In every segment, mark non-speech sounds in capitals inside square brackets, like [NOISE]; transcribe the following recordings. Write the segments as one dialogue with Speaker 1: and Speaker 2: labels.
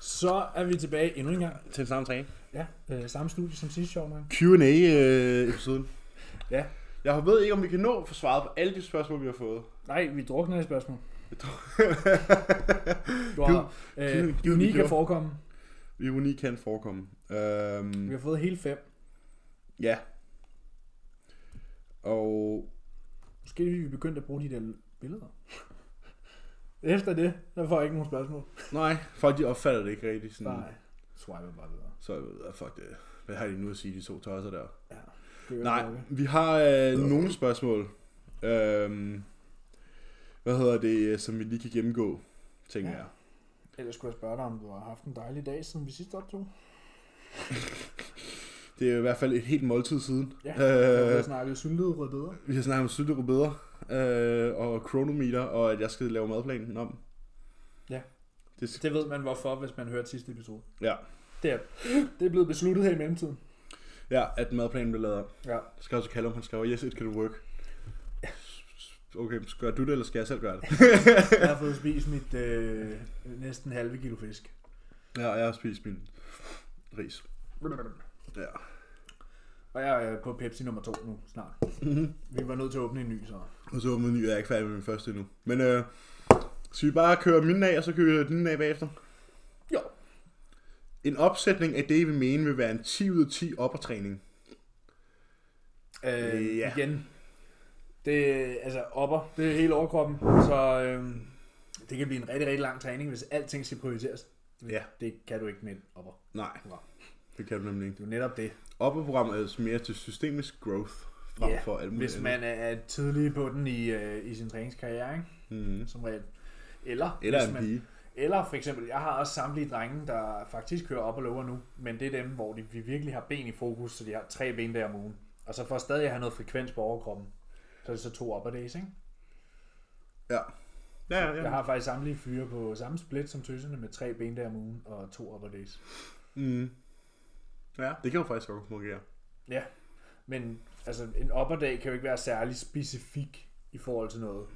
Speaker 1: Så er vi tilbage endnu en gang.
Speaker 2: Til samme træning.
Speaker 1: Ja, øh, samme studie som sidste sjov nok.
Speaker 2: Q&A-episoden.
Speaker 1: Ja.
Speaker 2: øh, Jeg ved ikke, om vi kan nå at få svaret på alle de spørgsmål, vi har
Speaker 1: [LAUGHS]
Speaker 2: fået.
Speaker 1: Nej, vi drukner i spørgsmål. Du
Speaker 2: Gud,
Speaker 1: har øh,
Speaker 2: gud, gud,
Speaker 1: unik
Speaker 2: vi
Speaker 1: er
Speaker 2: gjorde.
Speaker 1: forekommen.
Speaker 2: Ironi kan forekomme.
Speaker 1: Vi
Speaker 2: Øhm,
Speaker 1: har fået hele fem.
Speaker 2: ja. Og
Speaker 1: Måske er vi begyndt at bruge de der billeder. Efter det, der får jeg ikke nogen spørgsmål.
Speaker 2: nej, folk de opfatter det ikke rigtigt. Sådan,
Speaker 1: Nej. Swipe bare videre.
Speaker 2: Så jeg ved, ah, fuck det. Hvad har de nu at sige, de to tosser der?
Speaker 1: Ja. Det er jo
Speaker 2: Nej,
Speaker 1: ikke.
Speaker 2: vi har øh, nogle spørgsmål. Øhm, hvad hedder det, øh, som vi lige kan gennemgå, tænker
Speaker 1: Ja.
Speaker 2: jeg. [LAUGHS]
Speaker 1: Ellers skulle jeg spørge dig, om du har haft en dejlig dag, siden vi sidst optog.
Speaker 2: Det er i hvert fald et helt måltid siden.
Speaker 1: Ja,
Speaker 2: øh,
Speaker 1: Øh... Vi snakkede syltede rødbeder.
Speaker 2: Vi har snakket om sylterubeder øh, og kronometer, og at jeg skal lave madplanen om.
Speaker 1: Ja.
Speaker 2: Det skal,
Speaker 1: Det ved man hvorfor, hvis man hørte sidste episode.
Speaker 2: ja.
Speaker 1: Det er, det er blevet besluttet her i mellemtiden.
Speaker 2: ja, at madplanen blev lavet om.
Speaker 1: Ja.
Speaker 2: Jeg skal også kalde om, han skrev, yes, it can work. Okay, så gør du det, eller skal jeg selv gøre det?
Speaker 1: Jeg har fået spist mit øh, næsten halve kilo fisk.
Speaker 2: ja, og jeg har spist min ris. Ja.
Speaker 1: Og jeg er på Pepsi nummer to nu snart.
Speaker 2: Mm-hmm.
Speaker 1: Vi var nødt til at åbne en ny, så.
Speaker 2: Og så åbner ny, jeg er ikke færdig med min første endnu. Men øh, skal vi bare køre min af, og så kører vi din af bagefter?
Speaker 1: Jo.
Speaker 2: En opsætning af det, vi mener vil være en 10 ud af 10 oppertræning.
Speaker 1: Øh,
Speaker 2: Ja.
Speaker 1: ja. Igen. Det altså opper. Det er hele overkroppen. Så øh, det kan blive en rigtig, rigtig lang træning, hvis alting skal prioriteres.
Speaker 2: Ja.
Speaker 1: Det kan du ikke med en opper.
Speaker 2: Nej,
Speaker 1: Wow.
Speaker 2: det kan du nemlig ikke.
Speaker 1: Det er jo netop det.
Speaker 2: Opperprogram er mere til systemisk growth frem
Speaker 1: Ja,
Speaker 2: for alt muligt
Speaker 1: Hvis man er tidlig på den i, øh, i sin træningskarriere, ikke?
Speaker 2: Mm.
Speaker 1: som regel. Eller,
Speaker 2: Eller
Speaker 1: hvis
Speaker 2: en
Speaker 1: man,
Speaker 2: pige.
Speaker 1: Eller for eksempel, jeg har også samtlige drenge, der faktisk kører op og lover nu, men det er dem, hvor de, vi virkelig har ben i fokus, så de har tre ben der om ugen. Og så for at stadig at have noget frekvens på overkroppen, så er det så to upper days, ikke?
Speaker 2: Ja. Ja, ja,
Speaker 1: Jeg
Speaker 2: ja.
Speaker 1: har faktisk samtlige fyre på samme split som tøserne med tre ben der om ugen og to upper days.
Speaker 2: Mm. ja. Det kan jo faktisk godt fungere.
Speaker 1: Ja, men altså en upper dag kan jo ikke være særlig specifik i forhold til noget.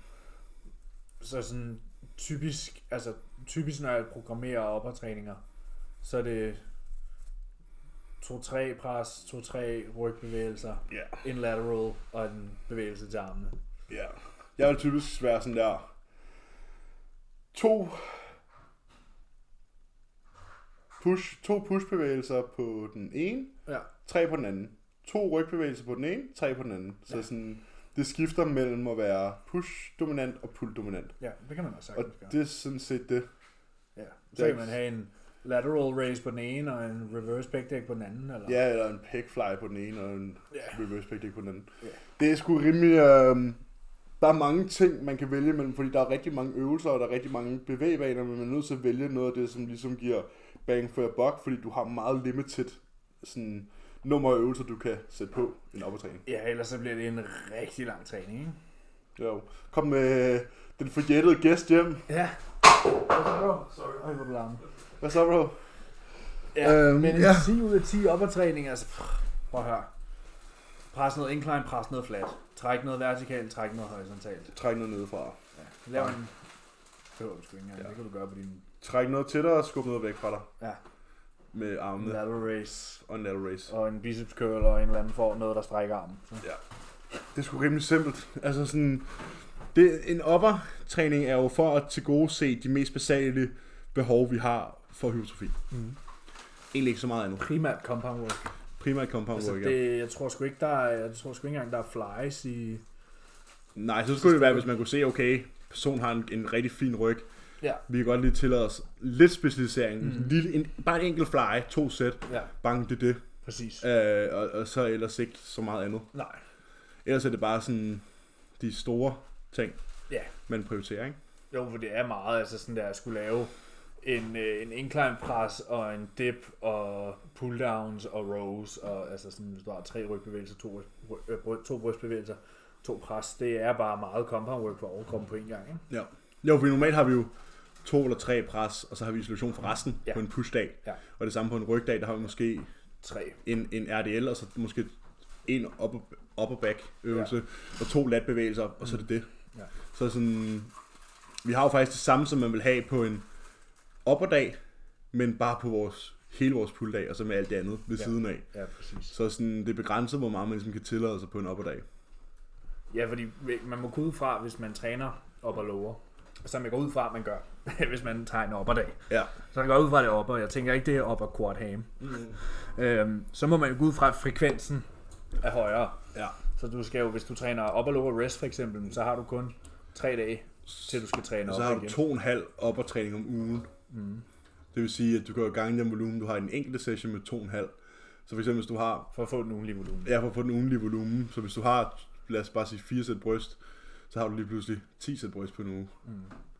Speaker 1: Så sådan typisk, altså typisk når jeg programmerer uppertræninger, så er det 2-3 pres, 2-3 rygbevægelser,
Speaker 2: Ja.
Speaker 1: en lateral og en bevægelse til armene.
Speaker 2: ja. Jeg vil typisk være sådan der... To... Push, to push-bevægelser på den ene,
Speaker 1: Ja.
Speaker 2: tre på den anden. To rygbevægelser på den ene, tre på den anden. Så sådan, det skifter mellem at være push-dominant og pull-dominant.
Speaker 1: Ja, det kan man også
Speaker 2: Og
Speaker 1: sagtens gøre.
Speaker 2: det er sådan set det.
Speaker 1: Ja. Så kan man have en lateral raise på den ene og en reverse pec på den anden. Eller?
Speaker 2: Ja, eller en pegfly på den ene, og en
Speaker 1: Ja.
Speaker 2: reverse pegdæk på den anden.
Speaker 1: Ja.
Speaker 2: Det er sgu rimelig... Øh, der er mange ting, man kan vælge imellem, fordi der er rigtig mange øvelser, og der er rigtig mange bevægbaner, men man er nødt til at vælge noget af det, som ligesom giver bang for your buck, fordi du har meget limited sådan, nummer af øvelser, du kan sætte på en oppertræning.
Speaker 1: ja, ellers så bliver det en rigtig lang træning, ikke?
Speaker 2: Jo. Kom med øh, den forjættede gæst hjem.
Speaker 1: Ja. Sorry. Ej, hvor er du larme.
Speaker 2: Hvad så, bro?
Speaker 1: Ja,
Speaker 2: Øhm,
Speaker 1: øhm, men en
Speaker 2: ja.
Speaker 1: ja. 10 ud af 10 oppertræning, altså pff, prøv at høre. Pres noget incline, pres noget flat. Træk noget vertikalt, træk noget horisontalt.
Speaker 2: Træk noget nedefra.
Speaker 1: Ja. Lav en... Det behøver du sgu ikke engang,
Speaker 2: Ja.
Speaker 1: ja. det kan du gøre på din
Speaker 2: Træk noget til dig og skub noget væk fra dig.
Speaker 1: Ja.
Speaker 2: Med armene
Speaker 1: lateral raise.
Speaker 2: og en lateral raise.
Speaker 1: Og en biceps curl og en eller anden får noget, der strækker armen. Så.
Speaker 2: Det er sgu rimelig simpelt. Altså sådan, det, en oppertræning er jo for at tilgodese de mest basale behov, vi har for hypertrofi.
Speaker 1: Mm.
Speaker 2: Egentlig ikke så meget andet.
Speaker 1: Primært compound work.
Speaker 2: Primært compound
Speaker 1: Altså,
Speaker 2: altså, work, det...
Speaker 1: det, jeg tror sgu ikke, der er, jeg tror sgu ikke engang, der er flies i...
Speaker 2: Nej, så skulle det være, hvis man kunne se, okay, personen har en, en rigtig fin ryg.
Speaker 1: Ja.
Speaker 2: Vi kan godt lige tillade os lidt specialisering. Mm.
Speaker 1: Mhm.
Speaker 2: Lille, en, bare en enkelt fly, to sæt,
Speaker 1: Ja,
Speaker 2: bang, det er det.
Speaker 1: præcis.
Speaker 2: Øh, og, og, så ellers ikke så meget andet.
Speaker 1: Nej.
Speaker 2: Ellers er det bare sådan de store ting,
Speaker 1: Ja.
Speaker 2: man prioriterer, ikke?
Speaker 1: Jo, for det er meget, altså sådan der at skulle lave en, øh, en incline press og en dip og pull downs og rows og altså sådan, hvis du har tre rygbevægelser, to, ry- øh, bry- to brystbevægelser, to pres, det er bare meget compound work for overkomme på en gang, ikke?
Speaker 2: Ja. Jo, for normalt har vi jo to eller tre pres, og så har vi isolation for resten ja.
Speaker 1: Ja.
Speaker 2: på en pushdag.
Speaker 1: Ja.
Speaker 2: Og det samme på en rygdag, der har vi måske
Speaker 1: Tre.
Speaker 2: en, en RDL, og så måske en upper, upper back øvelse, ja. og to lat bevægelser, og så er det det.
Speaker 1: Ja.
Speaker 2: Så sådan, vi har jo faktisk det samme, som man vil have på en upperdag, men bare på vores, hele vores pulldag, og så med alt det andet ved ja. siden af.
Speaker 1: Ja, præcis.
Speaker 2: Så sådan, det er begrænset, hvor meget man ligesom kan tillade sig på en op og dag.
Speaker 1: Ja, fordi man må gå ud fra, hvis man træner op og lower, som jeg går ud fra, at man gør, [LAUGHS] hvis man tegner op og dag.
Speaker 2: Ja.
Speaker 1: Så jeg går ud fra at det er op, og jeg tænker ikke, det er op og quad ham. Mm. Øhm, så må man jo gå ud fra, at frekvensen er højere.
Speaker 2: Ja.
Speaker 1: Så du skal jo, hvis du træner op og lower rest for eksempel, så har du kun tre dage, til du skal træne
Speaker 2: Og
Speaker 1: op
Speaker 2: så har du
Speaker 1: igen.
Speaker 2: to og en halv op- og træning om ugen. Mm. Det vil sige, at du kan jo gange den volumen, du har i den enkelte session med to og en halv. Så for eksempel, hvis du har
Speaker 1: For at få den ugenlige volumen.
Speaker 2: Ja, for at få den ugenlige volumen. Så hvis du har, lad os bare sige, 4 sæt bryst, så har du lige pludselig 10 sæt bryst på en uge mm.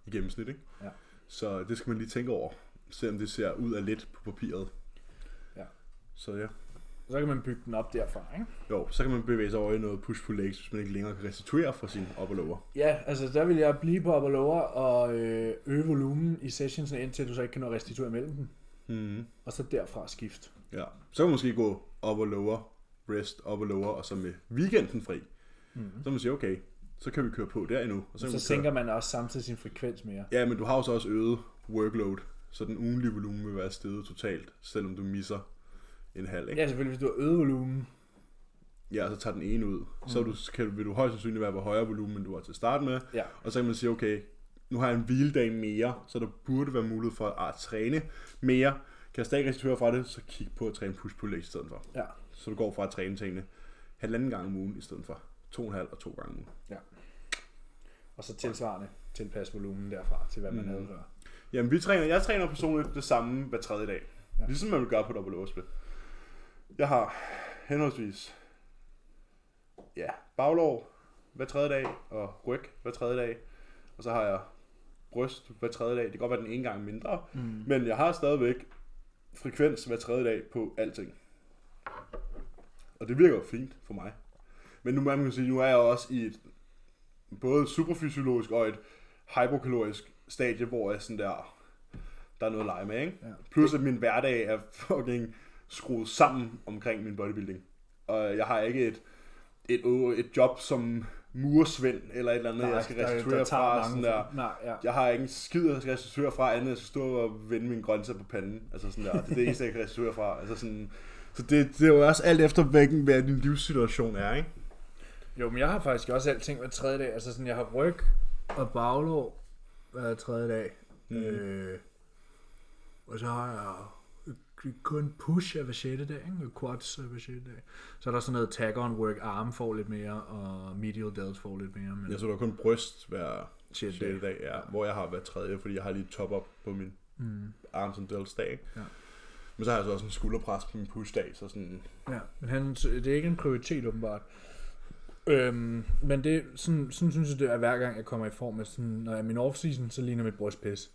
Speaker 2: i gennemsnit, ikke?
Speaker 1: Ja.
Speaker 2: Så det skal man lige tænke over, selvom det ser ud af lidt på papiret.
Speaker 1: Ja.
Speaker 2: Så ja.
Speaker 1: Så kan man bygge den op derfra, ikke?
Speaker 2: Jo, så kan man bevæge sig over i noget push-pull legs, hvis man ikke længere kan restituere fra sin op og lower.
Speaker 1: Ja, altså der vil jeg blive på op og lower og øh, øge volumen i sessionsen, indtil du så ikke kan nå at restituere mellem dem.
Speaker 2: Mm.
Speaker 1: Og så derfra skift.
Speaker 2: Ja. Så kan man måske gå op og lower, rest, op og lower, og så med weekenden fri. Mm. Så kan man sige, okay, så kan vi køre på der endnu.
Speaker 1: Mhm.
Speaker 2: Og så, kan
Speaker 1: Så
Speaker 2: man køre-
Speaker 1: sænker man også samtidig sin frekvens mere.
Speaker 2: Ja, men du har jo så også øget workload, så den ugenlige volumen vil være steget totalt, selvom du misser en halv, ikke?
Speaker 1: Ja, selvfølgelig, hvis du har øget volumen.
Speaker 2: Ja, så tager den ene ud. Så
Speaker 1: Mhm.
Speaker 2: er du, kan, vil du højst sandsynligt være på højere volumen, end du var til at starte med.
Speaker 1: Ja.
Speaker 2: Og så kan man sige, okay, nu har jeg en hviledag mere, så der burde være mulighed for at, at træne mere. Kan jeg stadig restituere fra det, så kig på at træne push pull legs i stedet for.
Speaker 1: Ja.
Speaker 2: Så du går fra at træne tingene halvanden gang om ugen i stedet for to og en halv og to gange om ugen.
Speaker 1: ja. Og så tilsvarende tilpasse volumen derfra til, hvad man mm. havde før.
Speaker 2: Jamen, vi træner, jeg træner personligt det samme hver tredje dag. Ja.
Speaker 1: Ja.
Speaker 2: Ligesom man vil gøre på dobbelt overspil. Jeg har henholdsvis ja, baglov hver tredje dag, og ryg hver tredje dag. Og så har jeg bryst hver tredje dag. Det kan godt være den ene gang mindre, mm. men jeg har stadigvæk frekvens hver tredje dag på alting. Og det virker jo fint for mig. Men nu må man jo sige, nu er jeg også i et både superfysiologisk og et hypokalorisk stadie, hvor jeg sådan der, der er noget at lege med, ikke?
Speaker 1: Ja.
Speaker 2: Plus at min hverdag er fucking skruet sammen omkring min bodybuilding. Og jeg har ikke et, et, et job som muresvend eller et eller andet, jeg skal restituere fra. Sådan der.
Speaker 1: Nej, ja.
Speaker 2: Jeg har ikke en skid, jeg skal restituere fra, andet jeg skal stå og vende min grøntsager på panden. Altså sådan der, det er det eneste, jeg kan restituere fra. Altså sådan, så det, det er jo også alt efter, hvilken hvad din livssituation er, ikke?
Speaker 1: Jo, men jeg har faktisk også alting hver tredje dag. Altså sådan, jeg har ryg og baglov hver tredje dag. Mm. Øh, og så har jeg kun push af hver sjette dag, ikke? Og quads af hver sjette dag. Så er der sådan noget tag on work, arm får lidt mere, og medial delts får lidt mere. Men
Speaker 2: Jeg så der er kun bryst hver
Speaker 1: Sjette
Speaker 2: sjette dag, ja, hvor jeg har hver tredje, fordi jeg har lige top up på min mm. arms and delts dag. ikke?
Speaker 1: Ja.
Speaker 2: Men så har jeg så også en skulderpres på min push dag, så sådan,
Speaker 1: Ja, men han, det er ikke en prioritet åbenbart. Øhm, men det, sådan, sådan synes jeg, det er hver gang, jeg kommer i form af sådan, når jeg er i min off-season, så ligner mit bryst pis.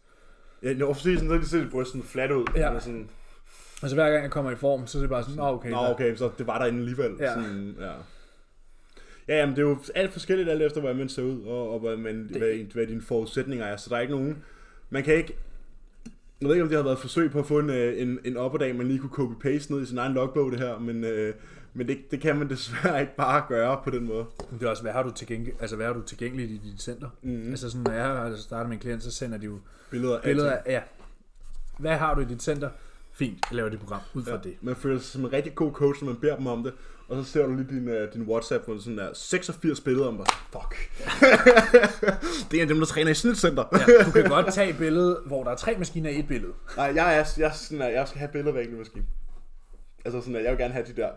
Speaker 2: ja, i off-season, så kan de se dit bryst sådan flat ud.
Speaker 1: Ja.
Speaker 2: Eller sådan,
Speaker 1: Altså hver gang jeg kommer i form, så er det bare sådan, "Nå, okay,
Speaker 2: Nå,
Speaker 1: der-
Speaker 2: okay, så det var der alligevel. Ja.
Speaker 1: Ja.
Speaker 2: Sådan, ja. Ja, jamen, det er jo alt forskelligt alt efter, hvordan man ser ud, og, og hvad, man, det... hvad, hvad dine forudsætninger er. Så der er ikke nogen... Man kan ikke... Jeg ved ikke, om det har været et forsøg på at få en, øh, en, en op dag, man lige kunne copy-paste ned i sin egen logbog, det her, men, øh, men det, det kan man [LAUGHS] desværre ikke bare gøre på den måde.
Speaker 1: Men Det er også, hvad har du, tilgæng- altså, hvad har du tilgængeligt i dit center?
Speaker 2: Mm.
Speaker 1: Mm-hmm. Altså sådan, når jeg har startet med en klient, så sender de jo
Speaker 2: Billeder, af
Speaker 1: billeder
Speaker 2: alting.
Speaker 1: af, ja, hvad har du i dit center? Fint, jeg laver det program ud fra ja. det.
Speaker 2: Man føler sig som en rigtig god coach, når man beder dem om det, og så ser du lige din, øh, din WhatsApp, hvor der sådan er 86 billeder om dig. Fuck. [LAUGHS] det er en af dem, der træner i sådan et center.
Speaker 1: Ja, du kan godt tage et billede, hvor der er tre maskiner i et billede.
Speaker 2: Nej, jeg, er, jeg, er sådan, at jeg skal have billeder væk nu, måske. Altså sådan, at jeg vil gerne have de der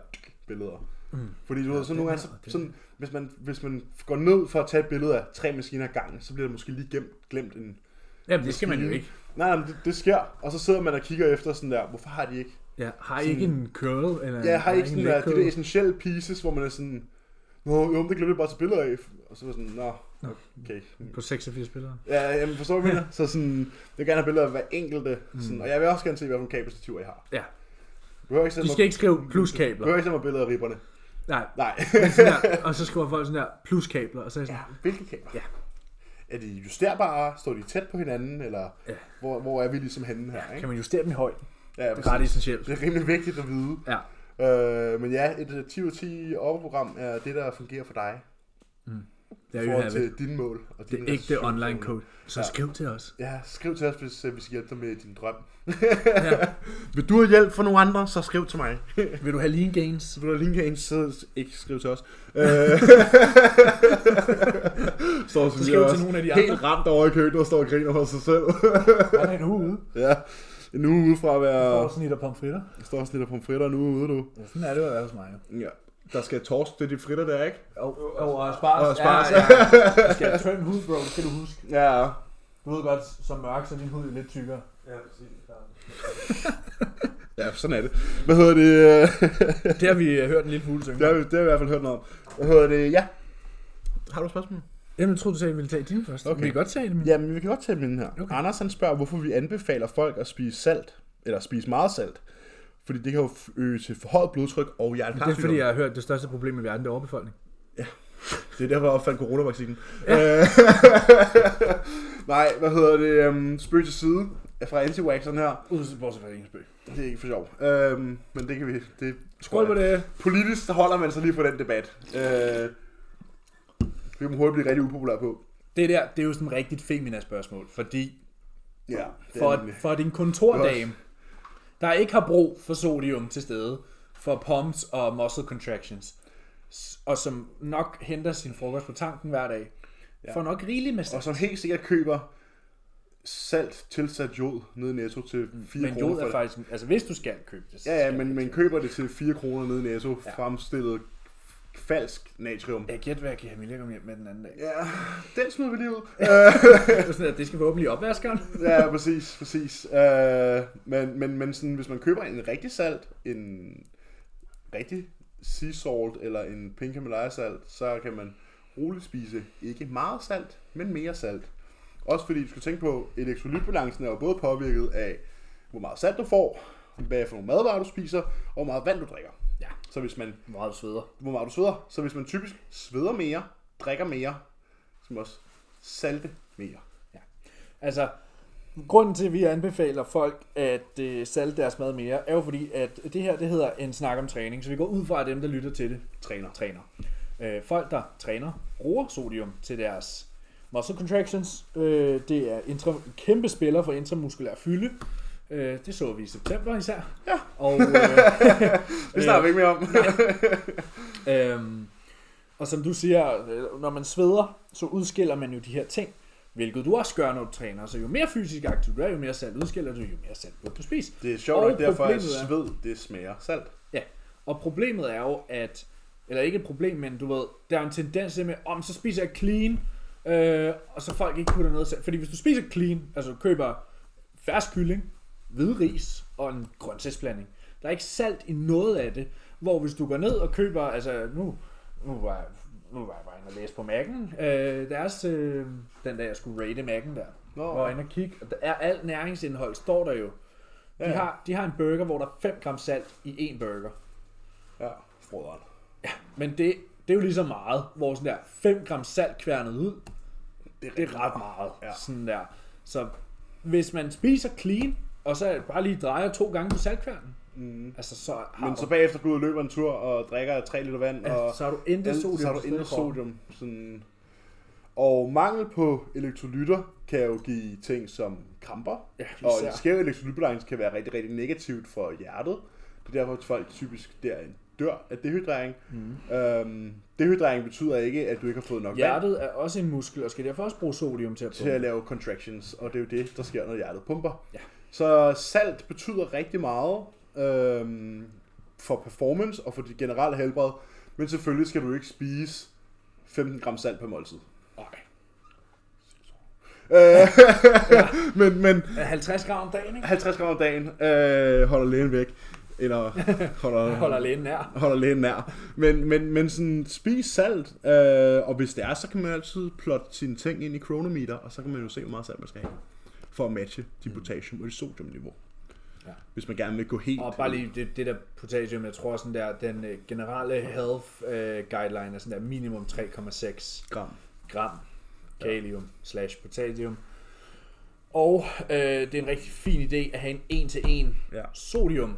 Speaker 2: billeder. Mm. Fordi du ja, ved, så nogle gange, så, sådan, hvis, man, hvis man går ned for at tage et billede af tre maskiner ad gangen, så bliver der måske lige gemt, glemt en...
Speaker 1: Jamen, det skal man jo ikke.
Speaker 2: Nej, nej, men det, det, sker. Og så sidder man og kigger efter sådan der, hvorfor har de ikke...
Speaker 1: Ja, har I ikke en curl? Eller
Speaker 2: Ja, har I ikke
Speaker 1: en
Speaker 2: sådan
Speaker 1: leg
Speaker 2: der, de
Speaker 1: curl?
Speaker 2: der essentielle pieces, hvor man er sådan... Nå, jo, men det glemte jeg bare til billeder af. Og så var jeg sådan, nå, okay.
Speaker 1: På 86 billeder.
Speaker 2: Ja, jamen, forstår du, hvad jeg mener? Så sådan, jeg vil gerne have billeder af hver enkelte. Sådan, mm. Og jeg vil også gerne se, hvilken kabelstativer I har.
Speaker 1: Ja,
Speaker 2: Du behøver ikke sende
Speaker 1: du
Speaker 2: mig-
Speaker 1: skal ikke skrive
Speaker 2: Du
Speaker 1: pluskabler.
Speaker 2: behøver ikke sende mig billeder af ribberne.
Speaker 1: Nej,
Speaker 2: Nej.
Speaker 1: sådan der, og så skriver folk sådan der, pluskabler, og så er jeg sådan,
Speaker 2: [LAUGHS] Hvilke kabler?
Speaker 1: Ja.
Speaker 2: Er de justerbare? Står de tæt på hinanden? Eller ja.
Speaker 1: Ja.
Speaker 2: hvor, hvor er vi ligesom henne her? Ikke?
Speaker 1: kan man justere dem i højden?
Speaker 2: Ja,
Speaker 1: Det
Speaker 2: præcis.
Speaker 1: er ret essentielt.
Speaker 2: det er rimelig vigtigt at vide.
Speaker 1: Ja,
Speaker 2: Øh, men ja, et øh, 10 ud af 10 overprogram er det, der fungerer for dig. Mm. i
Speaker 1: There you
Speaker 2: forhold
Speaker 1: have it.
Speaker 2: til dine mål. Og
Speaker 1: Det
Speaker 2: dine
Speaker 1: ægte
Speaker 2: restriktioner.
Speaker 1: online code. Så
Speaker 2: Ja.
Speaker 1: skriv til os.
Speaker 2: Ja, skriv til os, hvis øh, vi skal hjælpe dig med din drøm.
Speaker 1: [LAUGHS] Ja.
Speaker 2: Vil du have hjælp fra nogle andre, så skriv til mig.
Speaker 1: Vil du have lean gains?
Speaker 2: Vil du linke have en, så ikke skriv til os. [LAUGHS] Øh. står
Speaker 1: Så skriv til nogle af de andre.
Speaker 2: Helt ramt over i køkkenet og står og griner for sig selv.
Speaker 1: Han er en uge ude.
Speaker 2: ja. En uge ude fra at være...
Speaker 1: Og snit og pomfritter.
Speaker 2: står og snitter pomfritter en uge ude, du.
Speaker 1: Ja, sådan er det jo at være hos mig. jo.
Speaker 2: Ja. Der skal torsk til de fritter der, ikke?
Speaker 1: Og, og, og spars.
Speaker 2: Og spars,
Speaker 1: Ja, ja. Du skal have trim hud, bro. Det skal du huske.
Speaker 2: Ja.
Speaker 1: Du ved godt, som mørk, så er din hud jo lidt tykkere.
Speaker 3: Ja, præcis.
Speaker 2: Ja, sådan er det. Hvad hedder det? øh, [LAUGHS]
Speaker 1: Det har vi øh, hørt en lille fugle synge.
Speaker 2: det, har vi, det har vi i hvert fald hørt noget om. Hvad hedder det? Ja. Har du et spørgsmål?
Speaker 1: Jamen, jeg troede, du sagde, at vi ville tage din først.
Speaker 2: Okay.
Speaker 1: Vi kan godt tage min.
Speaker 2: Jamen, vi kan godt tage min her. Okay.
Speaker 1: Okay.
Speaker 2: Anders han spørger, hvorfor vi anbefaler folk at spise salt. Eller spise meget salt. Fordi det kan jo f- øge til forhøjet blodtryk og
Speaker 1: Det er
Speaker 2: hjertekarsygdom.
Speaker 1: fordi, jeg har hørt, at det største problem i verden, det er overbefolkning.
Speaker 2: Det er derfor, jeg opfandt coronavaccinen. Ja. [LAUGHS] Nej, hvad hedder det? Um, spøg til side fra anti her.
Speaker 1: Ud bortset fra Ingensby.
Speaker 2: Det er ikke for sjov. Um, men det kan vi... Det,
Speaker 1: Skål på det.
Speaker 2: Politisk så holder man sig lige på den debat. Uh, vi må hurtigt blive rigtig upopulær på.
Speaker 1: Det der, det er jo sådan et rigtigt femina spørgsmål, fordi
Speaker 2: Ja, det
Speaker 1: for,
Speaker 2: er nemlig.
Speaker 1: for din kontordame, der ikke har brug for sodium til stede, for pumps og muscle contractions, s- og som nok henter sin frokost på tanken hver dag, ja. får nok rigeligt med
Speaker 2: Og
Speaker 1: salt.
Speaker 2: som helt sikkert køber salt tilsat jod nede i Netto til 4
Speaker 1: Men
Speaker 2: kroner
Speaker 1: jod
Speaker 2: for
Speaker 1: er
Speaker 2: det.
Speaker 1: faktisk, altså hvis du skal købe det, så
Speaker 2: Ja, ja,
Speaker 1: skal
Speaker 2: men
Speaker 1: du
Speaker 2: man
Speaker 1: købe
Speaker 2: køber det til 4 kroner nede i Netto,
Speaker 1: Ja.
Speaker 2: fremstillet falsk natrium.
Speaker 1: det. Jeg gætter, hvad jeg kan have Emilie komme hjem med den anden dag.
Speaker 2: Ja, den smider vi lige ud.
Speaker 1: [LAUGHS]
Speaker 2: Øh,
Speaker 1: Det er sådan, at det skal forhåbentlig i opvaskeren.
Speaker 2: ja, præcis, præcis. Øh, men men, men sådan, hvis man køber en rigtig salt, en rigtig sea salt eller en pink Himalaya salt, så kan man roligt spise ikke meget salt, men mere salt. Også fordi du skal tænke på, at elektrolytbalancen er jo både påvirket af, hvor meget salt du får, hvad for nogle madvarer du spiser, og hvor meget vand du drikker.
Speaker 1: Ja.
Speaker 2: Så hvis man
Speaker 1: Meget sveder.
Speaker 2: hvor meget du sveder. Så hvis man typisk sveder mere, drikker mere, så skal man også salte mere.
Speaker 1: Altså, grunden til, at vi anbefaler folk at øh, salte deres mad mere, er jo fordi, at det her det hedder en snak om træning, så vi går ud fra, at dem, der lytter til det,
Speaker 2: Træner.
Speaker 1: træner. Øh, folk, der træner, bruger sodium til deres muscle contractions. Øh, det er intra, kæmpe spiller for intramuskulær fylde. Øh, det så vi i september især. Ja. Og, øh,
Speaker 2: [LAUGHS] Det snakker vi ikke mere om.
Speaker 1: Øhm, og som du siger, øh, når man sveder, så udskiller man jo de her ting, hvilket du også gør, når du træner. Så jo mere fysisk aktiv du er, jo mere salt udskiller du, jo mere salt burde du spise.
Speaker 2: Det er sjovt
Speaker 1: Og
Speaker 2: nok derfor, at
Speaker 1: problemet er-
Speaker 2: sved, det smager salt.
Speaker 1: Ja, og problemet er jo, at, eller ikke et problem, men du ved, der er en tendens til med, om så spiser jeg clean, øh, og så folk ikke putter noget salt. Fordi hvis du spiser clean, altså du køber fersk kylling, hvidris og en grøntsagsblanding, der er ikke salt i noget af det, hvor hvis du går ned og køber, altså nu, nu var jeg, nu var jeg bare inde og læse på Mac'en, øh, deres, øh, den dag jeg skulle rate Mac'en der,
Speaker 2: Nå.
Speaker 1: hvor jeg var inde og kigge, og der er alt næringsindhold, står der jo. De,
Speaker 2: Ja.
Speaker 1: har, de har en burger, hvor der er 5 gram salt i en burger.
Speaker 2: Ja, frøderen.
Speaker 1: Men det, det er jo lige så meget, hvor sådan der 5 gram salt kværnet ud,
Speaker 2: Det er
Speaker 1: det er ret meget.
Speaker 2: Ja.
Speaker 1: Ja. Sådan der. Så hvis man spiser clean, og så bare lige drejer to gange på saltkværnen, mm. altså så har,
Speaker 2: Men
Speaker 1: du,
Speaker 2: så bagefter går du ud og løber en tur og drikker 3 liter vand, og
Speaker 1: ja, så har du intet
Speaker 2: alt-
Speaker 1: sodium.
Speaker 2: så har
Speaker 1: til
Speaker 2: du
Speaker 1: stede
Speaker 2: intet
Speaker 1: i kroppen.
Speaker 2: sodium. Sådan. Og mangel på elektrolytter kan jo give ting som kramper,
Speaker 1: Ja,
Speaker 2: og
Speaker 1: især.
Speaker 2: en skæv elektrolytbalance kan være rigtig, rigtig negativt for hjertet. Det er derfor, at folk typisk derinde dør af dehydrering. Mm. Øhm, dehydrering betyder ikke, at du ikke har fået nok vand.
Speaker 1: Hjertet er også en muskel, og skal derfor også bruge sodium til at
Speaker 2: til at
Speaker 1: pumpe.
Speaker 2: lave contractions, og det er jo det, der sker, når hjertet pumper.
Speaker 1: Ja.
Speaker 2: Så salt betyder rigtig meget øhm, for performance og for dit generelle helbred, men selvfølgelig skal du ikke spise 15 gram salt per måltid.
Speaker 1: Okay.
Speaker 2: Øh, [LAUGHS] men, men
Speaker 1: Er 50 gram om dagen, ikke?
Speaker 2: 50 gram om dagen øh, holder lægen væk, eller holder,
Speaker 1: Holder lægen nær.
Speaker 2: holder lægen nær. Men, men, men sådan, spis salt, øh, og hvis det er, så kan man altid plotte sine ting ind i chronometer, og så kan man jo se, hvor meget salt man skal have, for at matche dit potassium og dit sodiumniveau. Ja.
Speaker 1: Mm. Ja.
Speaker 2: Hvis man gerne vil gå helt...
Speaker 1: Og bare lige det, det der potassium, jeg tror sådan der, den øh, generelle health øh, guideline er sådan der minimum 3,6.
Speaker 2: Gram.
Speaker 1: gram kalium slash potassium. Og øh, det er en rigtig fin idé at have en 1 til 1
Speaker 2: Ja.
Speaker 1: sodium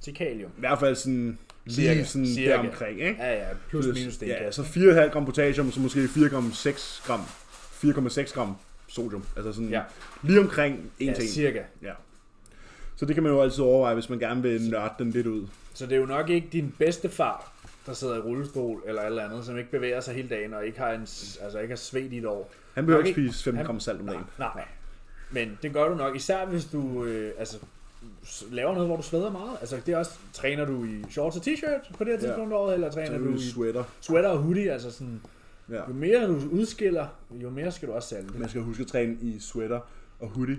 Speaker 1: til kalium.
Speaker 2: I hvert fald sådan
Speaker 1: Cirka,
Speaker 2: lige sådan
Speaker 1: cirka.
Speaker 2: der omkring, ikke?
Speaker 1: Ja, ja, plus minus det.
Speaker 2: Ja, så 4,5 gram potassium, og så måske 4,6 gram, 4,6 gram sodium. Altså sådan
Speaker 1: Ja.
Speaker 2: ja. lige omkring en
Speaker 1: ja,
Speaker 2: ting.
Speaker 1: cirka.
Speaker 2: Ja. Så det kan man jo altid overveje, hvis man gerne vil nørde den lidt ud.
Speaker 1: Så det er jo nok ikke din bedste far, der sidder i rullestol eller alt andet, som ikke bevæger sig hele dagen og ikke har, en, s- altså ikke har svedt i et år.
Speaker 2: Han behøver
Speaker 1: Nok
Speaker 2: ikke
Speaker 1: ikke.
Speaker 2: spise 15
Speaker 1: Han-
Speaker 2: gram salt om dagen.
Speaker 1: Nej, men det gør du nok, især hvis du øh, altså, s- laver noget, hvor du sveder meget. Altså det er også, træner du i shorts og t-shirt på det her
Speaker 2: Ja.
Speaker 1: tidspunkt af året, eller
Speaker 2: Så
Speaker 1: træner
Speaker 2: er
Speaker 1: du
Speaker 2: det
Speaker 1: i
Speaker 2: sweater.
Speaker 1: sweater og hoodie? Altså sådan,
Speaker 2: Ja.
Speaker 1: jo mere du udskiller, jo mere skal du også salte.
Speaker 2: Man skal huske at træne i sweater og hoodie.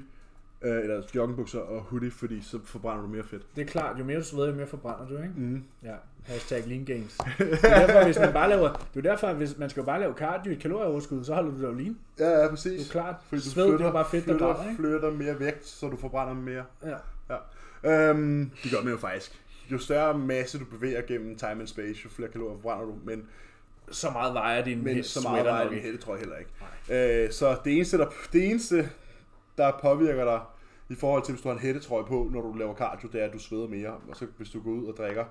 Speaker 2: Øh, eller joggingbukser og hoodie, fordi så forbrænder du mere fedt.
Speaker 1: Det er klart, jo mere du sveder, jo mere forbrænder du, ikke?
Speaker 2: Mm.
Speaker 1: Ja, hashtag lean
Speaker 2: [LAUGHS]
Speaker 1: gains. Det er derfor, hvis man bare laver, det er derfor, hvis man skal jo bare lave cardio i kalorieoverskud, så holder du dig jo lean.
Speaker 2: Ja, ja,
Speaker 1: Det er
Speaker 2: præcis.
Speaker 1: jo klart.
Speaker 2: Fordi du
Speaker 1: Sved,
Speaker 2: flytter,
Speaker 1: det er jo bare fedt, der
Speaker 2: flytter,
Speaker 1: brænder, ikke?
Speaker 2: flytter mere vægt, så du forbrænder mere.
Speaker 1: Ja.
Speaker 2: Ja. Øhm, det gør man jo faktisk. Jo større masse du bevæger gennem time and space, jo flere kalorier forbrænder du, men,
Speaker 1: Så meget vejer din
Speaker 2: men
Speaker 1: hæs-
Speaker 2: så meget
Speaker 1: sweater
Speaker 2: vejer
Speaker 1: nok
Speaker 2: din
Speaker 1: ikke.
Speaker 2: hætte, tror jeg heller ikke. Øh, så det eneste, der, det eneste, der påvirker dig i forhold til, hvis du har en hættetrøje på, når du laver cardio, det er, at du sveder mere. Og så hvis du går ud og drikker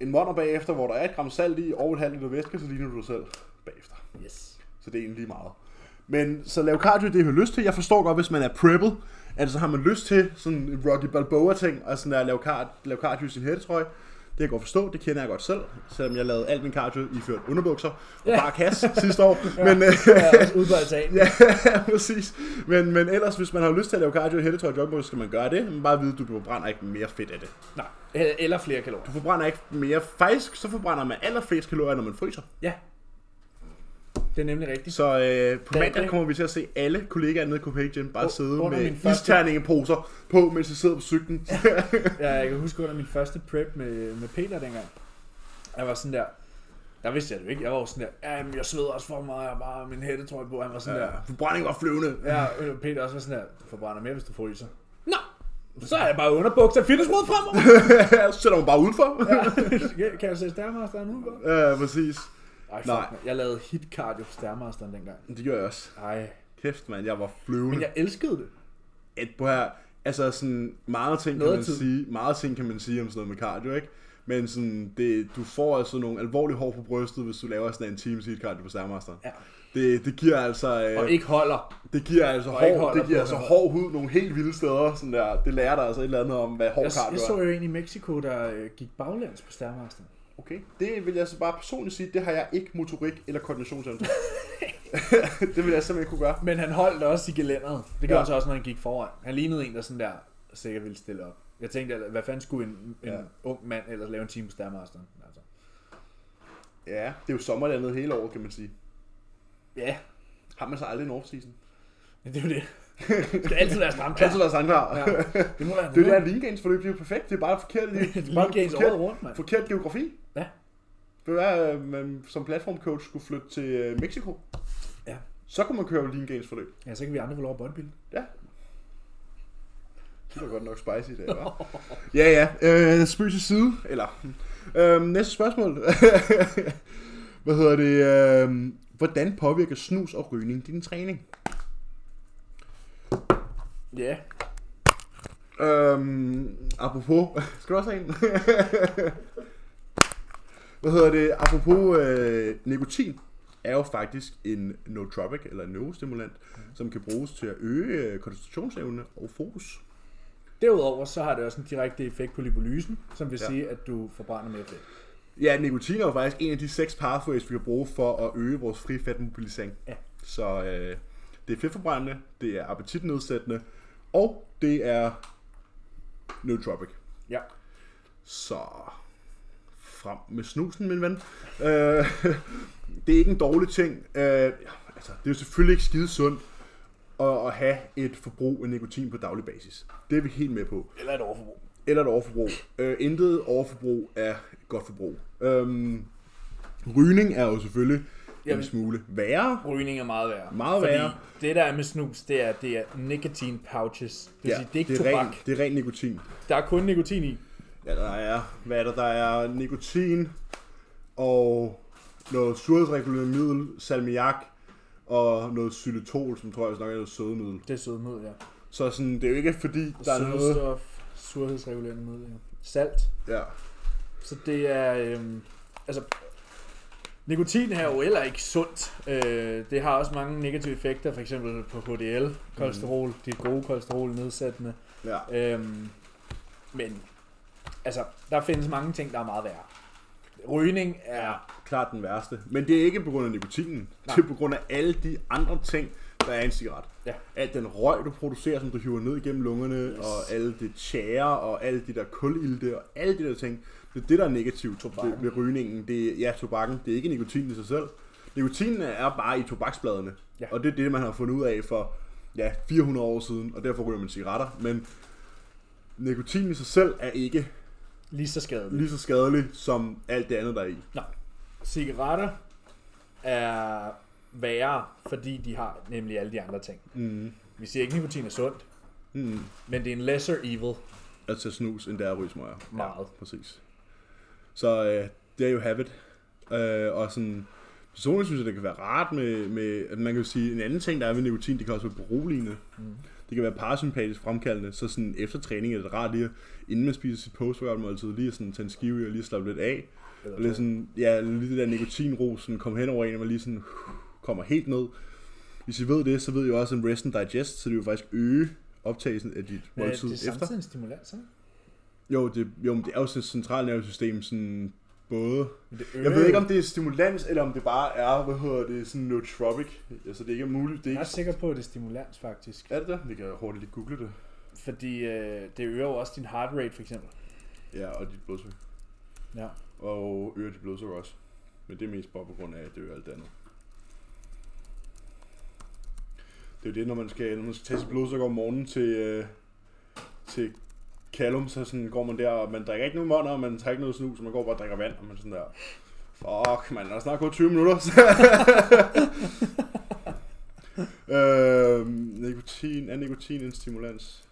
Speaker 2: en måned bagefter, hvor der er et gram salt i og et halvt liter væske, så ligner du dig selv bagefter. [LAUGHS]
Speaker 1: Yes.
Speaker 2: Så det er egentlig lige meget. Men så lave cardio, det har lyst til. Jeg forstår godt, hvis man er preppet, at så har man lyst til sådan en Rocky Balboa ting, og sådan at lave, card, lave cardio i sin hættetrøje. Det kan jeg godt forstå, det kender jeg godt selv, selvom jeg lavede alt min cardio i ført underbukser og
Speaker 1: Ja.
Speaker 2: bare kasse sidste år. Men, øh,
Speaker 1: [LAUGHS] Ja, også ude på altanen. Ja.
Speaker 2: [LAUGHS] ja, præcis. Men, men ellers, hvis man har lyst til at lave cardio i hættetrøje og joggingbukser, skal man gøre det. Men bare vide, at du forbrænder ikke mere fedt af det.
Speaker 1: Nej, eller- eller flere kalorier.
Speaker 2: Du forbrænder ikke mere. Faktisk, så forbrænder man allerflest kalorier, når man fryser.
Speaker 1: Ja. Det er nemlig rigtigt.
Speaker 2: Så øh, på
Speaker 1: Ja,
Speaker 2: mandag
Speaker 1: det-
Speaker 2: kommer vi til at se alle kollegaer nede i Copenhagen Gym bare
Speaker 1: U-
Speaker 2: sidde
Speaker 1: under
Speaker 2: med
Speaker 1: min første-
Speaker 2: isterningeposer på, mens de sidder på cyklen.
Speaker 1: Ja, jeg kan huske under min første prep med, med Peter dengang. Jeg var sådan der, der vidste jeg det jo ikke. Jeg var jo sådan der, ja, jeg sveder også for meget, jeg har bare min hættetrøje på. Han var sådan ja. der,
Speaker 2: Ja, forbrændingen var flyvende. Ja.
Speaker 1: Ja, og Peter også var sådan her, du forbrænder mere, hvis du fryser. Nå, så er jeg bare underbukser og fitnessmod
Speaker 2: [LAUGHS]
Speaker 1: fremover.
Speaker 2: [LAUGHS] så sætter man bare udenfor. Ja,
Speaker 1: Ja, kan jeg se Stærmasteren nu? godt?
Speaker 2: [LAUGHS] ja præcis.
Speaker 1: Ej, fuck,
Speaker 2: Nej.
Speaker 1: Nej. Man. Jeg lavede hit cardio på Stærmasteren dengang.
Speaker 2: Det gjorde jeg også.
Speaker 1: Ej,
Speaker 2: Kæft, mand, jeg var
Speaker 1: men
Speaker 2: flyvende. Jeg...
Speaker 1: jeg elskede det.
Speaker 2: Et på her, altså sådan, meget ting, kan
Speaker 1: Noget
Speaker 2: man
Speaker 1: tid.
Speaker 2: sige, meget ting kan man sige om sådan noget med cardio, ikke? Men sådan, det, du får altså nogle alvorlige hår på brystet, hvis du laver sådan en team seat cardio på Stærmasteren.
Speaker 1: Ja.
Speaker 2: Det, det giver altså... øh,
Speaker 1: Og ikke holder.
Speaker 2: Det giver altså
Speaker 1: Og ikke
Speaker 2: hård,
Speaker 1: holder
Speaker 2: det giver
Speaker 1: på
Speaker 2: altså
Speaker 1: det.
Speaker 2: hård hud nogle helt vilde steder. Sådan der. Det lærer dig altså et eller andet om, hvad hård
Speaker 1: Jeg,
Speaker 2: cardio
Speaker 1: jeg så
Speaker 2: er.
Speaker 1: jo en i Mexico, der øh, gik baglæns på Stærmasteren.
Speaker 2: Okay. Det vil jeg så bare personligt sige, det har jeg ikke motorik eller
Speaker 1: [LAUGHS]
Speaker 2: koordinationsevne til. det vil jeg simpelthen ikke kunne gøre.
Speaker 1: Men han holdt også i gelænderet. Det gjorde
Speaker 2: Ja.
Speaker 1: ja. han så også, når han gik foran. Han lignede en, der sådan der sikkert ville stille op. Jeg tænkte, hvad fanden skulle en, en
Speaker 2: Ja.
Speaker 1: ja. ung mand ellers lave en time på Stærmasteren? Altså.
Speaker 2: Ja, det er jo sommerlandet hele året, kan man sige.
Speaker 1: Ja,
Speaker 2: Har man så aldrig en off-season?
Speaker 1: [LAUGHS] det er jo det. Det skal [LAUGHS] altid være stramt.
Speaker 2: Altid der sang klar.
Speaker 1: Ja.
Speaker 2: Ja.
Speaker 1: Det må være
Speaker 2: Det er jo der lean gains forløb, det er jo perfekt. Det er bare forkert,
Speaker 1: [LAUGHS]
Speaker 2: det er bare
Speaker 1: Lean gains året
Speaker 2: forkert,
Speaker 1: rundt, mand.
Speaker 2: forkert geografi.
Speaker 1: Ja.
Speaker 2: Det var, at øh, man som platformcoach skulle flytte til øh, Mexico.
Speaker 1: Ja.
Speaker 2: Så kunne man køre lean gains forløb.
Speaker 1: Ja, så kan vi andre få lov at bodybuilde.
Speaker 2: Ja. Det var godt nok spicy i dag, hva'? ja, ja. Øh, spøg til side. Eller... Øh, næste spørgsmål. [LAUGHS] Hvad hedder det? Øh, hvordan påvirker snus og rygning din træning?
Speaker 1: Ja.
Speaker 2: Øhm, apropos... [LAUGHS] Skal du også have en? Hvad hedder det? Apropos øh, nikotin er jo faktisk en nootropic, eller en neurostimulant, som kan bruges til at øge øh, koncentrationsevne og fokus.
Speaker 1: Derudover så har det også en direkte effekt på lipolysen, som vil
Speaker 2: Ja.
Speaker 1: ja. sige, at du forbrænder mere fedt.
Speaker 2: Ja, nikotin er jo faktisk en af de seks pathways, vi kan bruge for at øge vores fri fedtmobilisering.
Speaker 1: Ja.
Speaker 2: Så øh, det er fedtforbrændende, det er appetitnedsættende, og det er nootropic.
Speaker 1: Ja.
Speaker 2: Så frem med snusen, min ven. Øh, [LAUGHS] det er ikke en dårlig ting. Øh, altså, det er jo selvfølgelig ikke skide sundt at, at have et forbrug af nikotin på daglig basis. Det er vi helt med på.
Speaker 1: Eller et overforbrug.
Speaker 2: Eller et overforbrug. Øh, intet overforbrug er et godt forbrug. Øhm, rygning er jo selvfølgelig Jamen.
Speaker 1: Jamen.
Speaker 2: en smule værre.
Speaker 1: Rygning er meget værre.
Speaker 2: Meget værre.
Speaker 1: det der er med snus, det er, det er nicotine pouches. Det vil ja, sige, det er ikke
Speaker 2: det, er
Speaker 1: tobak.
Speaker 2: ren, det er ren nikotin.
Speaker 1: Der er kun nikotin i.
Speaker 2: Ja, der er, hvad er der, der er nikotin og noget surhedsregulerende middel, salmiak og noget xylitol, som tror jeg nok er noget sødemiddel.
Speaker 1: Det er sødmiddel, ja.
Speaker 2: Så sådan, det er jo ikke fordi, der er noget...
Speaker 1: Sødestof, surhedsregulerende middel, ja. Salt.
Speaker 2: Ja.
Speaker 1: Så det er... Øhm, altså, nikotin her er jo heller ikke sundt. Øh, det har også mange negative effekter, for eksempel på HDL, kolesterol, mm. dit gode kolesterol nedsættende.
Speaker 2: Ja.
Speaker 1: Øhm, men altså, der findes mange ting, der er meget værre. Rygning er...
Speaker 2: klart den værste. Men det er ikke på grund af nikotinen.
Speaker 1: Nej.
Speaker 2: Det er på grund af alle de andre ting, der er i en cigaret.
Speaker 1: Ja.
Speaker 2: Alt den røg, du producerer, som du hiver ned igennem lungerne, yes. og alle det tjære, og alle de der kulilde, og alle de der ting. Det er det, der er negativt
Speaker 1: Tobakken.
Speaker 2: ved, ved rygningen. Det er, ja, tobakken. Det er ikke nikotinen i sig selv. Nikotinen er bare i tobaksbladene.
Speaker 1: Ja.
Speaker 2: Og det er det, man har fundet ud af for ja, 400 år siden, og derfor ryger man cigaretter. Men nikotinen i sig selv er ikke
Speaker 1: lige så skadeligt.
Speaker 2: lige så skadelig som alt det andet, der er i.
Speaker 1: Nej. Cigaretter er værre, fordi de har nemlig alle de andre ting.
Speaker 2: Mm.
Speaker 1: Vi siger ikke, at nikotin er sundt,
Speaker 2: Mm.
Speaker 1: men det er en lesser evil
Speaker 2: at tage snus, end det er at ryge smøger.
Speaker 1: meget.
Speaker 2: Præcis. Så øh, det er jo habit. Øh, og sådan, personligt synes jeg, det kan være rart med, med at man kan jo sige, en anden ting, der er ved nikotin, det kan også være beroligende. Mm. Det kan være parasympatisk fremkaldende, så sådan efter træning er det rart lige, at, inden man spiser sit post-workout måltid, lige at sådan tage en skive i og lige slappe lidt af.
Speaker 1: Eller
Speaker 2: og lidt
Speaker 1: to.
Speaker 2: sådan, ja, lige det der nikotinros, sådan kom hen over en, og man lige sådan uh, kommer helt ned. Hvis I ved det, så ved I også en rest and digest, så det vil faktisk øge optagelsen af dit
Speaker 1: Ja, det
Speaker 2: måltid
Speaker 1: er
Speaker 2: efter.
Speaker 1: samtidig en stimulans, ikke?
Speaker 2: Jo, det, jo, men det er jo sådan et centralnervesystem, sådan både...
Speaker 1: Men det
Speaker 2: Jeg ved ikke, om det er stimulans, eller om det bare er, hvad hedder det, sådan nootropic. Altså, det ikke er muligt. Det er
Speaker 1: Jeg er
Speaker 2: ikke...
Speaker 1: sikker på, at det er stimulans, faktisk.
Speaker 2: Er det det? Vi kan hurtigt lige google det.
Speaker 1: Fordi øh, det øger jo også din heart rate, for eksempel.
Speaker 2: Ja, og dit blodsukker.
Speaker 1: Ja.
Speaker 2: Og øger dit blodsukker også. Men det er mest bare på grund af, at det øger alt det andet. Det er jo det, når man skal, når man skal tage sit blodsukker om morgenen til, øh, til Callum, så sådan går man der, og man drikker ikke nogen måneder, og man tager ikke noget snus, og man går bare og drikker vand, og man sådan der, fuck, man, der er snart gået 20 minutter. [LAUGHS] øh, nikotin, er nikotin en stimulans?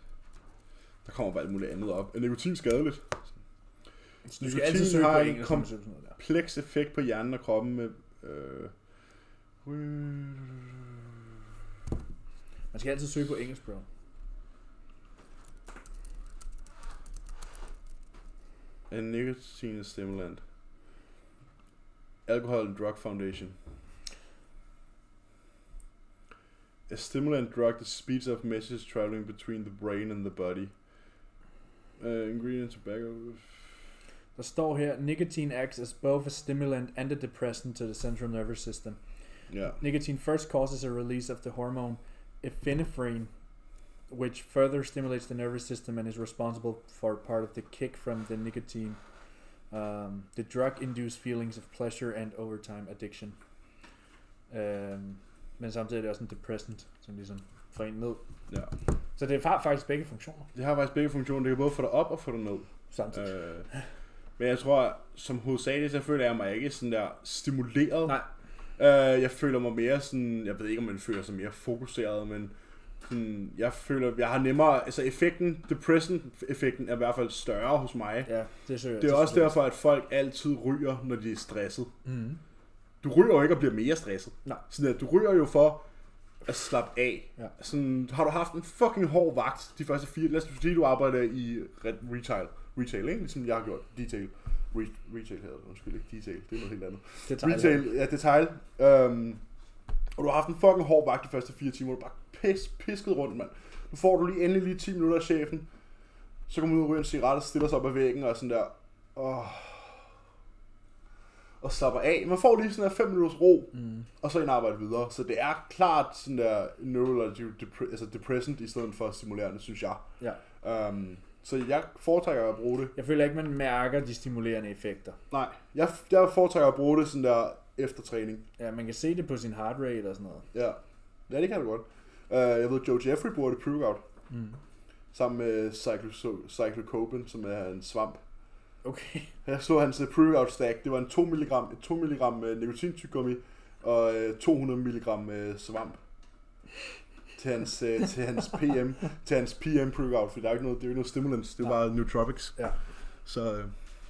Speaker 2: Der kommer bare alt muligt andet op. Er nikotin skadeligt?
Speaker 1: Så du skal
Speaker 2: Nikotin
Speaker 1: altid søge
Speaker 2: har
Speaker 1: på
Speaker 2: en
Speaker 1: engelsk, når
Speaker 2: kom-
Speaker 1: du søger på sådan noget der.
Speaker 2: kompleks effekt på hjernen og kroppen med... Øh,
Speaker 1: Man skal altid søge på engelsk, bro.
Speaker 2: a nicotine stimulant. Alcohol and Drug Foundation. A stimulant drug that speeds up messages traveling between the brain and the body. Uh, ingredient tobacco.
Speaker 1: Der står her, nicotine acts as both a stimulant and a depressant to the central nervous system.
Speaker 2: Ja.
Speaker 1: Nicotine first causes a release of the hormone epinephrine, which further stimulates the nervous system and is responsible for part of the kick from the nicotine. Um, the drug induced feelings of pleasure and overtime addiction. Um, men samtidig er det også en depressant, som ligesom får en ned.
Speaker 2: ja.
Speaker 1: Så det har faktisk begge funktioner
Speaker 2: Det har faktisk begge funktioner. Det kan både få dig op og få dig ned.
Speaker 1: samtidig. Øh,
Speaker 2: Øh, men jeg tror, som hovedsageligt, så føler jeg mig ikke sådan der stimuleret.
Speaker 1: Nej.
Speaker 2: Øh, jeg føler mig mere sådan, jeg ved ikke, om man føler sig mere fokuseret, men sådan, jeg føler, jeg har nemmere, altså effekten, depression-effekten er i hvert fald større hos mig.
Speaker 1: ja, det, søger,
Speaker 2: Øh. Det er også derfor, at folk altid ryger, når de er stresset.
Speaker 1: Mm-hmm.
Speaker 2: Du ryger jo ikke og bliver mere stresset.
Speaker 1: Nej.
Speaker 2: Sådan at du ryger jo for at slappe af.
Speaker 1: Ja.
Speaker 2: Sådan, har du haft en fucking hård vagt de første fire... Lad os sige, du arbejder i re- retail. Retail, ikke? Ligesom jeg har gjort. Detail. Re- retail hedder det. Undskyld, ikke detail. Det er noget helt andet.
Speaker 1: Det tager jeg.
Speaker 2: Retail, ja, detail. Øhm, og du har haft en fucking hård vagt de første fire timer. Du er bare pis, pisket rundt, mand. Nu får du lige endelig lige 10 minutter af chefen. Så kommer du ud og ryger en cigaret og stiller sig op ad væggen og sådan der. Åh. Og slapper af. Man får lige sådan der 5 minutters ro,
Speaker 1: Mhm.
Speaker 2: mm. og så en arbejde videre. Så det er klart sådan der neurological depre- altså depressant i stedet for stimulerende, synes jeg.
Speaker 1: Ja.
Speaker 2: Øhm, så jeg foretrækker at bruge det
Speaker 1: Jeg føler ikke, man mærker de stimulerende effekter.
Speaker 2: Nej, jeg, jeg foretrækker at bruge det sådan der efter træning.
Speaker 1: Ja, man kan se det på sin heart rate og sådan noget.
Speaker 2: Ja, ja det kan du godt. Uh, jeg ved, Joe Jeffrey bruger det pre-workout.
Speaker 1: Mm.
Speaker 2: Sammen med cyclo- Cyclocopen, som er en svamp.
Speaker 1: Okay.
Speaker 2: Jeg så hans øh, pre-workout stack. Det var en 2 mg, et 2 mg øh, nikotintygummi og øh, 200 mg øh, svamp. Til hans, øh, til hans PM, til hans PM pre-workout, for der er jo ikke noget, det er jo ikke noget stimulants, det er jo bare nootropics.
Speaker 1: Ja.
Speaker 2: Så øh,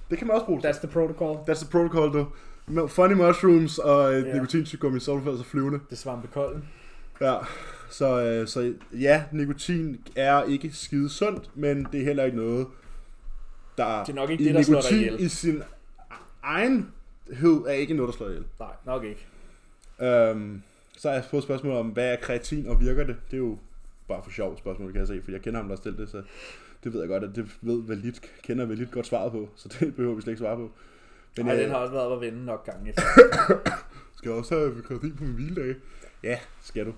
Speaker 2: det kan man også bruge.
Speaker 1: That's the protocol.
Speaker 2: That's the protocol, du. Med Funny mushrooms og yeah.
Speaker 1: Ja.
Speaker 2: nikotintygummi, så er du altså flyvende.
Speaker 1: Det svampe kolden.
Speaker 2: Ja. Så, øh, så ja, nikotin er ikke skide sundt, men det er heller ikke noget, der
Speaker 1: Det er nok ikke
Speaker 2: i
Speaker 1: det, der slår dig
Speaker 2: nikotin
Speaker 1: ihjel.
Speaker 2: i sin egenhed er ikke noget, der slår ihjel.
Speaker 1: Nej, nok ikke.
Speaker 2: Øhm, så har jeg fået spørgsmål om, hvad er kreatin og virker det? Det er jo bare for sjov spørgsmål, kan jeg se, for jeg kender ham, der har stillet det, så det ved jeg godt, at det ved valid, kender valid godt svaret på, så det [LAUGHS] behøver vi slet ikke svare på. Men øh,
Speaker 1: Men, Ej,
Speaker 2: jeg
Speaker 1: den har også været op at vende nok gange.
Speaker 2: skal jeg også have kreatin på min hviledag. Ja, skal du.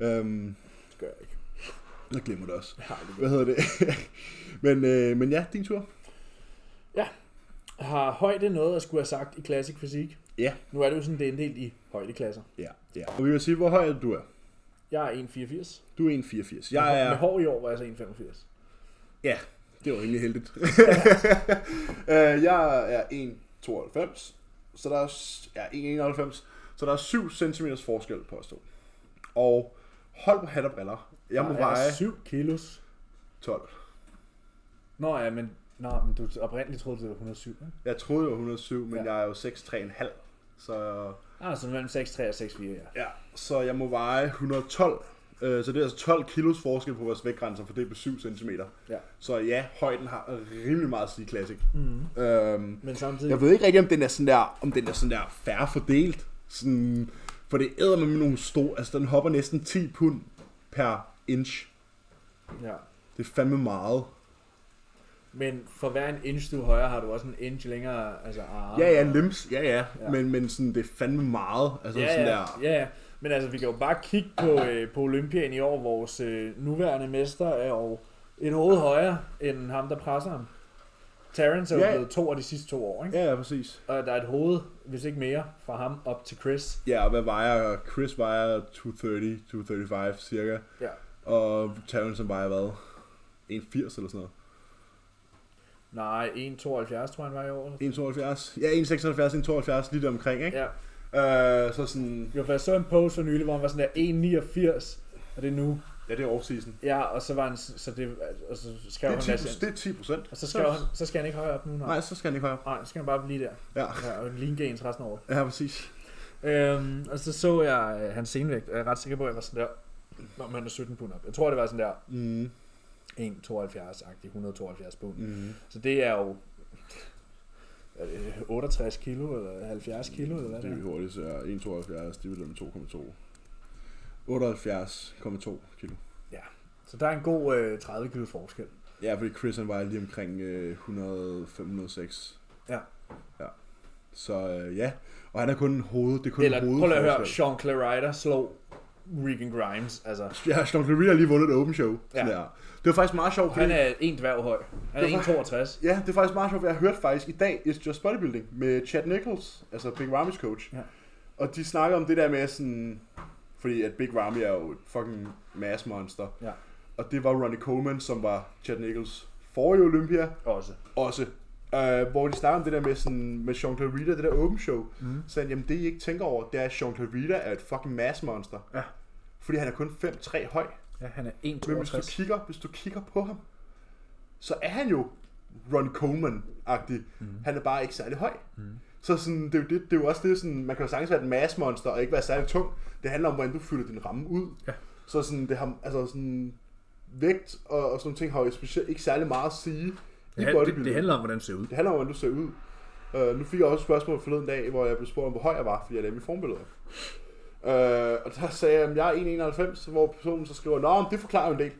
Speaker 2: Øhm,
Speaker 1: Det gør jeg ikke.
Speaker 2: jeg glemmer det også.
Speaker 1: Jeg har aldrig
Speaker 2: Hvad hedder det? [LAUGHS] men, øh, men ja, din tur.
Speaker 1: Har højde noget at skulle have sagt i klassisk fysik?
Speaker 2: Ja.
Speaker 1: Nu er det jo sådan, det er inddelt i højdeklasser.
Speaker 2: Ja, ja. Og vi vil sige, hvor høj er det, du er.
Speaker 1: Jeg er 1,84.
Speaker 2: Du er 1,84.
Speaker 1: Med
Speaker 2: Jeg
Speaker 1: hår-
Speaker 2: er...
Speaker 1: Med hår i år var jeg så 1,85.
Speaker 2: Ja, det var rimelig [LAUGHS] heldigt. øh, jeg er 1,92, så der er, s- ja, 1,91, så der er 7 cm forskel på os to. Og hold på hat og briller. Jeg må
Speaker 1: Der er
Speaker 2: veje
Speaker 1: 7 kilos.
Speaker 2: 12.
Speaker 1: Nå ja, men, nå, men du oprindeligt troede, du var 107, ikke?
Speaker 2: Jeg troede, jeg var 107, men
Speaker 1: Ja.
Speaker 2: ja. jeg er jo 6,3,5. Så,
Speaker 1: Ah, så mellem 6,3 og 6,4, ja.
Speaker 2: ja, så jeg må veje 112. Øh, Så det er altså 12 kilos forskel på vores vægtgrænser, for det er på 7 cm.
Speaker 1: ja.
Speaker 2: Så ja, højden har rimelig meget at sige klassik. Mm. Øhm,
Speaker 1: Men samtidig...
Speaker 2: Jeg ved ikke rigtig, om den er sådan der, om den er sådan der færre fordelt. Sådan, for det æder med nogle store, altså den hopper næsten 10 pund per inch.
Speaker 1: Ja.
Speaker 2: Det er fandme meget.
Speaker 1: Men for hver en inch, du er højere, har du også en inch længere, altså arme.
Speaker 2: Ja, ja, limbs, ja, ja,
Speaker 1: Ja.
Speaker 2: ja. Men, men sådan, det er fandme meget. Altså
Speaker 1: ja,
Speaker 2: sådan
Speaker 1: ja,
Speaker 2: der,
Speaker 1: ja, ja. Men altså, vi kan jo bare kigge på, øh, på Olympian i år. Vores øh, nuværende mester er jo et hoved højere end ham, der presser ham. Terrence er jo
Speaker 2: Ja.
Speaker 1: blevet to af de sidste to år, ikke?
Speaker 2: ja, ja, præcis.
Speaker 1: Og der er et hoved, hvis ikke mere, fra ham op til Chris.
Speaker 2: Ja, og hvad vejer, Chris vejer 230, 235 cirka,
Speaker 1: Ja.
Speaker 2: og Terrence vejer hvad? 1,80 eller sådan noget.
Speaker 1: Nej, 1,72 tror jeg, han var i år.
Speaker 2: 1,72? Ja, 1,76, 1,72, lige der omkring, ikke?
Speaker 1: Ja.
Speaker 2: Ja. Øh, så sådan,
Speaker 1: Jo, for jeg så en post for nylig, hvor han var sådan der 1,89, og det er nu.
Speaker 2: ja, det er off-season.
Speaker 1: Ja, og så var han, så det, og så skrev
Speaker 2: Det
Speaker 1: han,
Speaker 2: er 10,
Speaker 1: masse-
Speaker 2: det er 10 procent.
Speaker 1: og så skrev han, så skal han ikke højere op nu.
Speaker 2: Nej, så skal han ikke højere.
Speaker 1: Nej, så skal han bare blive der.
Speaker 2: Ja.
Speaker 1: Ja, og ligne ens resten af året.
Speaker 2: Ja, præcis.
Speaker 1: Øhm, og så så jeg øh, hans senvægt, og jeg er ret sikker på, at jeg var sådan der, når man er 17 pund op. Jeg tror, det var sådan der
Speaker 2: Mm.
Speaker 1: 1,72-agtig, 172 pund. Mm.
Speaker 2: Mm.
Speaker 1: Så det er jo er det 68 kilo, eller 70 kilo, eller hvad
Speaker 2: Det er
Speaker 1: det
Speaker 2: vi
Speaker 1: er.
Speaker 2: hurtigt, så er 1,72, det vil med 2,2. 78,2 kilo.
Speaker 1: Så der er en god øh, 30 kilo forskel.
Speaker 2: Ja, fordi Chris han vejer lige omkring øh, 105-106.
Speaker 1: Ja.
Speaker 2: Ja. Så øh, ja, og han er kun hoved, det er kun
Speaker 1: Eller
Speaker 2: hovedet.
Speaker 1: prøv lige at høre, Sean Clarida slog Regan Grimes. Altså,
Speaker 2: Ja, Sean Clary har lige vundet et open show. Ja.
Speaker 1: Ja.
Speaker 2: Der. Det var faktisk meget sjovt,
Speaker 1: han
Speaker 2: fordi-
Speaker 1: er en dværg høj. Han er
Speaker 2: Det var-
Speaker 1: 1,62.
Speaker 2: Ja, det er faktisk meget sjovt, for jeg hørte faktisk i dag It's Just Bodybuilding med Chad Nichols, altså Big Rami's coach.
Speaker 1: Ja.
Speaker 2: Og de snakker om det der med sådan, fordi at Big Ramy er jo et fucking mass monster.
Speaker 1: Ja.
Speaker 2: Og det var Ronnie Coleman, som var Chad Nichols forrige Olympia
Speaker 1: Også.
Speaker 2: også. Øh, hvor de snakker om det der med, sådan, med Sean Clarita, det der open show.
Speaker 1: Mhm.
Speaker 2: Mm. Så jamen, det I ikke tænker over, det er, at Sean Clarita er et fucking mass monster.
Speaker 1: Ja.
Speaker 2: Fordi han er kun 5'3 høj.
Speaker 1: Ja, han er
Speaker 2: Men hvis du
Speaker 1: 1,62.
Speaker 2: kigger, hvis du kigger på ham, så er han jo Ron Coleman-agtig.
Speaker 1: Mhm.
Speaker 2: Mm. Han er bare ikke særlig høj. Mm. Så sådan, det, er jo det, det er jo også det, sådan, man kan jo sagtens være et massmonster og ikke være særlig tung. Det handler om, hvordan du fylder din ramme ud.
Speaker 1: Ja.
Speaker 2: Så sådan, det har, altså sådan, vægt og, og sådan nogle ting har jo specielt ikke særlig meget at sige i
Speaker 1: Ja, det,
Speaker 2: bodybuilding.
Speaker 1: det, handler om, hvordan det ser ud.
Speaker 2: det handler om, hvordan du ser ud. Uh, nu fik jeg også et spørgsmål forleden dag, hvor jeg blev spurgt om, hvor høj jeg var, fordi jeg lavede mine formbilleder. Uh, og der sagde jeg, at jeg er 1,91, hvor personen så skriver, Nå, men det forklarer jo en del.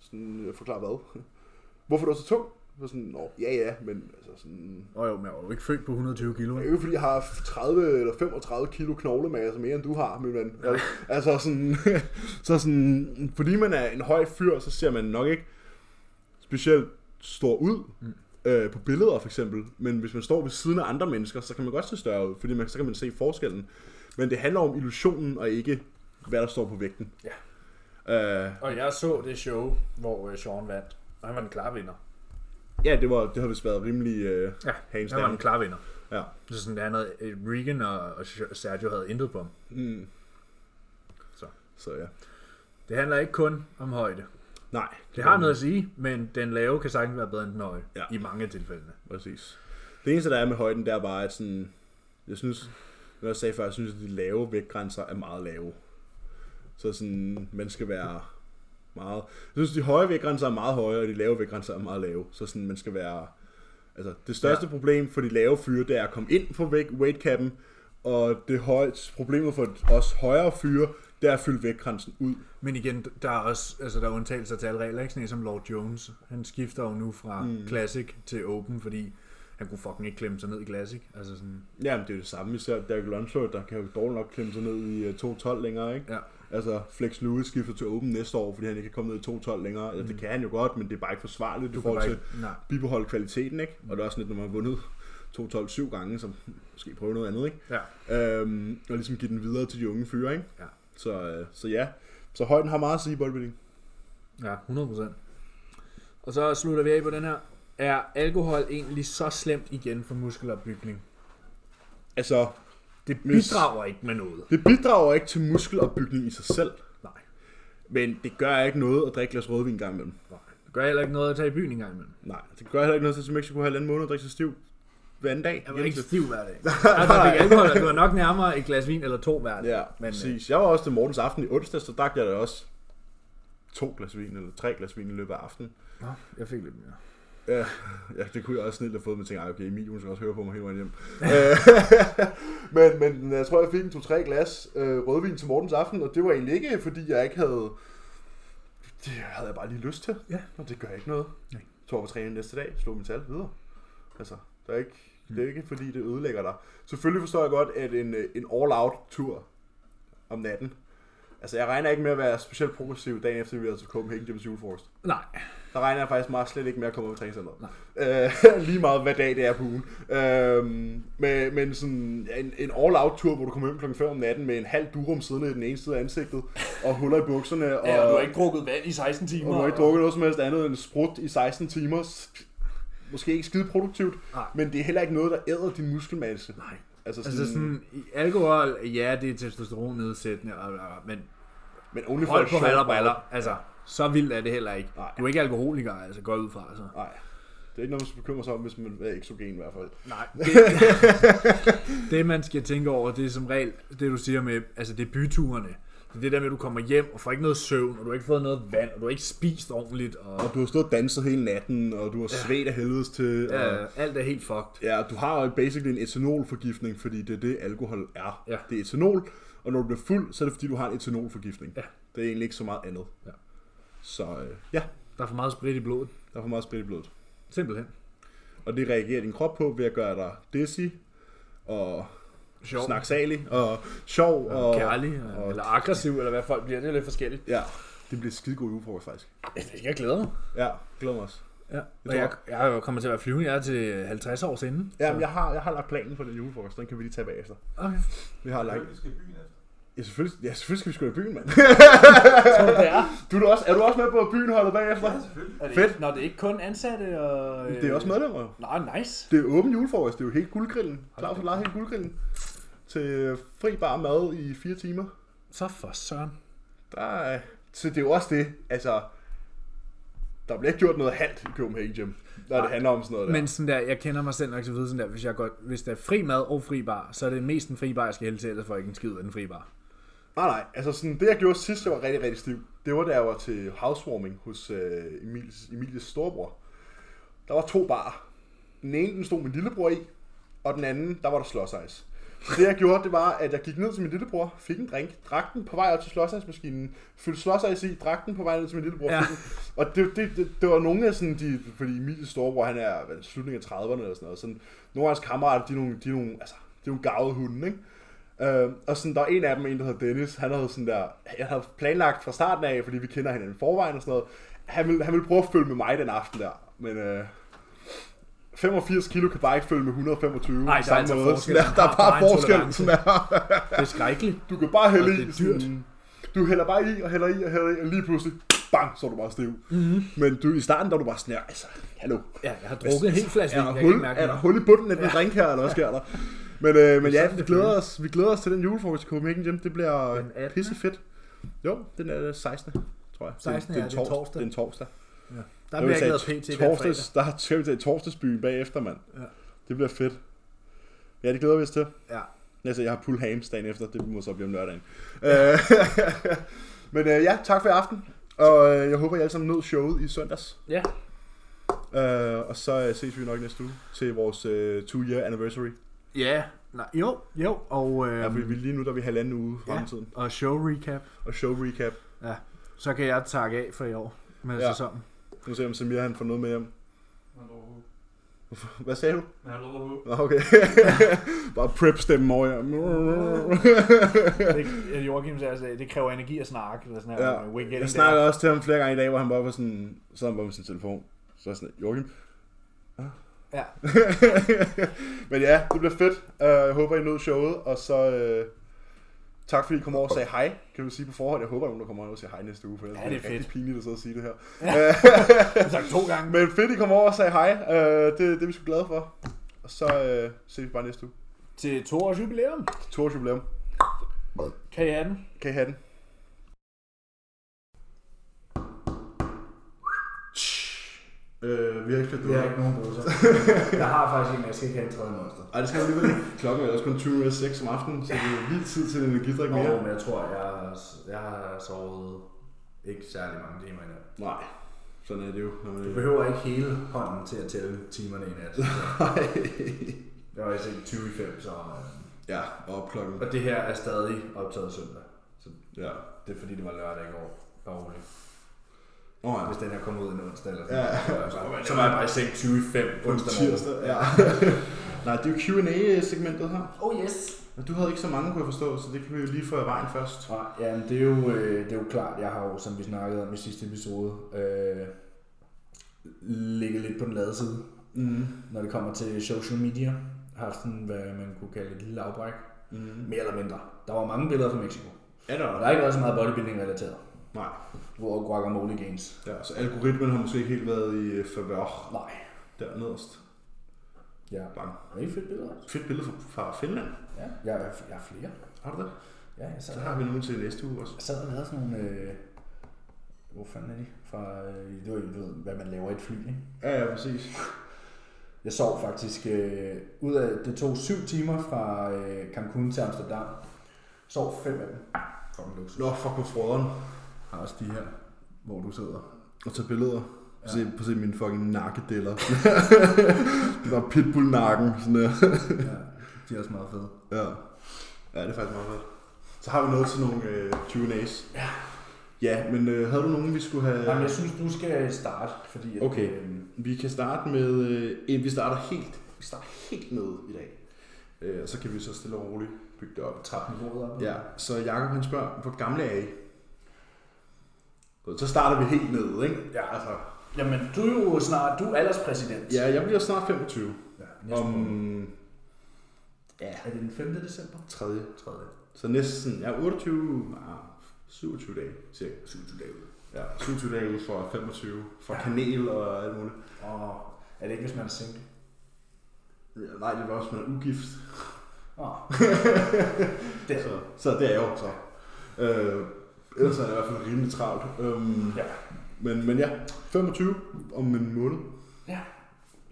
Speaker 2: Sådan, jeg forklarer hvad? [LAUGHS] Hvorfor er du så tung? Så sådan, Nå, ja ja, men altså sådan...
Speaker 1: Åh oh, jo, men jeg var jo ikke født på 120 kilo. ikke?
Speaker 2: Det er jo ikke, fordi jeg har 30 eller 35 kilo knoglemasse mere, end du har, min ven. Altså sådan, [LAUGHS] så sådan, fordi man er en høj fyr, så ser man nok ikke specielt stor ud mm. øh, på billeder for eksempel. Men hvis man står ved siden af andre mennesker, så kan man godt se større ud, fordi man, så kan man se forskellen. Men det handler om illusionen, og ikke hvad der står på vægten. Ja. Øh,
Speaker 1: Og jeg så det show, hvor øh, Sean vandt. Og han var den klare vinder.
Speaker 2: ja, det, var, det har vist været rimelig øh, ja, hands
Speaker 1: han var den
Speaker 2: down.
Speaker 1: klare vinder.
Speaker 2: Ja.
Speaker 1: Så sådan, han havde, øh, Regan og, og Sergio havde intet på ham.
Speaker 2: Mm.
Speaker 1: Så.
Speaker 2: Så ja.
Speaker 1: Det handler ikke kun om højde.
Speaker 2: Nej.
Speaker 1: Det har noget at sige, men den lave kan sagtens være bedre end den høje.
Speaker 2: Mm. Ja.
Speaker 1: I mange af tilfældene.
Speaker 2: Præcis. Det eneste, der er med højden, det er bare, at sådan, jeg synes, når jeg sagde før, jeg synes, at de lave vægtgrænser er meget lave. Så sådan, man skal være meget. Jeg synes, de høje vægtgrænser er meget høje, og de lave vægtgrænser er meget lave. Så sådan, man skal være... Altså, det største ja. problem for de lave fyre, det er at komme ind på væg- weightcappen, og det høje, problemet for os højere fyre, det er at fylde vægtgrænsen ud.
Speaker 1: Men igen, der er også altså, der er undtagelser til alle regler, ikke? Sådan en som Lord Jones, han skifter jo nu fra mm. Classic til Open, fordi han kunne fucking ikke klemme sig ned i Classic. Altså sådan,
Speaker 2: Jamen, det er jo det samme, især Derek Lunsford, der kan jo dårligt nok klemme sig ned i øh, 2.12 længere, ikke?
Speaker 1: ja.
Speaker 2: Altså, Flex Lewis skifter til Open næste år, fordi han ikke kan komme ned i 2.12 længere. Altså, det kan han jo godt, men det er bare ikke forsvarligt i
Speaker 1: Mm. Du kan
Speaker 2: forhold
Speaker 1: bare
Speaker 2: til
Speaker 1: ikke, nej.
Speaker 2: at bibeholde kvaliteten, ikke? Og det er også lidt, når man har vundet 2.12 syv gange, så måske prøve noget andet, ikke?
Speaker 1: Ja.
Speaker 2: Øhm, og ligesom give den videre til de unge fyre, ikke?
Speaker 1: Ja.
Speaker 2: Så, øh, så ja, så højden har meget at sige i bodybuilding.
Speaker 1: Ja, 100%. Og så slutter vi af på den her. Er alkohol egentlig så slemt igen for muskelopbygning?
Speaker 2: Altså,
Speaker 1: Det
Speaker 2: Hvis-
Speaker 1: bidrager ikke med noget.
Speaker 2: det bidrager ikke til muskelopbygning i sig selv,
Speaker 1: Nej.
Speaker 2: men det gør ikke noget at drikke et glas rødvin en gang imellem.
Speaker 1: Nej. Det gør heller ikke noget at tage i byen engang imellem.
Speaker 2: Nej, det gør heller ikke noget til Mexico halvanden måned og drikke sig stiv hver anden dag.
Speaker 1: Jeg var ikke stiv hver
Speaker 2: [LAUGHS]
Speaker 1: dag. Altså, jeg fik alkohol, og det var nok nærmere et glas vin eller to hver dag.
Speaker 2: Ja, men,
Speaker 1: Men, øh,
Speaker 2: præcis. Jeg var også til Mortens aften i onsdag, så drak jeg da også to glas vin, eller tre glas vin i løbet af aftenen.
Speaker 1: Øh, nå, jeg fik lidt mere.
Speaker 2: Ja, ja det kunne jeg også snilt have fået, men tænkte, "Ej, okay, Emil, hun skal også høre på mig hele vejen hjem. Øh, [LAUGHS] men, men jeg tror, jeg fik en to-tre glas øh, rødvin til Mortens aften, og det var egentlig ikke, fordi jeg ikke havde... Det havde jeg bare lige lyst til,
Speaker 1: Ja.
Speaker 2: og det gør ikke noget.
Speaker 1: Nej.
Speaker 2: Tog på træning næste dag, slog mit tal videre. Altså, der er ikke,
Speaker 1: Mm.
Speaker 2: det er ikke, fordi det ødelægger dig. Selvfølgelig forstår jeg godt, at en, øh, en all-out tur om natten, Altså, jeg regner ikke med at være specielt progressiv dagen efter, vi har været til Copenhagen Gym's Julefrokost.
Speaker 1: Nej.
Speaker 2: Der regner jeg faktisk meget slet ikke med at komme op i træningscenteret.
Speaker 1: Nej.
Speaker 2: Øh, [LAUGHS] lige meget hvad dag det er på ugen. Øh, men, men sådan en, en all-out tur, hvor du kommer hjem klokken 5 om natten med en halv durum siddende i den ene side af ansigtet, og huller i bukserne, og,
Speaker 1: drukket vand i 16 timer.
Speaker 2: og du har ikke drukket noget som helst andet end sprut i 16 timer. S- Måske ikke skide produktivt,
Speaker 1: Nej.
Speaker 2: men det er heller ikke noget, der æder din muskelmasse.
Speaker 1: Nej.
Speaker 2: Altså sådan,
Speaker 1: Altså sådan, i alkohol, ja, det er testosteronnedsættende, og, og, men
Speaker 2: men only for
Speaker 1: hold
Speaker 2: a
Speaker 1: på
Speaker 2: short
Speaker 1: hat og
Speaker 2: while.
Speaker 1: briller. Altså, så vildt er det heller ikke.
Speaker 2: Nej.
Speaker 1: Du er ikke alkoholiker, altså, går jeg ud fra. Altså.
Speaker 2: Nej, det er ikke noget, man skal bekymre sig om, hvis man er eksogen i hvert fald.
Speaker 1: Nej. Det, det, man skal tænke over, det er som regel, det du siger med, altså det er byturene. Det er det der med, at du kommer hjem og får ikke noget søvn, og du har ikke fået noget vand, og du har ikke spist ordentligt, og
Speaker 2: Og du har stået og danset hele natten, og du har svedt af helvedes til. Og...
Speaker 1: ja, alt er helt fucked.
Speaker 2: Ja, du har jo basically en etanolforgiftning, fordi det er det, alkohol er.
Speaker 1: Ja.
Speaker 2: Det er etanol, og når du bliver fuld, så er det fordi, du har en etanolforgiftning.
Speaker 1: Ja.
Speaker 2: Det er egentlig ikke så meget andet.
Speaker 1: Ja.
Speaker 2: Så øh, ja,
Speaker 1: Der er for meget sprit i blodet.
Speaker 2: der er for meget sprit i blodet.
Speaker 1: Simpelthen.
Speaker 2: Og det reagerer din krop på ved at gøre dig dizzy, og
Speaker 1: Sjov.
Speaker 2: snaksalig, og sjov, og...
Speaker 1: Kærlig, og, eller aggressiv, eller hvad folk bliver. Det er lidt forskelligt.
Speaker 2: Ja, det bliver skide god julefrokost faktisk.
Speaker 1: Jeg glæder mig.
Speaker 2: Ja, glæder mig også.
Speaker 1: Ja.
Speaker 2: Det
Speaker 1: Og
Speaker 2: tror
Speaker 1: jeg, jeg er jo kommet til at være flyvende. Jeg er til 50 år siden.
Speaker 2: Jamen, jeg har, jeg har lagt planen for den julefrokost, den kan vi lige tage bagefter.
Speaker 1: Okay.
Speaker 2: Vi har lagt...
Speaker 4: Selvfølgelig skal byen efter.
Speaker 2: Ja, selvfølgelig, ja, selvfølgelig skal vi sgu i byen, mand.
Speaker 1: det er.
Speaker 2: Du er, da også, er du også med på byen holdet bagefter?
Speaker 4: Ja, selvfølgelig.
Speaker 1: er det
Speaker 2: Fedt.
Speaker 1: Ikke, når det er ikke kun ansatte og...
Speaker 2: Det er også medlemmer jo.
Speaker 1: Nej, nice.
Speaker 2: Det er åben julefrokost, det er jo helt guldgrillen. Claus har lavet helt guldgrillen. Til fri bar mad i fire timer.
Speaker 1: Så for søren.
Speaker 2: Der er... Så det er jo også det, altså... Der bliver ikke gjort noget halvt i Copenhagen Gym, når det handler om sådan noget der.
Speaker 1: Men sådan der, jeg kender mig selv nok til at vide sådan der, hvis, jeg godt, hvis der er fri mad og fri bar, så er det mest en fri bar, jeg skal hælde til, ellers får jeg ikke en skid af den fri bar.
Speaker 2: Nej, nej. Altså sådan, det jeg gjorde sidst, jeg var rigtig, rigtig stiv. Det var, da jeg var til housewarming hos øh, Emilies, Emilies storebror. Der var to barer. Den ene, den stod min lillebror i, og den anden, der var der slåsejs. Så det jeg gjorde, det var, at jeg gik ned til min lillebror, fik en drink, drak den på vej op til slåsejsmaskinen, fyldte slåsejs i, drak den på vej ned til min lillebror.
Speaker 1: Ja.
Speaker 2: Ja. Og det, det, det, det, var nogle af sådan de, fordi Emilies storebror, han er hvad, slutningen af 30'erne eller sådan noget. Sådan, nogle af hans kammerater, de er nogle, de er nogle, altså, de er nogle gavede hunde, ikke? Øh, og sådan, der var en af dem, en der hed Dennis, han havde sådan der, jeg havde planlagt fra starten af, fordi vi kender hinanden i forvejen og sådan noget, han ville, han ville prøve at følge med mig den aften der, men øh, 85 kilo kan bare ikke følge med 125
Speaker 1: Nej, der er
Speaker 2: samme
Speaker 1: altså
Speaker 2: måde.
Speaker 1: forskel.
Speaker 2: Sådan
Speaker 1: Man
Speaker 2: der, der
Speaker 1: har
Speaker 2: er
Speaker 1: bare
Speaker 2: bare
Speaker 1: en
Speaker 2: forskel.
Speaker 1: tolerance.
Speaker 2: Sådan der.
Speaker 1: Det er skrækkeligt.
Speaker 2: Du kan bare
Speaker 1: Og
Speaker 2: hælde
Speaker 1: det
Speaker 2: i.
Speaker 1: er dyrt.
Speaker 2: Sådan, du hælder bare i og hælder i og hælder i, og lige pludselig, bang, så er du bare stiv.
Speaker 1: Mhm.
Speaker 2: Mm-hmm. Men du, i starten, der var du bare sådan her, altså, hallo,
Speaker 1: Ja, jeg har drukket en hel flaske
Speaker 2: er
Speaker 1: vin, jeg
Speaker 2: der,
Speaker 1: kan
Speaker 2: hul,
Speaker 1: ikke mærke
Speaker 2: er der
Speaker 1: det.
Speaker 2: hul i bunden af den drink her, eller hvad sker der? Men, øh, men ja,
Speaker 1: sådan,
Speaker 2: vi
Speaker 1: det
Speaker 2: glæder,
Speaker 1: føles.
Speaker 2: os, vi glæder os til den julefrokost i Copenhagen Gym. Det bliver
Speaker 1: Den 18..
Speaker 2: pissefedt. Jo, den er den 16. tror jeg.
Speaker 1: 16.,
Speaker 2: den,
Speaker 1: ja, det er torsdag.
Speaker 2: Den torsdag.
Speaker 1: Der bliver jeg
Speaker 2: Jeg
Speaker 1: ikke
Speaker 2: vil
Speaker 1: lavet
Speaker 2: sige,
Speaker 1: pt hver fredag.
Speaker 2: torsdags, Der skal vi til torsdagsbyen bagefter, mand.
Speaker 1: Ja.
Speaker 2: Det bliver fedt. Ja, det glæder vi os til.
Speaker 1: Ja.
Speaker 2: Altså, jeg har pull
Speaker 1: [LAUGHS]
Speaker 2: [LAUGHS] hams dagen efter. Det må så blive om lørdagen. Øh, men øh, ja, tak for i aften. Og øh, jeg håber, I alle sammen nød showet i søndags.
Speaker 3: Ja.
Speaker 2: Øh, og så øh, ses vi nok næste uge til vores øh, two-year anniversary.
Speaker 3: Ja, nej, jo, jo, og, øh,
Speaker 2: Ja,
Speaker 1: øhm,
Speaker 2: fordi vi lige nu der er vi halvanden uge frem i tiden.
Speaker 3: og show recap,
Speaker 2: Og show recap.
Speaker 3: så kan jeg takke af for i år med
Speaker 2: Ja.
Speaker 3: ja.
Speaker 2: [LAUGHS]
Speaker 3: sæsonen.
Speaker 2: Nu ser jeg, om Samir han får noget med hjem. [LAUGHS]
Speaker 4: Hallo.
Speaker 2: Hvad sagde du?
Speaker 4: Hallo.
Speaker 2: Nå,
Speaker 1: [LAUGHS]
Speaker 2: okay. Bare prep stemme over [LAUGHS] jer.
Speaker 1: øh,
Speaker 3: Det, Joachim sagde, altså, det kræver energi at snakke, eller sådan her.
Speaker 2: Ja.
Speaker 3: men we getting
Speaker 2: Jeg
Speaker 3: there.
Speaker 2: snakkede også til ham flere gange i dag, hvor han bare var sådan, så han bare med sin telefon. Så er jeg sådan, Joachim. Ah.
Speaker 3: Ja.
Speaker 2: [LAUGHS] Men ja, det bliver fedt. Øh, Jeg håber, I nød showet, og så øh, tak fordi I kom over og sagde hej, kan du sige på forhånd. Jeg håber, at nogen der kommer over og siger hej næste uge, for ellers
Speaker 3: Ja,
Speaker 2: ja, det
Speaker 3: det er
Speaker 2: er rigtig
Speaker 3: fedt.
Speaker 2: pinligt at sidde og sige det her.
Speaker 3: Jeg sagde to gange.
Speaker 2: [LAUGHS] Men fedt, I kom over og sagde hej. Øh, Det, det er vi sgu glade for. Og så øh, ses vi bare næste uge.
Speaker 3: Til to års jubilæum.
Speaker 2: To års jubilæum.
Speaker 3: Kan I have den?
Speaker 2: Kan I have den? Øh, vi har ikke kørt
Speaker 1: Jeg har ikke nogen [LAUGHS] bruser. Jeg har faktisk en, men jeg skal ikke have en tredje monster.
Speaker 2: Ej, det skal vi alligevel ikke. Klokken er også kun 20.06 om aftenen, så det er lige tid til en energidrik
Speaker 1: Nå,
Speaker 2: mere.
Speaker 1: men jeg tror, jeg, har- jeg har sovet ikke særlig mange timer i nat.
Speaker 2: Nej, sådan er det jo. Når man
Speaker 1: Du behøver ikke hele hånden til at tælle timerne i nat.
Speaker 2: [LAUGHS] Nej.
Speaker 1: Jeg var i seng 20 i 5, så... øh,
Speaker 2: Ja, op klokken.
Speaker 1: Og det her er stadig optaget søndag. Så
Speaker 2: Ja.
Speaker 1: det er fordi, det var lørdag i går. Bare roligt.
Speaker 2: Åh oh, ja.
Speaker 1: Hvis den her kommer ud en onsdag eller
Speaker 2: Ja.
Speaker 1: sådan noget, så, var jeg bare- så var jeg bare i seng 20 i 5
Speaker 2: På en
Speaker 1: onsdag morgen.
Speaker 2: tirsdag, ja. [LAUGHS] Nej, det er jo Q&A-segmentet her.
Speaker 1: Oh yes!
Speaker 2: Men Du havde ikke så mange, kunne jeg forstå, så det kan vi jo lige få af vejen først.
Speaker 1: Nej, ja, men det er, jo, øh, det er jo klart, jeg har jo, som vi snakkede om i sidste episode, øh, ligget lidt på den lade side,
Speaker 2: Mm.
Speaker 1: når det kommer til social media. Haft sådan, hvad man kunne kalde et lille afbræk.
Speaker 2: Mm.
Speaker 1: Mere eller mindre. Der var mange billeder fra Mexico.
Speaker 2: Er der
Speaker 1: Og der har ikke været så meget bodybuilding relateret.
Speaker 2: Nej.
Speaker 1: Hvor guacamole gains.
Speaker 2: Ja, så algoritmen har måske ikke helt været i øh, favør
Speaker 1: Nej.
Speaker 2: der nederst.
Speaker 1: Ja.
Speaker 2: Bang.
Speaker 1: Det er fedt billeder.
Speaker 2: Fedt billede fra, fra Finland.
Speaker 1: Ja. Jeg, jeg, jeg er flere.
Speaker 2: Har du det?
Speaker 1: Ja, jeg sad,
Speaker 2: Så har vi nogen til næste uge også.
Speaker 1: jeg sad og lavede sådan nogle... Øh, hvor fanden er de? Fra, øh, det var jo, du ved, hvad man laver i et fly, ikke?
Speaker 2: Ja, ja, præcis.
Speaker 1: Jeg sov faktisk øh, ud af, det tog syv timer fra øh, Cancun til Amsterdam. Sov fem af dem. Fucking luksus.
Speaker 2: Nå, fuck på froderen.
Speaker 1: Har også de her, hvor du sidder.
Speaker 2: Og tage billeder. Ja. Se, på se mine fucking nakkedeller. [LAUGHS] det var pitbull-nakken. Sådan der.
Speaker 1: Ja, de er også meget fede.
Speaker 2: Ja. ja, det er faktisk meget fedt. Så har vi noget til nogle øh, Q&A's. Ja. Ja, men øh, havde du nogen, vi skulle have...
Speaker 1: Ja. Jamen, jeg synes, du skal starte, fordi... At,
Speaker 2: Okay.
Speaker 1: Øh,
Speaker 2: Vi kan starte med... Øh, en- vi starter helt, vi starter helt nede i dag. Øh, og så kan vi så stille og roligt bygge det op.
Speaker 1: trappe niveauet op.
Speaker 2: Ja, så Jacob han spørger, hvor gamle er I? Så- Så starter vi helt nede, ikke?
Speaker 1: Ja.
Speaker 2: altså.
Speaker 1: Jamen, du er jo snart, du er alderspræsident.
Speaker 2: Ja, jeg bliver snart 25.
Speaker 1: ja
Speaker 2: Om
Speaker 1: om...
Speaker 2: ja,
Speaker 1: Er det den 5. december?
Speaker 2: 3.
Speaker 1: 3.
Speaker 2: Så næsten, ja, 28, ah, 27 dage, cirka.
Speaker 1: 27 dage ude.
Speaker 2: Ja, 27 dage ude fra 25, fra kanel og alt muligt.
Speaker 1: Og er det ikke, hvis man er single?
Speaker 2: Ja, nej, det var også, man er ugift.
Speaker 1: Åh,
Speaker 2: Ja. Så, så det er jeg jo så. Øh, ellers er det i hvert fald rimelig travlt. Øhm,
Speaker 1: Ja.
Speaker 2: Men, men ja, 25 om en måned.
Speaker 1: Ja.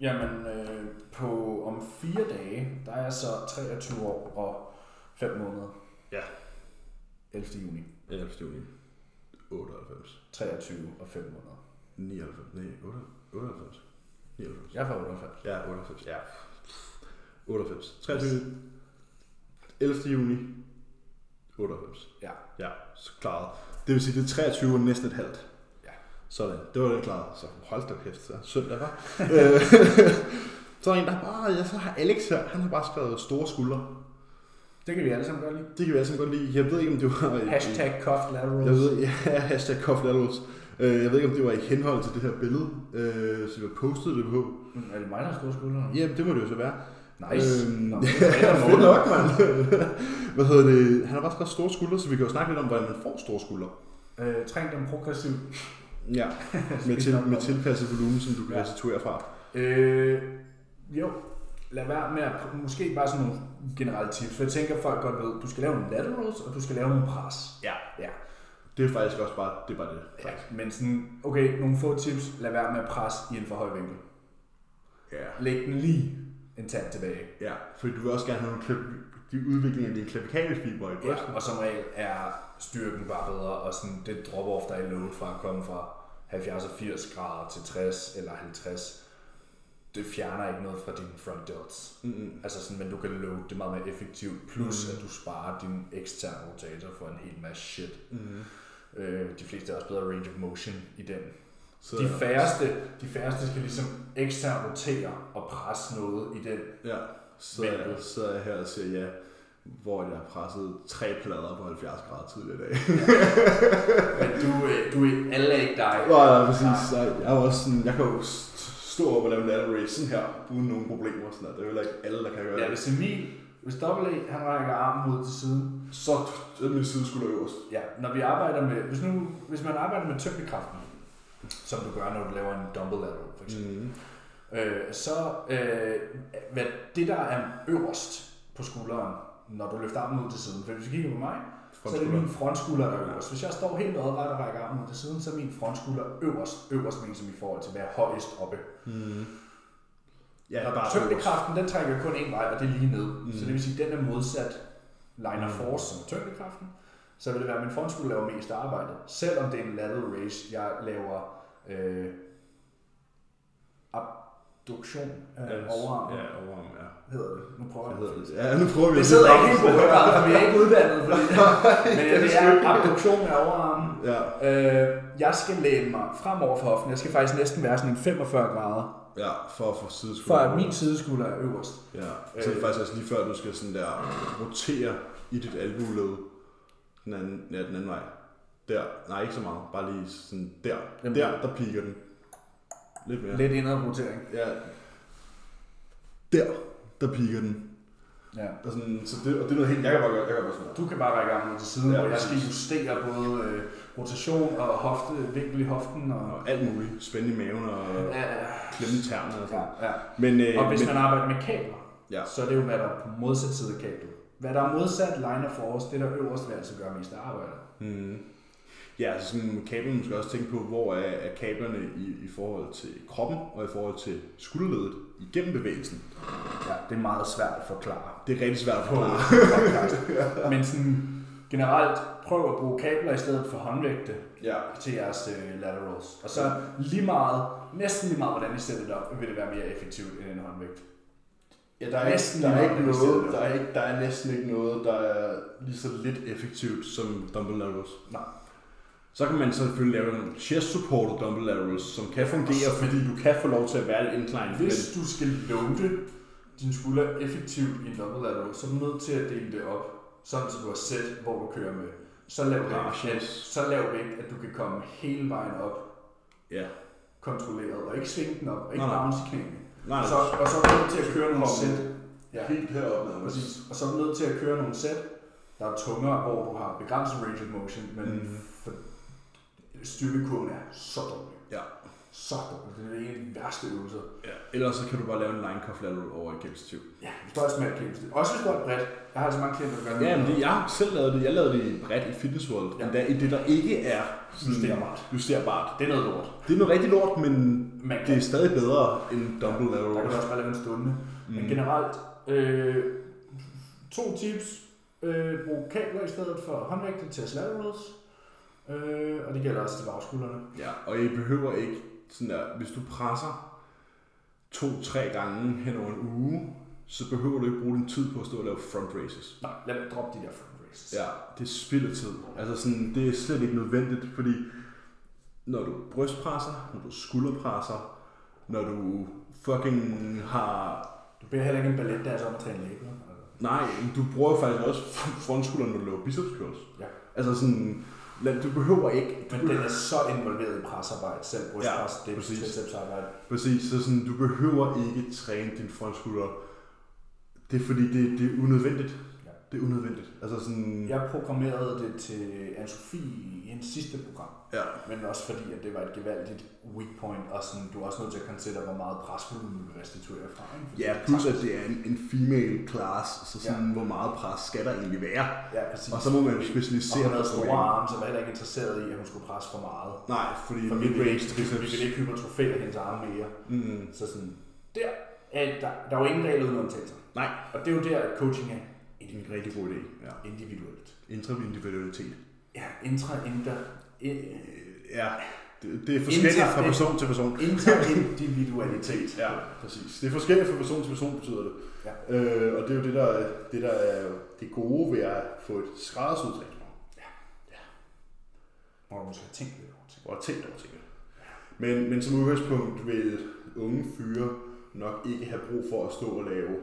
Speaker 1: Jamen, øh, på, om fire dage, der er jeg så 23 år og 5 måneder.
Speaker 2: Ja.
Speaker 1: 11. juni.
Speaker 2: 11. juni. 98.
Speaker 1: 23 og 5 måneder.
Speaker 2: 99. Nej, 98. 99.
Speaker 1: Jeg er fra 98.
Speaker 2: Ja, 98. Ja. 98. 23. 11. juni. 98.
Speaker 1: Ja.
Speaker 2: Ja, så klaret. Det vil sige, det er 23 og næsten et halvt.
Speaker 1: Ja.
Speaker 2: Sådan, det var det klaret. Så hold da kæft, så
Speaker 1: [LAUGHS]
Speaker 2: søndag var. Øh, så er der en, der bare, ja, så har Alex her, han har bare skrevet store skuldre.
Speaker 1: Det kan vi alle sammen godt lide.
Speaker 2: Det kan vi altså godt lide. Jeg ved ikke, om det var... i-
Speaker 1: Hashtag cuffed
Speaker 2: Jeg
Speaker 1: laterals.
Speaker 2: ved, ja, [LAUGHS] hashtag koflalos. Jeg ved ikke, om det var i henhold til det her billede, øh, som jeg postede det på.
Speaker 1: Mm, Er det mig, der har store skuldre?
Speaker 2: Jamen, det må det jo så være.
Speaker 1: Nice.
Speaker 2: Øhm, [LAUGHS]
Speaker 1: Nå,
Speaker 2: Ja, fedt nok, mand. [LAUGHS] Hvad hedder det? Han har bare skrevet store skuldre, så vi kan jo snakke lidt om, hvordan man får store skuldre.
Speaker 1: øh, træn dem progressivt.
Speaker 2: Ja, [LAUGHS] med, til, med tilpasset volumen, som du kan
Speaker 1: Ja.
Speaker 2: restituere fra.
Speaker 1: Øh, jo, lad være med at, måske bare sådan nogle generelle tips, for jeg tænker, at folk godt ved, du skal lave nogle laterals, og du skal lave nogle pres.
Speaker 2: Ja.
Speaker 1: Ja.
Speaker 2: Det er faktisk også bare det. Er bare det.
Speaker 1: ja. Men sådan, okay, nogle få tips, lad være med at presse i en for høj vinkel.
Speaker 2: Ja.
Speaker 1: Læg den lige en tand tilbage.
Speaker 2: ja. Fordi du vil også gerne have nogle klip, de udvikling af dine klavikale fiber i brystet.
Speaker 1: Ja. Og som regel er styrken bare bedre, og sådan det drop-off, der er i load fra at komme fra 70 og 80 grader til 60 eller 50, det fjerner ikke noget fra dine front delts. Mm-hmm. Altså sådan, men du kan load det meget mere effektivt, plus mm. at du sparer din eksterne rotator for en hel masse shit. Mm. Øh, de fleste har også bedre range of motion i den
Speaker 2: Så,
Speaker 1: de færreste, de færreste skal ligesom ekstern rotere og presse noget i den.
Speaker 2: ja, så,
Speaker 1: Vinkel.
Speaker 2: så er jeg her og siger ja, hvor jeg har presset tre plader på 70 grader tidligere i dag. [LAUGHS]
Speaker 1: Men du, øh, du er alle er ikke dig.
Speaker 2: Nej, nej, præcis. Så jeg er jo også sådan, jeg kan jo st- stå op og lave lateral raise sådan her, uden nogen problemer. og Sådan der. Det er jo heller ikke alle, der kan gøre
Speaker 1: Ja,
Speaker 2: det.
Speaker 1: hvis Emil, hvis dobbelt A, han rækker armen ud til siden.
Speaker 2: Så er min side skulle øverst.
Speaker 1: Ja, når vi arbejder med, hvis, nu, hvis man arbejder med tyngdekraften, som du gør, når du laver en dumbbell lateral, for eksempel,
Speaker 2: Mm.
Speaker 1: øh, så øh, hvad det der er øverst på skulderen, når du løfter armen ud til siden, for hvis du kigger på mig, så er det min frontskulder, der er øverst. Hvis jeg står helt lodret og rækker armen ud til siden, så er min frontskulder øverst, øverst men som i forhold til at være højest oppe.
Speaker 2: Ja, jeg er bare
Speaker 1: Tyngdekraften, den trækker kun én vej, og det er lige ned. Mm. Så det vil sige, at den er modsat
Speaker 2: Mm.
Speaker 1: line of force, som er tyngdekraften. Så vil det være, at min frontskulder laver mest arbejde. Selvom det er en lateral race, jeg laver øh, abduktion af yes. overarmen,
Speaker 2: Ja, overarm, ja.
Speaker 1: hedder det. Nu prøver
Speaker 2: Hvad
Speaker 1: jeg.
Speaker 2: hedder det? Ja, nu prøver vi
Speaker 1: Det
Speaker 2: at
Speaker 1: sidder
Speaker 2: sige
Speaker 1: ikke helt på højre, for vi er ikke uddannet for
Speaker 2: [LAUGHS]
Speaker 1: det. Men
Speaker 2: det er
Speaker 1: det
Speaker 2: sgu
Speaker 1: er
Speaker 2: ikke.
Speaker 1: abduktion af overarmen.
Speaker 2: Ja,
Speaker 1: Øh, jeg skal læne mig fremover for hoften. Jeg skal faktisk næsten være sådan en 45 grader,
Speaker 2: ja, for at få sideskulder.
Speaker 1: for at min sideskulder er øverst.
Speaker 2: Ja, så er
Speaker 1: øh,
Speaker 2: det faktisk også lige før, du skal sådan der rotere i dit albuled den anden, ja, den anden vej. Der, nej ikke så meget, bare lige sådan der.
Speaker 1: Jamen.
Speaker 2: Der, der piker den. Lidt mere.
Speaker 1: Lidt indad rotering.
Speaker 2: Ja. Der, der piker den.
Speaker 1: Ja.
Speaker 2: Og, sådan, så det, og det er noget helt, jeg kan bare gøre, jeg kan bare sådan der.
Speaker 1: Du kan bare række armen til siden,
Speaker 2: Ja,
Speaker 1: ja, og jeg skal
Speaker 2: præcis.
Speaker 1: justere både øh, rotation og hofte, vinkel i hoften. Og,
Speaker 2: Og alt muligt, spænde i maven og
Speaker 1: ja, ja,
Speaker 2: klemme tærne og sådan.
Speaker 1: ja.
Speaker 2: Men, øh,
Speaker 1: og hvis
Speaker 2: men,
Speaker 1: man arbejder med kabler,
Speaker 2: ja,
Speaker 1: så er det jo, hvad der er på modsat side af kablet. Hvad der er modsat line of force, det der øverst vil altså gøre mest arbejde.
Speaker 2: Mm. ja, altså sådan med kablen, man skal også tænke på, hvor er, er kablerne i, i forhold til kroppen og i forhold til skulderledet igennem bevægelsen.
Speaker 1: Ja, det er meget svært at [LAUGHS] forklare.
Speaker 2: Det er rigtig svært at
Speaker 1: på
Speaker 2: forklare.
Speaker 1: podcast. Men sådan, generelt, prøv at bruge kabler i stedet for håndvægte
Speaker 2: Ja.
Speaker 1: til jeres øh, laterals. Og så lige meget, næsten lige meget, hvordan I sætter det op, vil det være mere effektivt end en håndvægt.
Speaker 2: Ja, der er,
Speaker 1: Næsten
Speaker 2: ikke, der, er
Speaker 1: lige
Speaker 2: ikke
Speaker 1: meget,
Speaker 2: noget, der, er ikke, der er næsten ikke noget, der er lige så lidt effektivt som dumbbell laterals.
Speaker 1: Nej.
Speaker 2: Så kan man selvfølgelig lave en chest supported dumbbell laterals, som kan fungere, fordi du kan få lov til at være lidt inclined.
Speaker 1: Hvis du skal loade din skulder effektivt i en dumbbell lateral, så er du nødt til at dele det op, sådan så du har sæt, hvor du kører med. Så lav vægt,
Speaker 2: Partials.
Speaker 1: så lav vægt, at du kan komme hele vejen op,
Speaker 2: Men, ja.
Speaker 1: kontrolleret, og ikke svinge den op, og ikke
Speaker 2: Nej, nej.
Speaker 1: bounce i knæene.
Speaker 2: Nej,
Speaker 1: Så, og så er du nødt til at køre nogle
Speaker 2: Hoppe.
Speaker 1: sæt. Ja.
Speaker 2: helt heroppe.
Speaker 1: Præcis. Og så er du nødt til at køre nogle sæt, der er tungere, hvor du har begrænset range of motion, men
Speaker 2: Mhm.
Speaker 1: mm. for styrkekurven er så dårlig.
Speaker 2: Ja.
Speaker 1: Så dårlig. Det er en af de værste øvelser.
Speaker 2: ja. Ellers så kan du bare lave en line cuff lateral over et gennemstiv.
Speaker 1: Ja, hvis du har et smalt kæmpe Også hvis du har et bredt. Jeg har altså mange klienter, der gør
Speaker 2: Ja, men det, jeg har selv lavet det. Jeg lavede det bredt i Fitness World.
Speaker 1: Ja.
Speaker 2: Ja. Endda i det, der ikke er sådan
Speaker 1: Justerbart.
Speaker 2: justerbart.
Speaker 1: det er noget lort.
Speaker 2: Det er noget rigtig lort, men
Speaker 1: Man
Speaker 2: det
Speaker 1: kan,
Speaker 2: er stadig bedre end dumbbell
Speaker 1: der kan
Speaker 2: laterals.
Speaker 1: du også bare lave en stunde. Mm. Men generelt, øh, to tips. Øh, brug kabler i stedet for håndvægte til at laterals. Øh, og det gælder også til bagskuldrene.
Speaker 2: Ja, og I behøver ikke sådan der, hvis du presser to-tre gange hen over en uge, så behøver du ikke bruge din tid på at stå og lave front races.
Speaker 1: Nej, lad mig droppe de der front races.
Speaker 2: Ja, det er spild af tid. Altså sådan, det er slet ikke nødvendigt, fordi når du brystpresser, når du skulderpresser, når du fucking har...
Speaker 1: Du beder heller ikke en balletdanser om at træne læber. eller?
Speaker 2: Nej, men du bruger jo faktisk også frontskulderen, når du laver biceps curls.
Speaker 1: Ja.
Speaker 2: Altså sådan, lad- du behøver ikke...
Speaker 1: Men den er så involveret i presarbejde, selv brystpres,
Speaker 2: Ja,
Speaker 1: ja, det er
Speaker 2: præcis.
Speaker 1: tricepsarbejde.
Speaker 2: Præcis, så sådan, du behøver ikke træne din frontskulder. Det er fordi, det, det er unødvendigt.
Speaker 1: Ja.
Speaker 2: Det er unødvendigt. Altså sådan,
Speaker 1: Jeg programmerede det til Anne-Sophie i hendes sidste program,
Speaker 2: ja.
Speaker 1: men også fordi, at det var et gevaldigt weak point, og sådan, du er også nødt til at consider, hvor meget presvolumen du vil restituere fra. Ikke? Fordi
Speaker 2: ja,
Speaker 1: det
Speaker 2: plus
Speaker 1: tager-
Speaker 2: at det er en, en female class, så sådan, ja.
Speaker 1: Ja.
Speaker 2: hvor meget pres skal der egentlig være?
Speaker 1: Ja, præcis.
Speaker 2: Og så må man
Speaker 1: og
Speaker 2: specialisere
Speaker 1: hun havde
Speaker 2: på
Speaker 1: store
Speaker 2: programmet.
Speaker 1: arme, så jeg var heller ikke interesseret i, at hun skulle presse for meget.
Speaker 2: Nej, fordi
Speaker 1: For
Speaker 2: for
Speaker 1: vi ville
Speaker 2: midrange
Speaker 1: ikke, vi
Speaker 2: triceps.
Speaker 1: ville ikke hypertrofere hendes arme mere.
Speaker 2: Mm.
Speaker 1: Så sådan, der, er- der, der er jo ingen regel uden undtagelser.
Speaker 2: Nej,
Speaker 1: Og det er jo der, at coaching er
Speaker 2: det er en rigtig god idé. Ja.
Speaker 1: individuelt.
Speaker 2: Intravindividualitet.
Speaker 3: Ja, intra, inter, in,
Speaker 2: Øh, Ja, det, det er forskelligt
Speaker 3: Indtager
Speaker 2: fra
Speaker 3: det.
Speaker 2: person til person. [LAUGHS]
Speaker 3: interindividualitet.
Speaker 2: Ja, præcis. Det er forskelligt fra person til person, betyder det. Ja. Øh, og det er jo det, der, er- det, der er det gode ved at få et skræddersyet træningsprogram.
Speaker 1: Hvor du måske har tænkt lidt over ting.
Speaker 2: Og tænkt over tingene. Men, men som udgangspunkt vil unge fyre nok ikke have brug for at stå og lave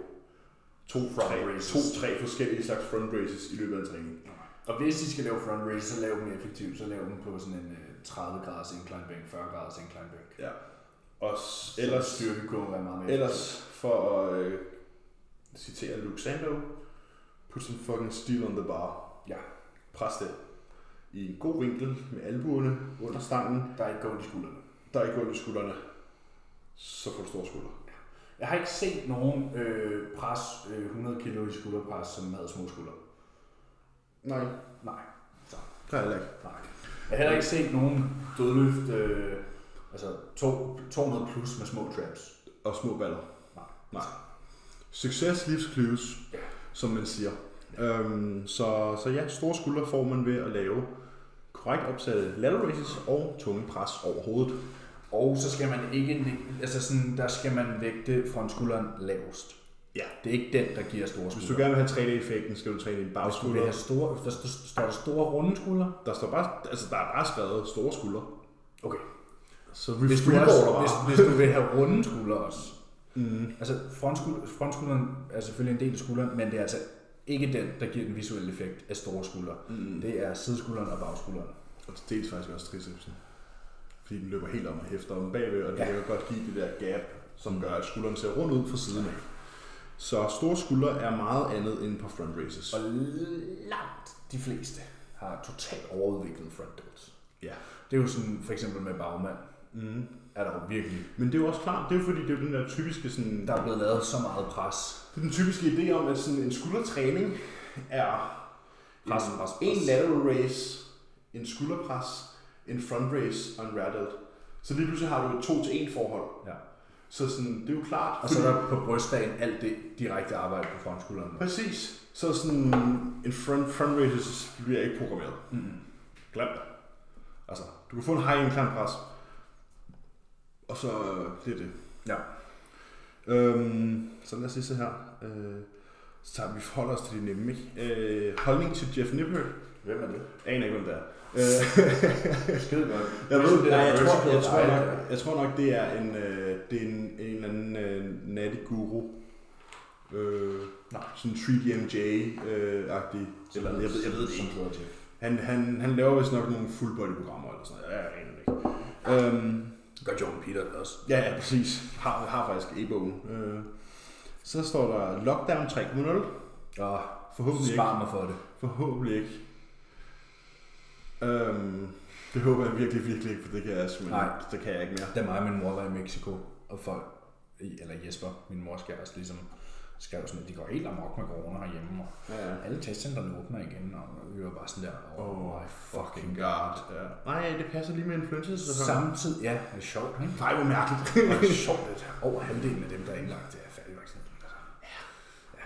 Speaker 2: to,
Speaker 1: Front
Speaker 2: tre,
Speaker 1: raises.
Speaker 2: to, tre forskellige slags front races i løbet af en træning.
Speaker 1: Og hvis de skal lave front raise, så lav dem effektivt. Så lav dem på sådan en øh, 30 graders incline bænk, 40 graders incline bænk.
Speaker 2: Ja. Og
Speaker 1: Ellers
Speaker 2: s- ellers,
Speaker 1: styrke kunne være meget mere.
Speaker 2: ellers for at øh, citere Luke Sandow, put some fucking steel on the bar.
Speaker 1: Ja.
Speaker 2: Pres det. I en god vinkel med albuerne under stangen.
Speaker 1: Der er ikke gået i skuldrene.
Speaker 2: Der er ikke ondt i skuldrene. Så får du store skulder.
Speaker 1: Jeg har ikke set nogen øh, pres, øh, 100 kilo i skulderpres, som havde små skuldre.
Speaker 2: Nej,
Speaker 1: Nej. Så,
Speaker 2: der er heller ikke.
Speaker 1: nej. Jeg har heller ikke set nogen dødløft, øh, altså to, 200 plus med små traps.
Speaker 2: Og små baller.
Speaker 1: Nej.
Speaker 2: Nej. Succes lives clues,
Speaker 1: Ja.
Speaker 2: som man siger. Øhm, så, så ja, store skuldre får man ved at lave korrekt opsatte lateral raises og tunge pres over hovedet.
Speaker 1: Og så skal man ikke, læ- altså sådan, der skal man vægte fra skulderen lavest.
Speaker 2: Ja.
Speaker 1: Det er ikke den, der giver store
Speaker 2: Hvis du
Speaker 1: skuldre.
Speaker 2: gerne vil have 3D-effekten, skal du træne din
Speaker 1: Du vil
Speaker 2: bagskulder.
Speaker 1: have store, der st- står der store runde skuldre.
Speaker 2: Der, står bare, altså, der er bare skrevet store skuldre.
Speaker 1: Okay.
Speaker 2: Så
Speaker 1: Hvis du,
Speaker 2: freeboarder
Speaker 1: også,
Speaker 2: bare.
Speaker 1: hvis, hvis du vil have runde skuldre også. Mm. Altså frontskulderen, frontskulderen er selvfølgelig en del af skulderen, men det er altså ikke den, der giver den visuelle effekt af store skuldre. Mm. Det er sideskulderen og bagskulderen.
Speaker 2: Og til dels faktisk også tricepsen. Fordi den løber helt om og hæfter om bagved, og det
Speaker 1: Ja.
Speaker 2: ja. kan jo godt give det der gap, som gør, at skulderen ser rundt ud fra siden af. Så store skuldre er meget andet end på front races.
Speaker 1: Og langt de fleste har totalt overudviklet front delts.
Speaker 2: Ja.
Speaker 1: Det er jo sådan for eksempel med bagmand. Mm. Er der jo virkelig.
Speaker 2: Men det er jo også klart, det er jo fordi, det er jo den der typiske sådan,
Speaker 1: Der er blevet lavet så meget pres.
Speaker 2: det er den typiske idé om, at sådan en skuldertræning er
Speaker 1: Pres,
Speaker 2: en,
Speaker 1: pres, pres.
Speaker 2: en lateral raise, en skulderpres, en front raise og en rattled. Så lige pludselig har du et 2 til 1 forhold.
Speaker 1: Ja.
Speaker 2: Så sådan, det er jo klart.
Speaker 1: Og så
Speaker 2: fordi-
Speaker 1: er der på brystdagen alt det direkte arbejde på frontskulderen.
Speaker 2: Præcis. Så sådan en front, front raises bliver ikke programmeret. Mm. Glem det. Altså, du kan få en high incline pres. Og så øh, det er det.
Speaker 1: Ja.
Speaker 2: Øhm, så lad os lige se her. Øh, så tager vi holder os til de nemme, ikke? Øh, holdning til Jeff Nippert.
Speaker 1: Hvem er det?
Speaker 2: Aner ikke, hvem det er. Øh,
Speaker 1: [LAUGHS] Skide godt. Ligesom
Speaker 2: jeg, ved,
Speaker 1: det
Speaker 2: nej,
Speaker 1: er
Speaker 2: jeg, tror, jeg,
Speaker 1: Mercer,
Speaker 2: tror
Speaker 1: der er-
Speaker 2: nok, jeg tror nok, det er en, øh, det er en, en eller anden øh, nattig guru. Øh,
Speaker 1: Nej.
Speaker 2: sådan 3DMJ-agtig. øh, Eller, jeg, ved, jeg ved det ikke.
Speaker 1: Som hedder Jeff.
Speaker 2: Han, han, han laver vist nok nogle full body programmer eller sådan noget. Jeg aner det ikke. Øhm,
Speaker 1: Gør Jordan Peter det også.
Speaker 2: ja, ja, præcis. Har, har faktisk e-bogen. Øh, så står der Lockdown 3.0.
Speaker 1: Og
Speaker 2: Forhåbentlig
Speaker 1: spar
Speaker 2: ikke.
Speaker 1: mig for det.
Speaker 2: Forhåbentlig ikke. Øhm, det håber jeg virkelig, virkelig ikke, for det kan jeg simpelthen
Speaker 1: Nej.
Speaker 2: Det kan jeg ikke mere.
Speaker 1: Da mig og min mor var i Mexico, og folk, eller Jesper, min mors kæreste, ligesom skrev sådan, at de går helt amok med corona herhjemme, og
Speaker 2: Ja, ja.
Speaker 1: alle testcentrene åbner igen, og vi var bare sådan der, oh, my fucking god.
Speaker 2: God. Ja. Nej, det passer lige med influenza-sæsonen.
Speaker 1: Samtidig, ja, det er sjovt, ikke?
Speaker 2: Nej, hvor mærkeligt.
Speaker 1: Og
Speaker 2: [LAUGHS]
Speaker 1: Det er sjovt, at over halvdelen af dem, der er indlagt, det er færdigvaccineret. Altså,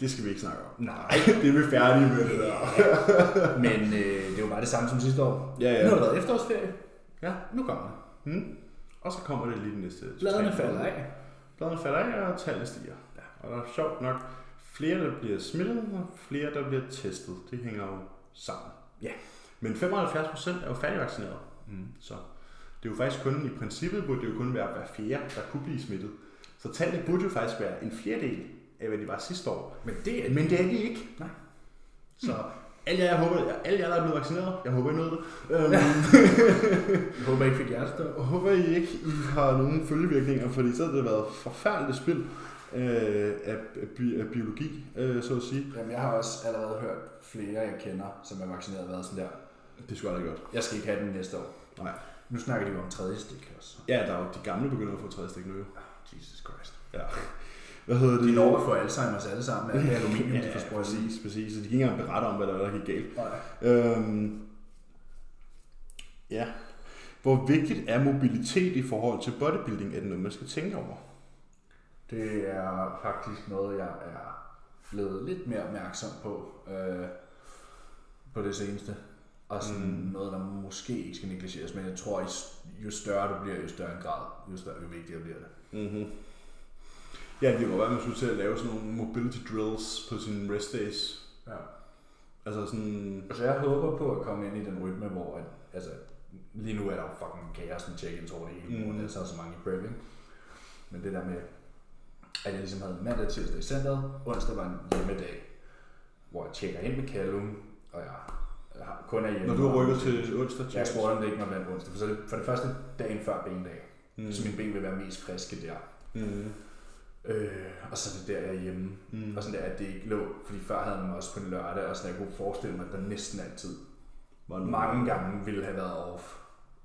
Speaker 2: det skal vi ikke snakke om.
Speaker 1: Nej,
Speaker 2: [LAUGHS] Det er vi færdige med det der.
Speaker 1: men øh, det var bare det samme som sidste år.
Speaker 2: Ja, ja.
Speaker 1: Nu har der været efterårsferie,
Speaker 2: Ja.
Speaker 1: nu kommer det.
Speaker 2: Hmm. Og så kommer det lige den næste.
Speaker 1: Bladene
Speaker 2: tre-
Speaker 1: falder af.
Speaker 2: Bladene falder af, og tallene stiger.
Speaker 1: Ja.
Speaker 2: Ja. Og der er sjovt nok flere, der bliver smittet, og flere, der bliver testet. Det hænger jo sammen.
Speaker 1: Ja.
Speaker 2: Men 75 procent er jo færdigvaccineret.
Speaker 1: Mm.
Speaker 2: Så det er jo faktisk kun, i princippet burde det jo kun være hver fjerde, der kunne blive smittet. Så tallene burde jo faktisk være en fjerdedel af, hvad de var sidste år.
Speaker 1: Men det er...
Speaker 2: Men det er de ikke.
Speaker 1: Nej.
Speaker 2: Så alle jer, jeg håber, alle jer, der er blevet vaccineret, jeg håber, I nåede det. Øhm,
Speaker 1: Jeg håber, I fik hjertestop.
Speaker 2: Jeg håber I ikke, I har nogen følgevirkninger, fordi så har det været forfærdeligt spil øh, af, af, bi- af biologi, øh, så at sige.
Speaker 1: Jamen, jeg har også allerede hørt flere, jeg kender, som er vaccineret, været sådan der.
Speaker 2: Det skulle aldrig godt.
Speaker 1: Jeg skal ikke have den næste år.
Speaker 2: Nej.
Speaker 1: Nu snakker de jo om tredje stik også.
Speaker 2: Ja, der er jo de gamle begynder at få tredje stik nu. jo.
Speaker 1: Ah, Jesus Christ.
Speaker 2: Ja. Hvad hedder det?
Speaker 1: De når at få Alzheimer's alle sammen af det aluminium, de får
Speaker 2: ja,
Speaker 1: sprøjtet i.
Speaker 2: præcis, præcis. Så de kan ikke engang berette om, hvad der er, der gik galt.
Speaker 1: Nej.
Speaker 2: Øhm, ja. Hvor vigtigt er mobilitet i forhold til bodybuilding? Er det noget, man skal tænke over?
Speaker 1: Det er faktisk noget, jeg er blevet lidt mere opmærksom på. Øh, på det seneste. Og sådan mm. noget, der måske ikke skal negligeres, men jeg tror, i- jo større du bliver, jo større en grad, jo, større, jo vigtigere bliver det.
Speaker 2: Mm-hmm. Ja, det kunne være, man skulle til at lave sådan nogle mobility drills på sine rest days.
Speaker 1: Ja.
Speaker 2: Altså sådan...
Speaker 1: Altså, jeg håber på at komme ind i den rytme, hvor at, altså, lige nu er der jo fucking kaos med check-ins over det hele,
Speaker 2: Mm.
Speaker 1: mm. og der er så, så mange i prep, ikke? Men det der med, at jeg ligesom havde mandag, tirsdag i centret, onsdag var en hjemmedag, hvor jeg tjekker ind med Callum, og jeg, jeg har, kun er hjemme.
Speaker 2: Når du rykker til onsdag
Speaker 1: Jeg
Speaker 2: tjek.
Speaker 1: spurgte, om det ikke må være en onsdag, for, så er det, for det første dagen før bendag, mm. så mine ben vil være mest friske der.
Speaker 2: Mm.
Speaker 1: Øh, og så er det der, jeg er hjemme.
Speaker 2: Mm.
Speaker 1: Og sådan der, at det ikke lå, fordi før havde man også på en lørdag, og sådan jeg kunne forestille mig, at der næsten altid
Speaker 2: Var det-
Speaker 1: mange gange ville have været off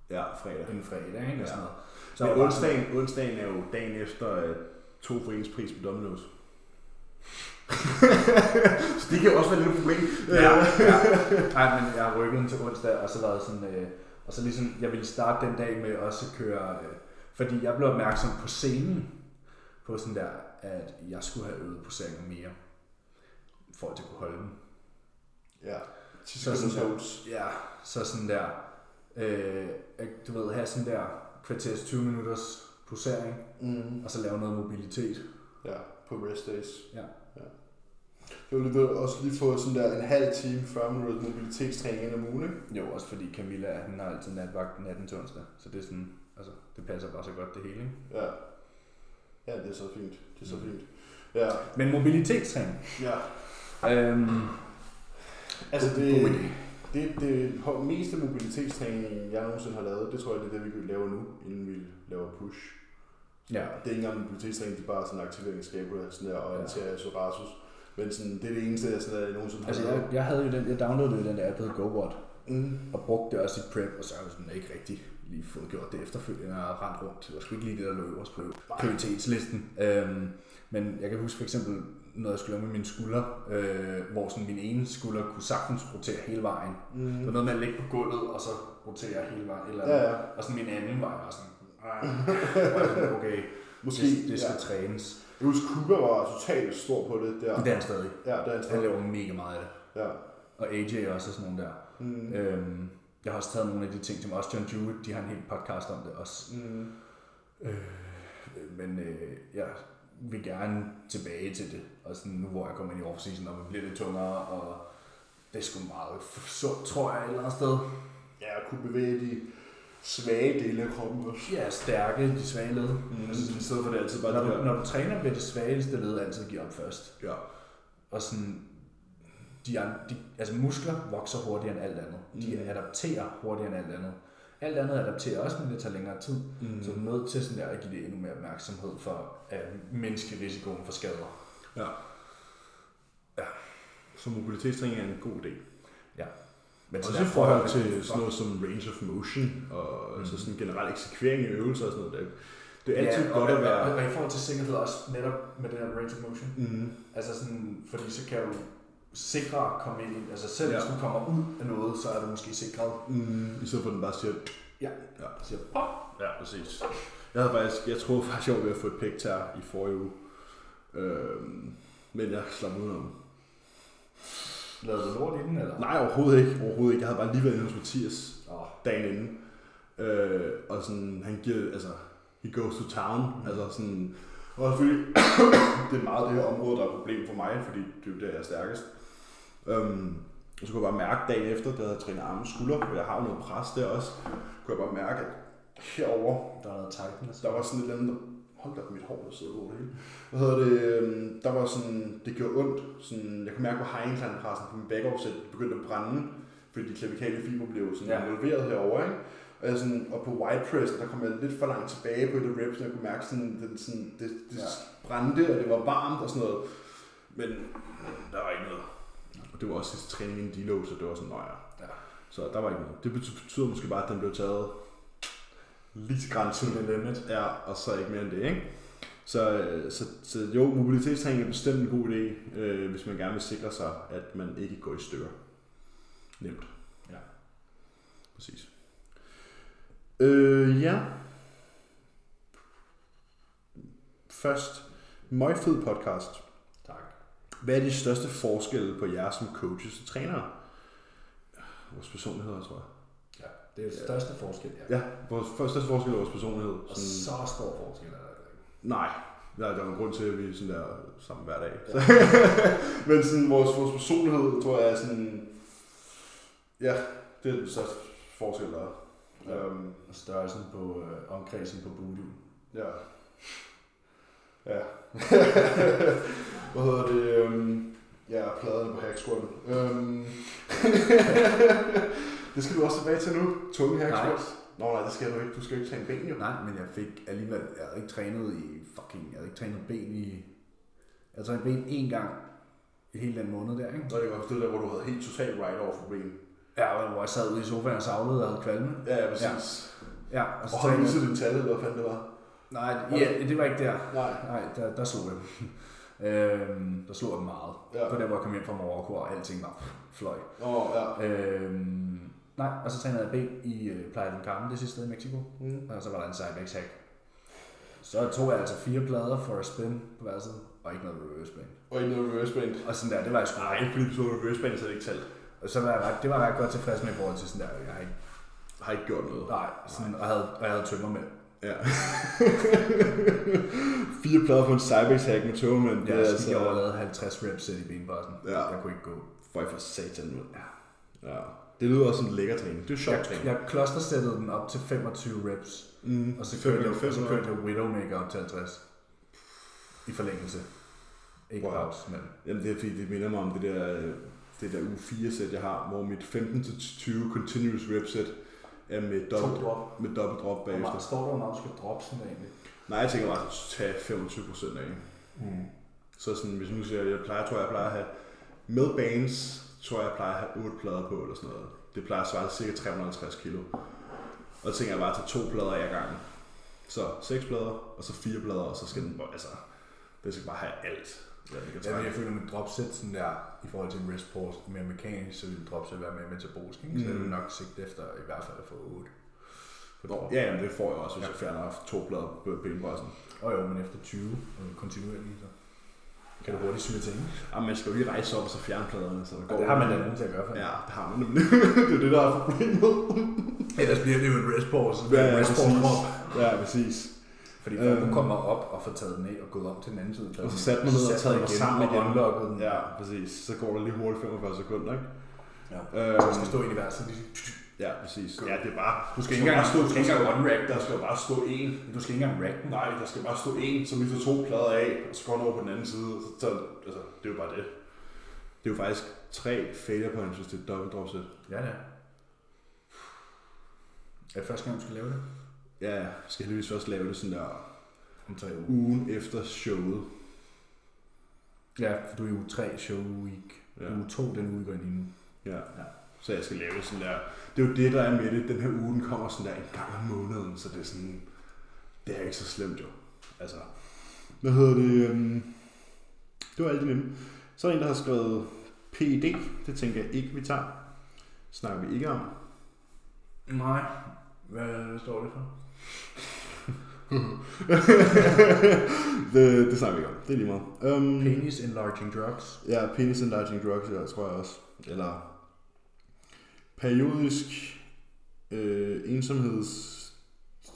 Speaker 2: Mm. Ja, fredag.
Speaker 1: en fredag, ikke?
Speaker 2: Ja.
Speaker 1: Og sådan noget.
Speaker 2: Så
Speaker 1: jeg var
Speaker 2: Men
Speaker 1: bare
Speaker 2: onsdagen, onsdagen er jo dagen efter øh, to for ens pris på Domino's. [LAUGHS] så det kan også være et lille problem. Øh,
Speaker 1: sådan, Ja, ja. Nej, men jeg har rykket den til onsdag, og så været sådan, øh, og så ligesom, jeg ville starte den dag med også at køre, øh, fordi jeg blev opmærksom på scenen, på sådan der, at jeg skulle have øvet poseringer mere, for at jeg kunne holde den.
Speaker 2: Ja.
Speaker 1: Så er
Speaker 2: Så
Speaker 1: det sådan
Speaker 2: sådan der.
Speaker 1: Ja, så sådan der, øh, at du ved, have sådan der kvarters 20 minutters posering,
Speaker 2: Mm.
Speaker 1: og så lave noget mobilitet.
Speaker 2: Ja, på rest days.
Speaker 1: Ja.
Speaker 2: Det ville du også lige få sådan der en halv time, 40 minutters mobilitetstræning ind om ugen, ikke?
Speaker 1: Jo, også fordi Camilla, han har altid natvagt natten til onsdag, så det er sådan, altså, det passer bare så godt det hele, ikke?
Speaker 2: Ja. Ja, det er så fint. Det er så
Speaker 1: Mm.
Speaker 2: fint. Ja,
Speaker 1: Men mobilitetstræning.
Speaker 2: ja.
Speaker 1: Øhm,
Speaker 2: Altså det,
Speaker 1: god idé.
Speaker 2: det, det ho- meste mobilitetstræning, jeg nogensinde har lavet, det tror jeg, det er det, vi laver nu, inden vi laver push.
Speaker 1: Ja.
Speaker 2: Det er ikke engang mobilitetstræning, det er bare sådan aktivering af skabler, sådan der, og en serie af psoriasis. Men sådan, det er det eneste, jeg, sådan der, jeg nogensinde har
Speaker 1: Altså,
Speaker 2: lavet.
Speaker 1: jeg, jeg havde jo den, jeg downloadede jo den der app, der hed GoWatt,
Speaker 2: Mm.
Speaker 1: og brugte det også i prep, og så har jeg jo sådan ikke rigtig lige fået gjort det efterfølgende og rendt rundt. Det var sgu ikke lige det, der lå øverst på prioritetslisten. Øhm, men jeg kan huske for eksempel noget, jeg skulle lave med mine skuldre, øh, hvor sådan min ene skulder kunne sagtens rotere hele vejen. Mm. Det var noget med at ligge på gulvet, og så rotere hele vejen. Eller
Speaker 2: Ja, ja.
Speaker 1: Og sådan min anden var bare sådan, "Ah." Og jeg var
Speaker 2: [LAUGHS]
Speaker 1: sådan, okay,
Speaker 2: Måske,
Speaker 1: det, det skal
Speaker 2: ja.
Speaker 1: ja. trænes.
Speaker 2: Jeg husker, Kuba var totalt stor på det der.
Speaker 1: Men det er han stadig.
Speaker 2: Ja, der er en
Speaker 1: Han
Speaker 2: stor.
Speaker 1: laver mega meget af det.
Speaker 2: Ja.
Speaker 1: Og AJ også og sådan nogle der. Mm. Øhm, jeg har også taget nogle af de ting, som også John Jewett, de har en hel podcast om det også.
Speaker 2: Mm.
Speaker 1: Øh, Men øh, jeg vil gerne tilbage til det. Og sådan nu, hvor jeg kommer ind i off-season, og man bliver lidt tungere, og det er sgu meget f- sundt, tror jeg, et eller andet sted.
Speaker 2: Ja, at kunne bevæge de svage dele af kroppen også.
Speaker 1: Ja, stærke, de svage led.
Speaker 2: Mm.
Speaker 1: Mm.
Speaker 2: Altså, i stedet for det er altid bare
Speaker 1: Når
Speaker 2: det
Speaker 1: du,
Speaker 2: der.
Speaker 1: når du træner, bliver det svageste led altid give op først.
Speaker 2: Ja.
Speaker 1: Og sådan, de, an- de, altså muskler vokser hurtigere end alt andet. De
Speaker 2: Mm.
Speaker 1: adapterer hurtigere end alt andet. Alt andet adapterer også, men det tager længere tid. Mm. Så du er nødt til sådan der at give det endnu mere opmærksomhed for at mindske risikoen for skader.
Speaker 2: Ja. Så mobilitetstræning er en god idé.
Speaker 1: Ja. Men
Speaker 2: Også
Speaker 1: sådan
Speaker 2: i
Speaker 1: der
Speaker 2: forhold
Speaker 1: forhold-
Speaker 2: til sådan noget som range of motion, og mm. så sådan generel eksekvering i øvelser og sådan noget. Det, det er altid
Speaker 1: ja,
Speaker 2: godt
Speaker 1: og,
Speaker 2: at være...
Speaker 1: Og, og, i forhold til sikkerhed også netop med den her range of motion.
Speaker 2: Mm.
Speaker 1: Altså sådan, fordi så kan du sikre at komme ind i, altså selv
Speaker 2: Ja.
Speaker 1: ja. hvis du kommer ud af noget, så er du måske sikret.
Speaker 2: Mm. I stedet for at den bare siger...
Speaker 1: Ja.
Speaker 2: Ja.
Speaker 1: Siger, pop,
Speaker 2: Ja, præcis. Jeg, havde faktisk, jeg troede faktisk, jeg var ved at få et pæk tær i forrige uge. Øhm, men jeg slap udenom.
Speaker 1: lavede du lort i den, eller?
Speaker 2: Nej, overhovedet ikke. Overhovedet ikke. Jeg havde bare lige været inde hos Mathias
Speaker 1: Åh,
Speaker 2: dagen inden. Øh, og sådan, han giver, altså, he goes to town. Mm. Altså sådan, og selvfølgelig, [COUGHS] det er meget det her område, der er et problem for mig, fordi det er jo der, jeg er stærkest. Øhm, og så kunne jeg bare mærke dagen efter, da jeg havde trænet arme og skuldre, og jeg har jo noget pres der også, kunne jeg bare mærke, at herover
Speaker 1: der er noget tightness.
Speaker 2: der var sådan et eller andet, der- hold da op, mit hår, der sidder over det hele. Hvad hedder det, øhm, der var sådan, det gjorde ondt. Sådan, jeg kunne mærke på hejenglandpressen på min bagoversæt, det begyndte at brænde, fordi de klavikale fiber blev sådan ja.
Speaker 1: Ja.
Speaker 2: involveret herovre, ikke? Og, jeg sådan, og på white press, der kom jeg lidt for langt tilbage på et af reps, og jeg kunne mærke, sådan, den, sådan, det, det
Speaker 1: Ja.
Speaker 2: ja. brændte, og det var varmt og sådan noget. Men der var ikke noget. Og det var også sidste træning inden deload, så det var sådan, nej.
Speaker 1: Ja.
Speaker 2: Så der var ikke noget. Det betyder, betyder måske bare, at den blev taget lige til grænsen.
Speaker 1: the limit.
Speaker 2: Ja, og så ikke mere end det, ikke? Så, øh, så, så jo, mobilitetstræning er bestemt en god idé, øh, hvis man gerne vil sikre sig, at man ikke går i stykker. Nemt.
Speaker 1: Ja.
Speaker 2: Præcis. Øh, ja. Først, meget fed podcast.
Speaker 1: Tak.
Speaker 2: Hvad er de største forskelle på jer som coaches og trænere? vores personligheder, tror jeg.
Speaker 1: Ja, det er den største forskel, ja.
Speaker 2: Ja, vores første forskel er vores personlighed.
Speaker 1: Og
Speaker 2: Sådan,
Speaker 1: så stor forskel er der ikke.
Speaker 2: nej, der, der er jo en grund til, at vi er sådan der sammen hver dag. Ja. [LAUGHS] Men sådan, vores, vores personlighed, tror jeg, er sådan... Ja, det er den største forskel, der er. Ja. Øhm,
Speaker 1: Og størrelsen på øh, omkredsen på Voodoo.
Speaker 2: Ja.
Speaker 1: [LAUGHS]
Speaker 2: Ja. Hvad hedder det? Øhm, ja, pladerne på hacksquatten.
Speaker 1: [LAUGHS]
Speaker 2: Øhm, det skal du også tilbage til nu. Tunge hacksquats. Nå nej, det skal du ikke. Du skal ikke tage en ben, jo.
Speaker 1: Nej, men jeg fik alligevel, jeg havde ikke trænet i fucking, jeg havde ikke trænet ben i, jeg havde trænet ben én gang i hele den måned der, ikke?
Speaker 2: Så er det godt, det der, hvor du havde helt totalt write-off for ben.
Speaker 1: Ja, men hvor jeg sad ude i sofaen og savlede og havde kvalme.
Speaker 2: Ja, ja, præcis. Ja.
Speaker 1: Ja, og så
Speaker 2: Og har
Speaker 1: trænede
Speaker 2: du
Speaker 1: jeg.
Speaker 2: misset din tal, eller hvad fanden det var?
Speaker 1: Nej, ja, det var ikke der.
Speaker 2: Nej.
Speaker 1: Nej, der, der [LAUGHS] slog jeg dem. øhm, der slog jeg dem meget.
Speaker 2: Ja.
Speaker 1: Ja. På den, hvor jeg kom hjem fra Marokko, og alting var fløj.
Speaker 2: Åh, oh, ja.
Speaker 1: Øhm, nej, og så trænede jeg ben i øh, Playa del Carmen det sidste sted i Mexico.
Speaker 2: Mm.
Speaker 1: Mm. Og så var der en sideback hack. Så tog jeg altså fire plader for at spin på hver side, og ikke noget reverse band.
Speaker 2: Og ikke noget reverse band.
Speaker 1: Og sådan der, det var jeg sgu.
Speaker 2: Nej, fordi hvis du har reverse band, så er det ikke talt.
Speaker 1: Og så var jeg ret, det var jeg ret godt tilfreds med i forhold til sådan der, jeg har ikke,
Speaker 2: Har ikke gjort noget.
Speaker 1: nej, sådan, og, havde, og jeg havde tømmer med.
Speaker 2: Ja. Fire plader på en cybershack med tømmermænd.
Speaker 1: Jeg, altså, jeg overlevede 50 reps sæt i benpressen.
Speaker 2: Ja.
Speaker 1: Jeg kunne ikke gå.
Speaker 2: Føj for satan, mand. Ja. Det lyder også som en lækker træning. Det er sjovt træning.
Speaker 1: Jeg klostersættede den op til 25 reps, mm. og så kørte, jeg, og så
Speaker 2: 25.
Speaker 1: kørte jeg Widowmaker op til 50. I forlængelse. Ikke
Speaker 2: Wow.
Speaker 1: wow. pause, men...
Speaker 2: Jamen, det er fordi, det minder mig om det der, øh, det der uge 4 sæt, jeg har, hvor mit 15-20 continuous rep sæt er med dobbelt,
Speaker 1: drop.
Speaker 2: med dobbelt drop bagefter.
Speaker 1: står der, når du skal droppe sådan egentlig?
Speaker 2: Nej, jeg tænker bare, at tage 25 procent af.
Speaker 1: Mm.
Speaker 2: Så sådan, hvis nu siger, jeg, jeg plejer, tror jeg, jeg plejer at have med bands, tror jeg, jeg plejer at have 8 plader på, eller sådan noget. Det plejer at svare til cirka 350 kilo. Og så tænker jeg bare at tage to plader af gangen. Så seks plader, og så fire plader, og så skal den, altså, det skal bare have alt. Ja, det kan
Speaker 1: Ja, men
Speaker 2: trække.
Speaker 1: jeg føler, at dropset sådan der, i forhold til en wrist pause, mere mekanisk, så ville dropset være mere metabolisk, ikke? Så jeg vil nok sigte efter i hvert fald at få 8. På
Speaker 2: Nå,
Speaker 1: drop.
Speaker 2: ja, jamen, det får jeg også, hvis jeg fjerner to plader på benbrøsten.
Speaker 1: Og jo, men efter 20 øh, kontinuerligt, så kan du hurtigt syge til, ikke?
Speaker 2: Jamen, man skal jo lige rejse op og så fjerne pladerne, så der går
Speaker 1: Og det har man da nogen til at gøre for.
Speaker 2: Ja, det har man nemlig. [LAUGHS] det er jo det, der er problemet.
Speaker 1: Ellers bliver det jo en wrist pause.
Speaker 2: Ja,
Speaker 1: en
Speaker 2: ja,
Speaker 1: wrist pause drop.
Speaker 2: præcis. Ja, præcis.
Speaker 1: Fordi folk øhm. kommer op og får taget den af og gået om til den anden side. af
Speaker 2: Og så
Speaker 1: pladsen.
Speaker 2: satte man ned og
Speaker 1: satte
Speaker 2: taget mig
Speaker 1: igen
Speaker 2: sammen
Speaker 1: og unlockede
Speaker 2: igen.
Speaker 1: den.
Speaker 2: Ja, præcis. Så går der lige hurtigt 45 sekunder, ikke?
Speaker 1: ja.
Speaker 2: Øhm,
Speaker 1: Så skal stå ind i hver side.
Speaker 2: ja, præcis. Ja, det er bare...
Speaker 1: Du skal ikke engang- du skal ikke engang
Speaker 2: rack, der skal bare stå en.
Speaker 1: Du skal ikke engang rack den.
Speaker 2: Nej, der skal bare stå en, som lige to plader af, og så går den over på den anden side. og Så, så, altså, det er jo bare det. Det er jo faktisk tre failure points, hvis det er et dobbelt drop set.
Speaker 1: Ja, det er. Er det første gang, du skal lave det?
Speaker 2: Ja, jeg skal heldigvis først lave det sådan der
Speaker 1: Om tre uger.
Speaker 2: ugen efter showet.
Speaker 1: Ja, for du er i uge 3 show week.
Speaker 2: Ja.
Speaker 1: Ja. Uge 2, den uge vi går ind i nu.
Speaker 2: Ja. ja. Så jeg skal lave det sådan der. Det er jo det, der er med det. Den her uge den kommer sådan der en gang om måneden, så det er sådan... Det er ikke så slemt jo. Altså... Hvad hedder det? øhm, Det var alt det nemme. Så er der en, der har skrevet PED. Det tænker jeg ikke, vi tager. Snakker vi ikke om.
Speaker 1: Nej. Hvad står det for?
Speaker 2: det, det snakker vi ikke om. Det er lige meget. Øhm,
Speaker 1: Penis enlarging drugs.
Speaker 2: Ja, penis enlarging drugs, ja, tror jeg også. Eller periodisk øh, ensomheds...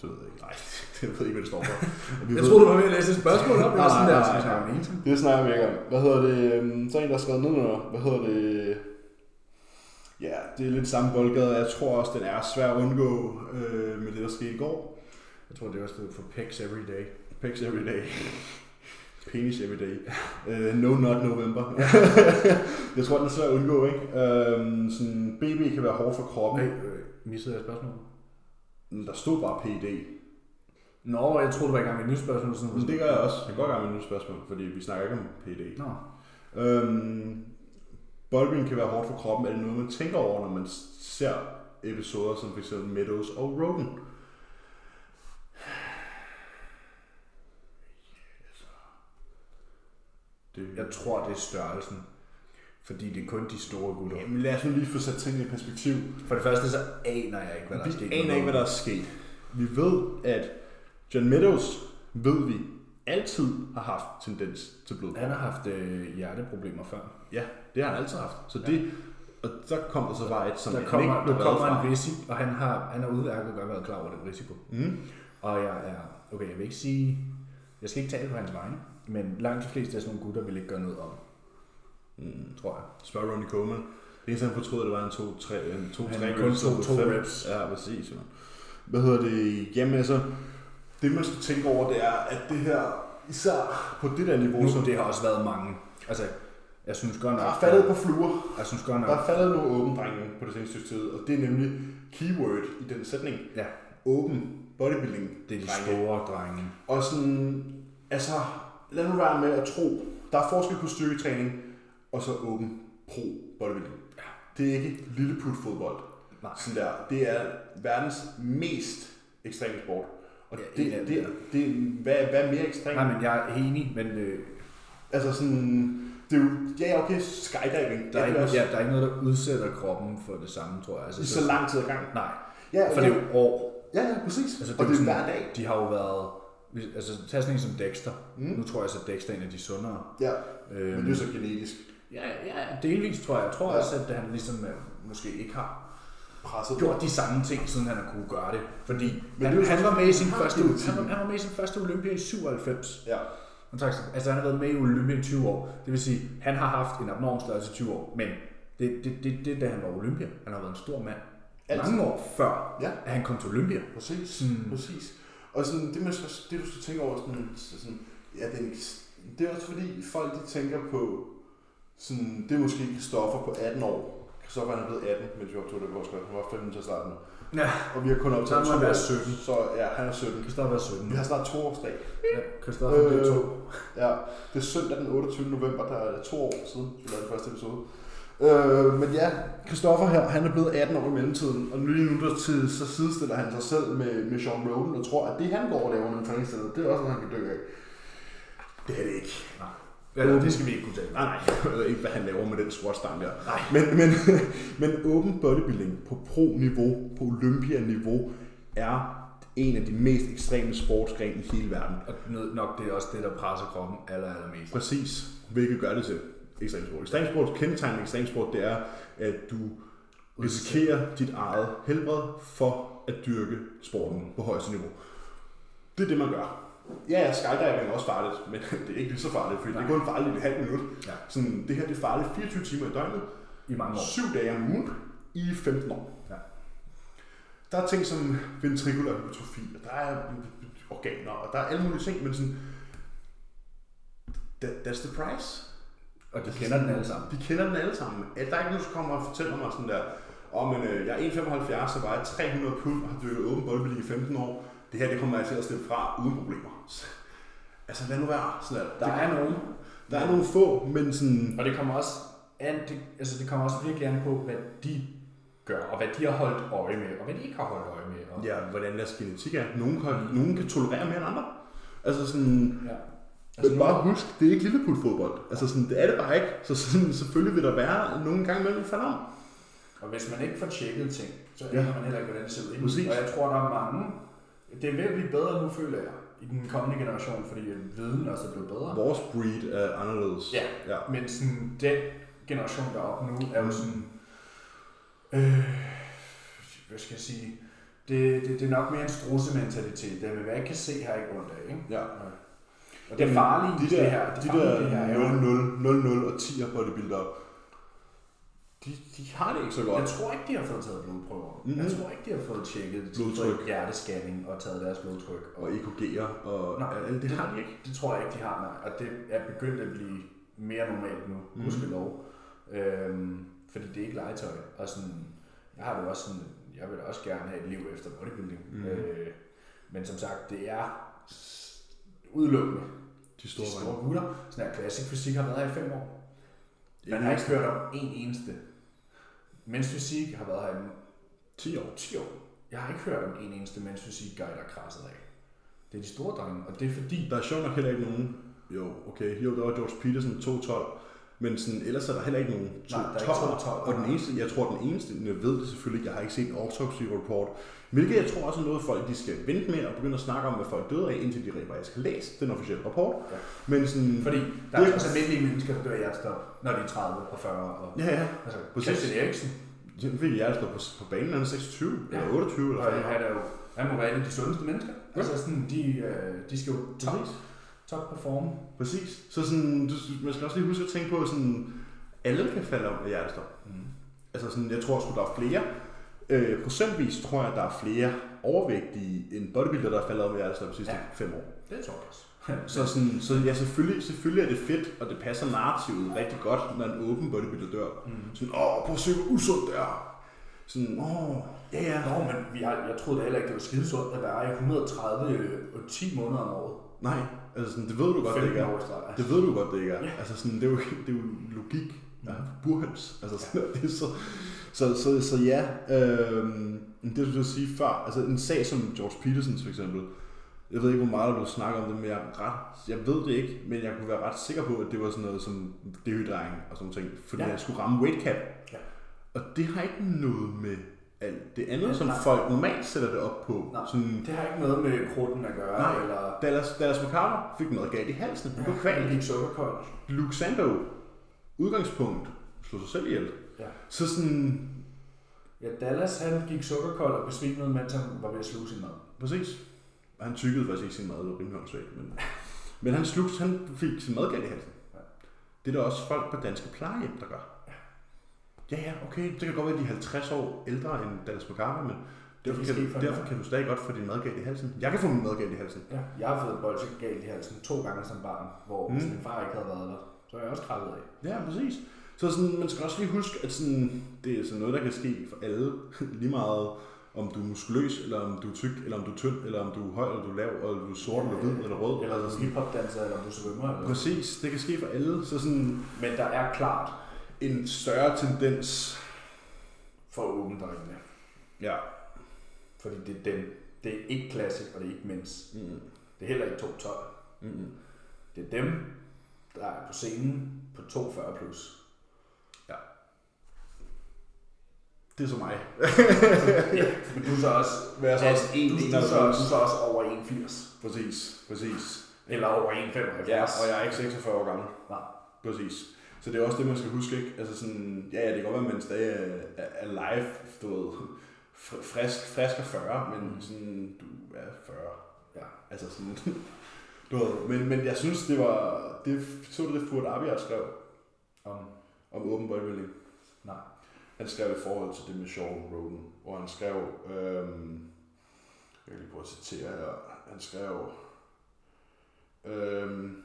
Speaker 2: Det ved jeg ikke. Nej, [LAUGHS] jeg ved ikke, hvad det står for. Vi ved-
Speaker 1: du var ved at læse et spørgsmål op.
Speaker 2: [LAUGHS] Nej,
Speaker 1: Nej, sådan
Speaker 2: nej,
Speaker 1: der,
Speaker 2: nej,
Speaker 1: skal vi
Speaker 2: nej.
Speaker 1: snakke om ensom.
Speaker 2: Det snakker vi ikke om. Hvad hedder det? øhm, Så er en, der har skrevet ned under. Hvad hedder det? Ja, det er lidt samme boldgade. Jeg tror også, den er svær at undgå øh, med det, der skete i går.
Speaker 1: Jeg tror, det var stedet for pecs every day.
Speaker 2: Pecs every day. [LAUGHS] Penis every day. Uh, no not November. [LAUGHS] jeg tror, den er svær at undgå, ikke? Uh, sådan, BB kan være hård for kroppen.
Speaker 1: Hey, øh, missede jeg spørgsmålet?
Speaker 2: Men Der stod bare PD.
Speaker 1: Nå, jeg troede, du var i gang med et nyt spørgsmål. Sådan,
Speaker 2: Men det gør jeg også. Jeg går i gang med et nyt spørgsmål, fordi vi snakker ikke om PD.
Speaker 1: Nå.
Speaker 2: Øhm, Bolvin kan være hårdt for kroppen. Er det noget, man tænker over, når man ser episoder som f.eks. Meadows og Rogan? altså. Det...
Speaker 1: Jeg tror, det er størrelsen. Fordi det er kun de store gutter.
Speaker 2: Jamen lad os nu lige få sat tingene i perspektiv.
Speaker 1: For det første, så aner jeg ikke, hvad der er sket.
Speaker 2: Vi aner ikke, hvad der er sket. Vi ved, at John Meadows, ved vi, altid har haft tendens til blodprop.
Speaker 1: Han har haft øh, hjerteproblemer før.
Speaker 2: Ja, det har han altid haft. Så det, Og så kom der så bare et, som
Speaker 1: Der
Speaker 2: jeg
Speaker 1: kommer,
Speaker 2: blev
Speaker 1: der
Speaker 2: glad
Speaker 1: kommer
Speaker 2: fra.
Speaker 1: en risiko, og han har, han har udmærket godt været klar over den risiko. Mm. Og jeg er, okay, jeg vil ikke sige, jeg skal ikke tale på hans vegne, men langt de fleste af sådan nogle gutter vil ikke gøre noget om. Mm. Tror jeg.
Speaker 2: Spørg Ronnie Coleman. Det eneste, han fortrød, det var, at han tog tre, en to,
Speaker 1: Han
Speaker 2: tre
Speaker 1: kun
Speaker 2: reps,
Speaker 1: tog
Speaker 2: og
Speaker 1: to
Speaker 2: fem.
Speaker 1: reps.
Speaker 2: Ja, præcis. Ja. Hvad hedder det? Jamen altså, det man skal tænke over, det er, at det her, især på det der niveau,
Speaker 1: Nu,
Speaker 2: som
Speaker 1: det har også været mange. Altså, jeg synes godt
Speaker 2: der
Speaker 1: nok,
Speaker 2: er faldet på fluer,
Speaker 1: jeg synes godt nok,
Speaker 2: Der er faldet nogle åben drenge på det seneste stykke tid, og det er nemlig keyword i den sætning.
Speaker 1: ja,
Speaker 2: Åben bodybuilding.
Speaker 1: det er de
Speaker 2: drenge.
Speaker 1: store drenge.
Speaker 2: Og sådan, altså, lad nu være med at tro, der er forskel på styrketræning, og så åben pro bodybuilding. Det er ikke lilleput fodbold.
Speaker 1: Nej.
Speaker 2: Sådan der. Det er verdens mest ekstreme sport. Og
Speaker 1: Ja,
Speaker 2: det,
Speaker 1: ja,
Speaker 2: det,
Speaker 1: ja.
Speaker 2: det, det, hvad, hvad er mere ekstremt?
Speaker 1: Nej, men jeg er enig, men øh,
Speaker 2: Altså sådan, det er jo, ja okay, skydiving.
Speaker 1: der, er
Speaker 2: det
Speaker 1: ikke,
Speaker 2: også
Speaker 1: ja, der er ikke noget, der udsætter kroppen for det samme, tror jeg. Altså,
Speaker 2: I så lang tid ad gangen.
Speaker 1: Nej,
Speaker 2: Ja,
Speaker 1: for det er jo år.
Speaker 2: Ja, ja, præcis.
Speaker 1: Altså,
Speaker 2: Altså, og det er
Speaker 1: jo
Speaker 2: hver
Speaker 1: sådan,
Speaker 2: dag.
Speaker 1: De har jo været... hvis- Altså, tag sådan en som Dexter. Mm. Nu tror jeg så, at Dexter er en af de sundere.
Speaker 2: Ja,
Speaker 1: Øhm.
Speaker 2: øhm. men det er så genetisk
Speaker 1: Ja, ja, delvis tror jeg. Jeg tror ja. også, at han ligesom øh, måske ikke har
Speaker 2: presset.
Speaker 1: gjort de samme ting, siden han har kunne gøre det. Fordi Men
Speaker 2: Men
Speaker 1: han,
Speaker 2: det er jo
Speaker 1: han,
Speaker 2: sådan,
Speaker 1: var med i sin
Speaker 2: han har
Speaker 1: første,
Speaker 2: det jo
Speaker 1: han, var, han var med i sin første Olympia i 97.
Speaker 2: Ja,
Speaker 1: Han trak, sig- altså han har været med i Olympia i 20 år. Det vil sige, han har haft en abnorm størrelse i 20 år. Men det, det, det, det, da han var Olympia. Han har været en stor mand.
Speaker 2: Altid.
Speaker 1: Mange år før,
Speaker 2: Ja.
Speaker 1: at han kom til Olympia.
Speaker 2: præcis.
Speaker 1: Hmm.
Speaker 2: Præcis. Og sådan, det, man, skal- det du skal tænke over, sådan, så sådan, ja, det, er en eks- det er også fordi, folk de tænker på, sådan, det er måske Kristoffer på 18 år. Kristoffer han er blevet 18, mens vi optog det vores Han var 15 til starten.
Speaker 1: Ja,
Speaker 2: Og vi har kun
Speaker 1: Så
Speaker 2: optaget
Speaker 1: må han
Speaker 2: to
Speaker 1: være
Speaker 2: år.
Speaker 1: 17.
Speaker 2: Så ja, han er 17.
Speaker 1: Kristoffer er 17.
Speaker 2: Vi har snart to års dag.
Speaker 1: Ja, Kristoffer øh, blev to.
Speaker 2: ja, det er søndag den 28. november, der er to år siden, vi lavede den første episode. Øh, men ja, Christoffer her, han er blevet 18 år i mellemtiden, og lige nu der tid, så sidestiller han sig selv med, med Sean Roden, og tror, at det han går og laver under træningsstedet, det er også noget, han kan dø af. Det er det ikke.
Speaker 1: Nej. Eller, det skal vi ikke kunne tale om.
Speaker 2: Nej, nej, jeg ved ikke, hvad han laver med den squatstang der.
Speaker 1: Nej.
Speaker 2: Men, [LAUGHS] men, men åben bodybuilding på pro-niveau, på Olympia-niveau, er en af de mest ekstreme sportsgrene i hele verden.
Speaker 1: Og noget- nok det er også det, der presser kroppen aller, allermest.
Speaker 2: Præcis, hvilket gør det til ekstremsport. Ekstremsport, kendetegnet ekstremsport, det er, at du risikerer dit eget helbred for at dyrke sporten på højeste niveau. Det er det, man gør. Ja, skydiving er også farligt, men [LAUGHS] det er ikke lige så farligt, fordi Nej. det er kun farligt i et halvt minut.
Speaker 1: Ja.
Speaker 2: Sådan, det her det er farligt 24 timer i døgnet,
Speaker 1: I mange år.
Speaker 2: 7 dage om ugen, i 15 år.
Speaker 1: Ja.
Speaker 2: Der er ting som ventricular hypertrofi, og der er organer, og der er alle mulige ting, men sådan, that, that's the price.
Speaker 1: Og de kender den alle sammen.
Speaker 2: De kender den alle sammen. Ja, Der er ikke nogen, der kommer og fortæller mig sådan der, om men øh, jeg er 1,75, så vejer 300 pund og har dyrket åben bodybuilding i 15 år. Det her, det kommer jeg til at slippe fra uden problemer. Så, altså, lad nu være. Sådan der.
Speaker 1: Der
Speaker 2: Der,
Speaker 1: er nogen.
Speaker 2: der er nogle få, men sådan...
Speaker 1: Og det kommer også an, det, altså det kommer også virkelig an på, hvad de gør, og hvad de har holdt øje med, og hvad de ikke har holdt øje med. Og,
Speaker 2: Ja, hvordan deres genetik er. Nogen kan, nogen kan tolerere mere end andre. Altså sådan...
Speaker 1: ja.
Speaker 2: Altså, men bare husk, det er ikke lilleput fodbold. Altså sådan, det er det bare ikke. Så sådan, selvfølgelig vil der være nogle gange mellem falder om.
Speaker 1: og hvis man ikke får tjekket ting, så
Speaker 2: Ja.
Speaker 1: aner man heller ikke, hvordan det ser ud. inden.
Speaker 2: Præcis.
Speaker 1: Og jeg tror, der er mange. Det er ved at blive bedre nu, føler jeg, i den kommende generation, fordi øh, viden også er blevet bedre.
Speaker 2: Vores breed er anderledes.
Speaker 1: Ja,
Speaker 2: ja.
Speaker 1: men sådan, den generation, der er oppe nu,
Speaker 2: Mm.
Speaker 1: er jo sådan... Øh, hvad skal jeg sige? Det, det, det er nok mere en strussementalitet. Det er, hvad jeg ikke kan se, har jeg ikke ondt af. Ikke?
Speaker 2: ja.
Speaker 1: Og det er farligt,
Speaker 2: de der,
Speaker 1: det her. Det,
Speaker 2: de
Speaker 1: farlige,
Speaker 2: der
Speaker 1: det her er jo...
Speaker 2: 0-0, 0-0 og 10'er bodybuildere, de, de har det ikke så
Speaker 1: Jeg
Speaker 2: godt.
Speaker 1: tror ikke, de har fået taget blodprøver.
Speaker 2: Mhm.
Speaker 1: Jeg tror ikke, de har fået tjekket
Speaker 2: Blodtryk.
Speaker 1: hjertescanning og taget deres blodtryk.
Speaker 2: Og EKG'er og
Speaker 1: Nej,
Speaker 2: alt det har de ikke.
Speaker 1: Det tror jeg ikke, de har, nej. Og det er begyndt at blive mere normalt nu, mm. gudskelov. Øhm, fordi det er ikke legetøj. Og sådan, jeg har det også sådan, jeg vil da også gerne have et liv efter bodybuilding. Mm. Øh, men som sagt, det er s- udelukkende
Speaker 2: De
Speaker 1: de
Speaker 2: store,
Speaker 1: store gutter. Sådan her klassisk fysik har været her i fem år.
Speaker 2: E
Speaker 1: Man har ikke hørt om en eneste. Mens fysik har været her i
Speaker 2: 10 år.
Speaker 1: 10 år. Jeg har ikke hørt om en eneste mens fysik guy, der er krasset af. Det er de store drenge, og det er fordi,
Speaker 2: Der er sjovt nok heller ikke nogen. Jo, okay. Jo, der var George Peterson 2-12. Men sådan, ellers er der heller ikke nogen to
Speaker 1: Nej, der er ikke
Speaker 2: topper.
Speaker 1: to topper.
Speaker 2: Og den eneste, jeg tror, den eneste, jeg ved det selvfølgelig ikke, jeg har ikke set en autopsy report, hvilket jeg tror også er noget, folk de skal vente med og begynde at snakke om, hvad folk døde af, indtil de rent faktisk har læst den officielle rapport.
Speaker 1: Ja.
Speaker 2: Men sådan,
Speaker 1: Fordi der er
Speaker 2: Det-
Speaker 1: også almindelige mennesker, der dør af hjertestop, når de er 30 og 40. Og,
Speaker 2: ja, ja,
Speaker 1: altså,
Speaker 2: præcis.
Speaker 1: Christian Eriksen,
Speaker 2: Den fik jeg altså på, på banen, han er 26
Speaker 1: Ja.
Speaker 2: ja. eller 28 eller
Speaker 1: og
Speaker 2: sådan
Speaker 1: han
Speaker 2: noget.
Speaker 1: er jo han må være en af de sundeste mennesker. Ja. Altså sådan, de, øh, de skal jo top,
Speaker 2: Præcis.
Speaker 1: top performe.
Speaker 2: Præcis. Så sådan, du, man skal også lige huske at tænke på, sådan, alle kan falde om af hjertestop.
Speaker 1: Mm.
Speaker 2: Altså sådan, jeg tror sgu, der er flere. Øh, procentvis tror jeg, der er flere overvægtige end bodybuilder, der er faldet om af hjertestop de sidste
Speaker 1: Ja.
Speaker 2: ja. fem år.
Speaker 1: Det tror jeg også.
Speaker 2: Så, sådan, så ja, selvfølgelig, selvfølgelig er det fedt, og det passer narrativet rigtig godt, når en åben bodybuilder dør. Mm. Sådan, åh, prøv at se, hvor usundt det er. Sådan, åh, ja ja.
Speaker 1: Nå, men vi har, jeg troede da heller ikke, det var skidesundt at være i 130 øh, og 10 måneder om året.
Speaker 2: Nej, altså sådan, det ved du godt, det ikke
Speaker 1: 15
Speaker 2: er.
Speaker 1: år i streg.
Speaker 2: Det ved du godt, det ikke er. Altså sådan, det er jo, det er jo logik. Ja,
Speaker 1: Mhm.
Speaker 2: burhøns. Altså sådan, [LAUGHS] det er så, så, så, så ja, øhm, men det du vil sige før, altså en sag som George Petersens for eksempel, jeg ved ikke, hvor meget der blev snakket om det, men jeg, er ret, jeg ved det ikke, men jeg kunne være ret sikker på, at det var sådan noget som dehydrering og sådan ting, fordi
Speaker 1: Ja.
Speaker 2: ja. jeg skulle ramme weight cap.
Speaker 1: Ja.
Speaker 2: Og det har ikke noget med alt det andet, som
Speaker 1: nej.
Speaker 2: folk normalt sætter det op på.
Speaker 1: Nej.
Speaker 2: Sådan,
Speaker 1: Det har ikke noget med krudten at gøre,
Speaker 2: Nej.
Speaker 1: eller
Speaker 2: Dallas, Dallas McCarter fik noget galt i halsen. Han blev
Speaker 1: han
Speaker 2: kvalt.
Speaker 1: gik sukkerkold.
Speaker 2: Luke Sando, udgangspunkt, slog sig selv ihjel.
Speaker 1: Ja.
Speaker 2: Så sådan,
Speaker 1: ja, Dallas han gik sukkerkold og besvimede, mens han var ved at sluge sin mad.
Speaker 2: præcis. Han tykkede faktisk ikke sin mad, det var rimelig åndssvagt, men, men han, slug, han fik sin mad galt i halsen.
Speaker 1: Ja.
Speaker 2: Det er der også folk på danske plejehjem, der gør. Ja, ja, okay, det kan godt være, at de er 50 år ældre end Dallas McCarter, men derfor,
Speaker 1: kan
Speaker 2: kan
Speaker 1: ske for
Speaker 2: du,
Speaker 1: en
Speaker 2: derfor kan du stadig godt få din mad galt i halsen. Jeg kan få min mad galt i halsen.
Speaker 1: Ja. Jeg har fået bolsje galt i halsen to gange som barn, hvor mm. hvis min far ikke havde været der, så er jeg også kravlet af.
Speaker 2: Ja, præcis. Så sådan, man skal også lige huske, at sådan, det er sådan noget, der kan ske for alle. [LAUGHS] Lige meget om du er muskuløs, eller om du er tyk, eller om du er tynd, eller om du er høj, eller du er lav, eller du er sort, eller hvid, eller rød.
Speaker 1: Eller
Speaker 2: Eller
Speaker 1: som
Speaker 2: sådan.
Speaker 1: hiphopdanser, eller om du svømmer. Eller.
Speaker 2: Præcis, det kan ske for alle. Så sådan
Speaker 1: Men der er klart
Speaker 2: en større tendens.
Speaker 1: for åbent øjnene,
Speaker 2: Ja.
Speaker 1: fordi det er dem. Det er ikke klassisk, og det er ikke mens.
Speaker 2: Mm.
Speaker 1: Det er heller ikke 212.
Speaker 2: Mm.
Speaker 1: Det er dem, der er på scenen på 42 plus.
Speaker 2: Ja. Det er så mig.
Speaker 1: Ja, men du er så også,
Speaker 2: Hvad er så også
Speaker 1: du, du, du, er så, du er så også over 1,80.
Speaker 2: Præcis, præcis.
Speaker 1: Eller over 1,75.
Speaker 2: Ja, og jeg er ikke 46 år gammel.
Speaker 1: Nej.
Speaker 2: Præcis. Så det er også det, man skal huske, ikke? Altså sådan, ja, ja det kan godt være, at man stadig er, er, er live, du ved, fr- frisk, frisk er 40, men sådan, du er 40.
Speaker 1: Mm. Ja.
Speaker 2: Altså sådan, [LAUGHS] du ved, men, men jeg synes, det var, det, så du det Furt Abia skrev
Speaker 1: Om,
Speaker 2: om åben bodybuilding?
Speaker 1: nej.
Speaker 2: Han skrev i forhold til det med Sean Roden, hvor han skrev, øhm, jeg kan lige prøve at citere her, han skrev, øhm,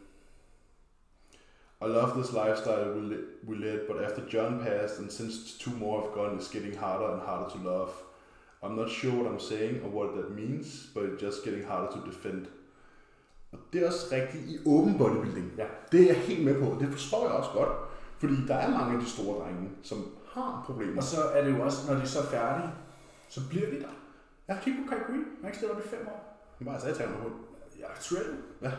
Speaker 2: I love this lifestyle we, li- we led, but after John passed and since two more have gone, it's getting harder and harder to love. I'm not sure what I'm saying or what that means, but it's just getting harder to defend. Og det er også rigtigt i åben bodybuilding.
Speaker 1: Ja.
Speaker 2: Det er jeg helt med på, og det forstår jeg også godt. Fordi der er mange af de store drenge, som har problemer.
Speaker 1: Og så er det jo også, når de så er færdige, så bliver de der. Ja, kig på Kai Green. Han har ikke stillet op i fem år.
Speaker 2: Han var altså satan hund.
Speaker 1: Ja, aktuelt.
Speaker 2: Ja,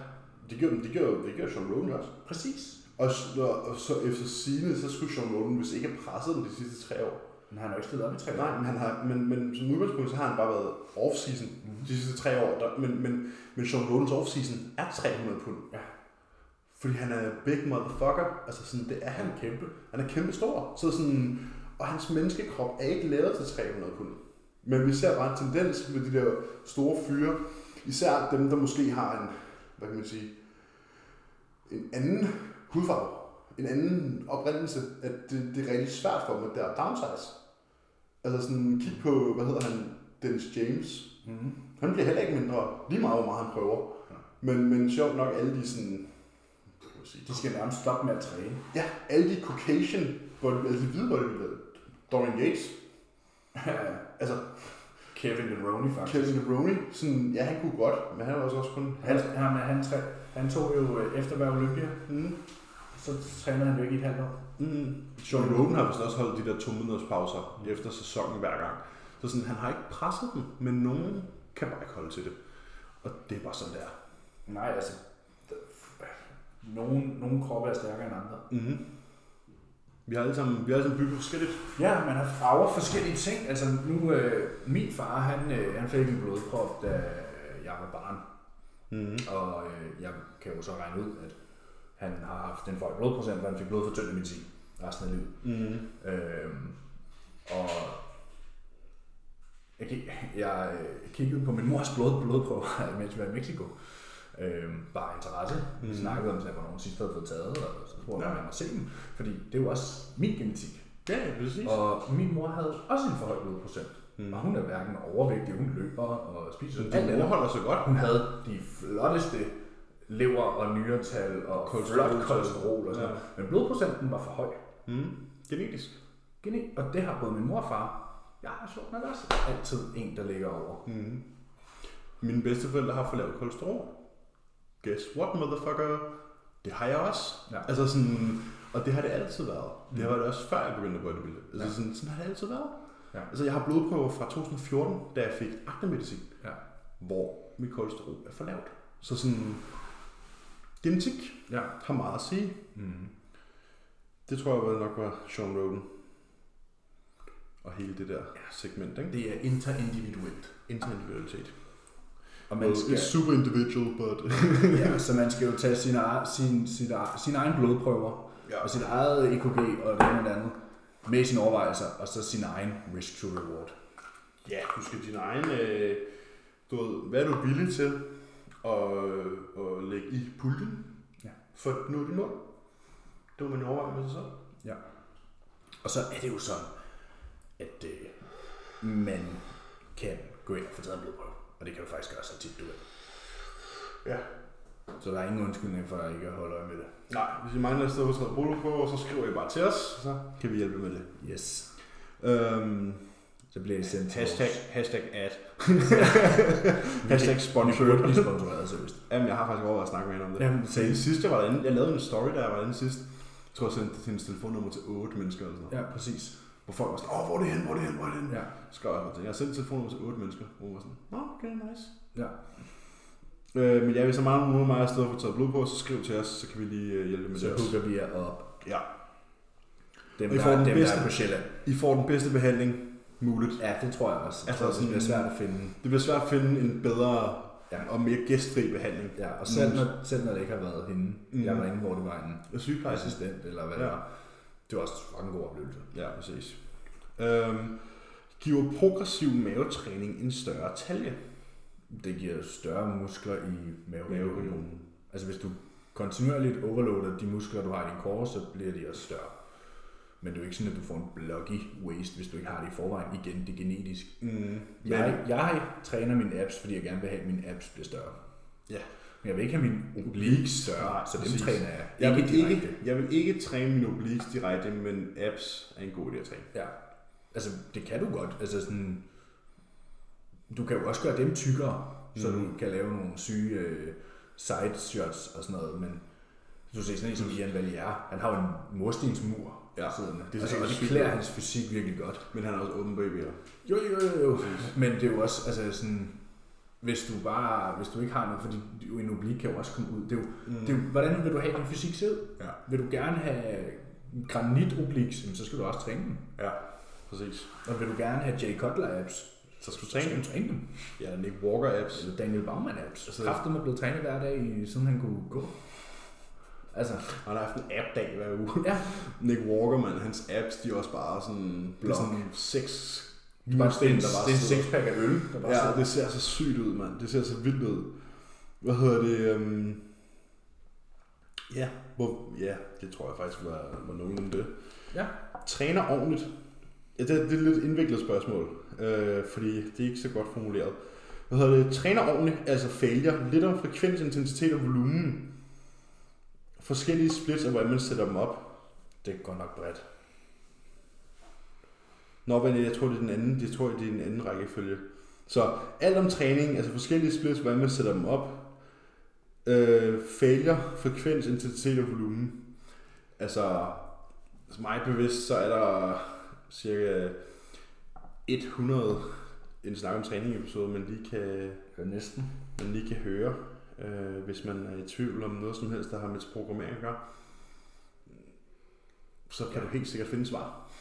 Speaker 2: det gjorde, det gjorde, det gjorde Sean Roden også.
Speaker 1: Præcis.
Speaker 2: Og, s- og, og så efter sine, så skulle Sean Roden, hvis ikke have presset dem de sidste tre år.
Speaker 1: Men han har jo ikke stillet op i tre år.
Speaker 2: Nej, men, han har, men, men som udgangspunkt, så har han bare været off-season
Speaker 1: Mhm.
Speaker 2: mm-hmm. de sidste tre år. Der, men, men, men Sean Rodens off-season er 300 pund.
Speaker 1: Ja.
Speaker 2: Fordi han er big motherfucker. Altså sådan, det er han.
Speaker 1: Han er kæmpe.
Speaker 2: Han er kæmpe stor. Så sådan, og hans menneskekrop er ikke lavet til 300 pund. Men vi ser bare en tendens med de der store fyre. Især dem, der måske har en, hvad kan man sige, en anden hudfarve. En anden oprindelse. At det, det er rigtig svært for dem, at det er downsize. Altså sådan, kig på, hvad hedder han, Dennis James.
Speaker 1: Mm-hmm.
Speaker 2: Han bliver heller ikke mindre, lige meget hvor meget han prøver. Men, men sjovt nok, alle de sådan, hvad kan man sige,
Speaker 1: De skal nærmest stoppe med at træne.
Speaker 2: Ja, alle de Caucasian, hvor altså de hvide bodybuildere. Dorian Yates, altså
Speaker 1: Kevin Roney faktisk.
Speaker 2: Kevin Neroni, sådan, ja, han kunne godt, men han var også, også kun...
Speaker 1: Han, han, han, træ, han tog jo øh, efter hver Olympia,
Speaker 2: Mm.
Speaker 1: så træner han jo ikke i et halvt år.
Speaker 2: Mm. Sean Roden har vist også holdt de der to måneders pauser
Speaker 1: Mm.
Speaker 2: efter sæsonen hver gang. Så sådan, han har ikke presset dem, men nogen kan bare ikke holde til det. Og det er bare sådan, der.
Speaker 1: Nej, altså... d- Nogen, nogen kroppe er stærkere end andre.
Speaker 2: Mm. Vi har alle sammen, vi har alle sammen bygget forskelligt.
Speaker 1: Ja, man har farver forskellige ting. Altså nu, øh, min far, han, øh, han fik en blodprop, da jeg var barn.
Speaker 2: Mm-hmm.
Speaker 1: Og øh, jeg kan jo så regne ud, at han har haft en høj blodprocent, hvor han fik blodfortyndende medicin resten af livet.
Speaker 2: Mm-hmm.
Speaker 1: Øhm, og jeg, gik- jeg øh, kiggede på min mors blod, blodprøver, [LAUGHS] mens vi var i Mexico. Øhm, bare interesse. Vi
Speaker 2: Mhm.
Speaker 1: snakkede om, at hvornår hun sidst havde fået taget, og så spurgte jeg,
Speaker 2: Ja.
Speaker 1: om jeg måtte se dem. Fordi det er jo også min genetik.
Speaker 2: Ja, præcis. Og,
Speaker 1: Og min mor havde også en for høj blodprocent.
Speaker 2: Mhm.
Speaker 1: Og hun er hverken overvægtig, hun løber og spiser
Speaker 2: din mor holder sig godt.
Speaker 1: Hun havde de flotteste lever- og nyretal og
Speaker 2: Kolesterol-
Speaker 1: flot kolesterol og sådan
Speaker 2: Ja.
Speaker 1: ja. Men blodprocenten var for høj.
Speaker 2: Mm. Genetisk.
Speaker 1: Geni, og det har både min mor og far. Jeg har sjovt nok også altid en, der ligger over.
Speaker 2: Mm. Mine bedsteforældre har for lavt kolesterol. Guess what, motherfucker? Det har jeg også.
Speaker 1: Ja. Mhm.
Speaker 2: Altså sådan, og det har det altid været. Det var det også før jeg begyndte at bodybuilde. Altså ja. sådan, sådan har det altid været.
Speaker 1: Ja.
Speaker 2: Altså jeg har blodprøver fra 2014, da jeg fik aknemedicin,
Speaker 1: Ja.
Speaker 2: hvor mit kolesterol er for lavt. Så sådan, genetik
Speaker 1: ja.
Speaker 2: har meget at sige.
Speaker 1: Mm.
Speaker 2: Det tror jeg vel nok var Sean Roden. Og hele det der segment, ikke?
Speaker 1: Det er interindividuelt.
Speaker 2: Interindividualitet.
Speaker 1: Og
Speaker 2: Well,
Speaker 1: man skal,
Speaker 2: it's super individual, but...
Speaker 1: ja, så man skal jo tage sin, egen- sin, sin, sin egen blodprøver
Speaker 2: Ja.
Speaker 1: og sit eget EKG og det ene og det andet med sine overvejelser, og så sin egen risk to reward.
Speaker 2: Ja, du skal din egen... Øh, du ved, hvad er du villig til at, øh, at lægge i puljen?
Speaker 1: Ja.
Speaker 2: For at nå dit mål. Det må man jo overveje med sig selv.
Speaker 1: Ja. Og så er det jo sådan, at øh, man kan gå ind og få taget en blodprøve. Og det kan du faktisk gøre så tit, du vil.
Speaker 2: Ja.
Speaker 1: Så der er ingen undskyldning for ikke at holde øje med det.
Speaker 2: Nej, hvis I mangler et sted, hvor der er på, så skriver I bare til os, så kan vi hjælpe med det.
Speaker 1: Yes.
Speaker 2: Øhm,
Speaker 1: Så bliver det sendt
Speaker 2: hashtag ad.
Speaker 1: Hashtag
Speaker 2: hashtag
Speaker 1: sponsoreret. Vi
Speaker 2: sponsored.
Speaker 1: bliver sponsoreret, seriøst.
Speaker 2: Jamen, jeg har faktisk overvejet at snakke med hende om det.
Speaker 1: Jamen,
Speaker 2: Til
Speaker 1: seriøst.
Speaker 2: sidst, jeg var derinde, jeg lavede en story, da jeg var derinde sidst. Jeg tror, jeg sendte hendes telefonnummer til 8 mennesker eller sådan noget.
Speaker 1: Ja, præcis.
Speaker 2: Hvor folk var sådan, åh, hvor er det hen, hvor er det hen, hvor er det hen? [LAUGHS]
Speaker 1: Ja.
Speaker 2: Så skrev jeg bare til. Jeg har sendt telefonen til otte mennesker. Og hun var sådan, nå, okay, nice.
Speaker 1: Ja.
Speaker 2: Øh, men ja, hvis der er meget nogen af mig, der har taget blod på, så skriv til os, så kan vi lige øh, hjælpe med
Speaker 1: Så
Speaker 2: det. også.
Speaker 1: hooker vi jer op.
Speaker 2: Ja.
Speaker 1: Dem,
Speaker 2: Vi
Speaker 1: der,
Speaker 2: får den
Speaker 1: dem, der
Speaker 2: bedste.
Speaker 1: er på Sjælland.
Speaker 2: I får den bedste behandling muligt.
Speaker 1: Ja, det tror jeg også. Jeg
Speaker 2: Altså
Speaker 1: tror, det
Speaker 2: sådan-
Speaker 1: bliver svært at finde.
Speaker 2: Det bliver svært at finde en bedre
Speaker 1: Ja.
Speaker 2: og mere gæstfri behandling.
Speaker 1: Ja, og selv når, selv når det ikke har været hende.
Speaker 2: Mm.
Speaker 1: Mm. Jeg var inde, hvor det var en
Speaker 2: Og sygeplejerske.
Speaker 1: assistent, eller hvad
Speaker 2: Ja.
Speaker 1: det var. Det var også en god oplevelse.
Speaker 2: Ja, præcis. Øhm, giver progressiv mavetræning en større talje?
Speaker 1: Det giver større muskler i maveregionen.
Speaker 2: Maveregionen.
Speaker 1: Altså hvis du kontinuerligt overloader de muskler, du har i din core, så bliver de også større. Men det er jo ikke sådan, at du får en blocky waist, hvis du ikke har det i forvejen. Igen, det er genetisk.
Speaker 2: Mm. Men,
Speaker 1: Jeg, jeg træner mine abs, fordi jeg gerne vil have, at mine abs bliver større.
Speaker 2: ja.
Speaker 1: Men jeg vil ikke have mine obliques
Speaker 2: Nej,
Speaker 1: større, så dem
Speaker 2: præcis.
Speaker 1: træner jeg
Speaker 2: Jeg
Speaker 1: ikke
Speaker 2: vil ikke,
Speaker 1: direkte.
Speaker 2: jeg vil ikke træne mine obliques direkte, men abs er en god idé at træne.
Speaker 1: Ja. Altså, det kan du godt. Altså sådan, du kan jo også gøre dem tykkere, så du kan lave nogle syge øh, side shots og sådan noget, men du ser sådan en som Ian Valier, han har jo en murstensmur
Speaker 2: Ja,
Speaker 1: siddende. Det er
Speaker 2: det er
Speaker 1: altså,
Speaker 2: helt
Speaker 1: og det
Speaker 2: sygt.
Speaker 1: klæder hans fysik virkelig godt.
Speaker 2: Men han er også åben E baby'er.
Speaker 1: Jo, jo, jo. Men det er jo også, altså sådan, hvis du bare, hvis du ikke har noget, fordi du- en oblik kan jo også komme ud. Det er jo, mm. det er jo, hvordan vil du have din fysik se ud?
Speaker 2: Ja.
Speaker 1: Vil du gerne have granitobliks, jamen, så skal du også træne dem.
Speaker 2: Ja, præcis.
Speaker 1: Og vil du gerne have Jay Cutler apps,
Speaker 2: Så skal du
Speaker 1: så
Speaker 2: træne
Speaker 1: skal
Speaker 2: dem.
Speaker 1: du træne dem.
Speaker 2: Ja, Nick Walker apps.
Speaker 1: Eller Daniel Bauman apps.
Speaker 2: Altså-
Speaker 1: Altså, Kraften er blevet trænet hver dag, i- siden han kunne gå. Altså,
Speaker 2: Han har haft en app-dag hver uge.
Speaker 1: ja.
Speaker 2: [LAUGHS] Nick Walker, mand, hans apps, de er også bare sådan... Det er
Speaker 1: Blok.
Speaker 2: sådan seks...
Speaker 1: Det er, bare, det er, en,
Speaker 2: mursten, der
Speaker 1: det er en
Speaker 2: sidder.
Speaker 1: sixpack af øl, der bare
Speaker 2: Ja, det ser så sygt ud, mand. Det ser så vildt ud. Hvad hedder det? Um... Ja, hvor... ja, det tror jeg faktisk var, var nogenlunde det.
Speaker 1: ja.
Speaker 2: Træner ordentligt. Ja, det, er- det er et lidt indviklet spørgsmål, øh, fordi det er ikke så godt formuleret. Hvad hedder det? Træner ordentligt, altså failure. Lidt om frekvens, intensitet og volumen. Forskellige splits og hvordan man sætter dem op.
Speaker 1: Det er godt nok bredt.
Speaker 2: Nå, men jeg tror, det er den anden, det tror jeg, det er den anden rækkefølge. Så alt om træning, altså forskellige splits, hvordan man sætter dem op, øh, failure, frekvens, intensitet og volumen. Altså, så meget bevidst, så er der cirka 100 en snak om træning episode, man lige kan,
Speaker 1: Ja, næsten.
Speaker 2: man lige kan høre, øh, hvis man er i tvivl om noget som helst, der har med programmering at gøre. så kan du helt sikkert finde svar.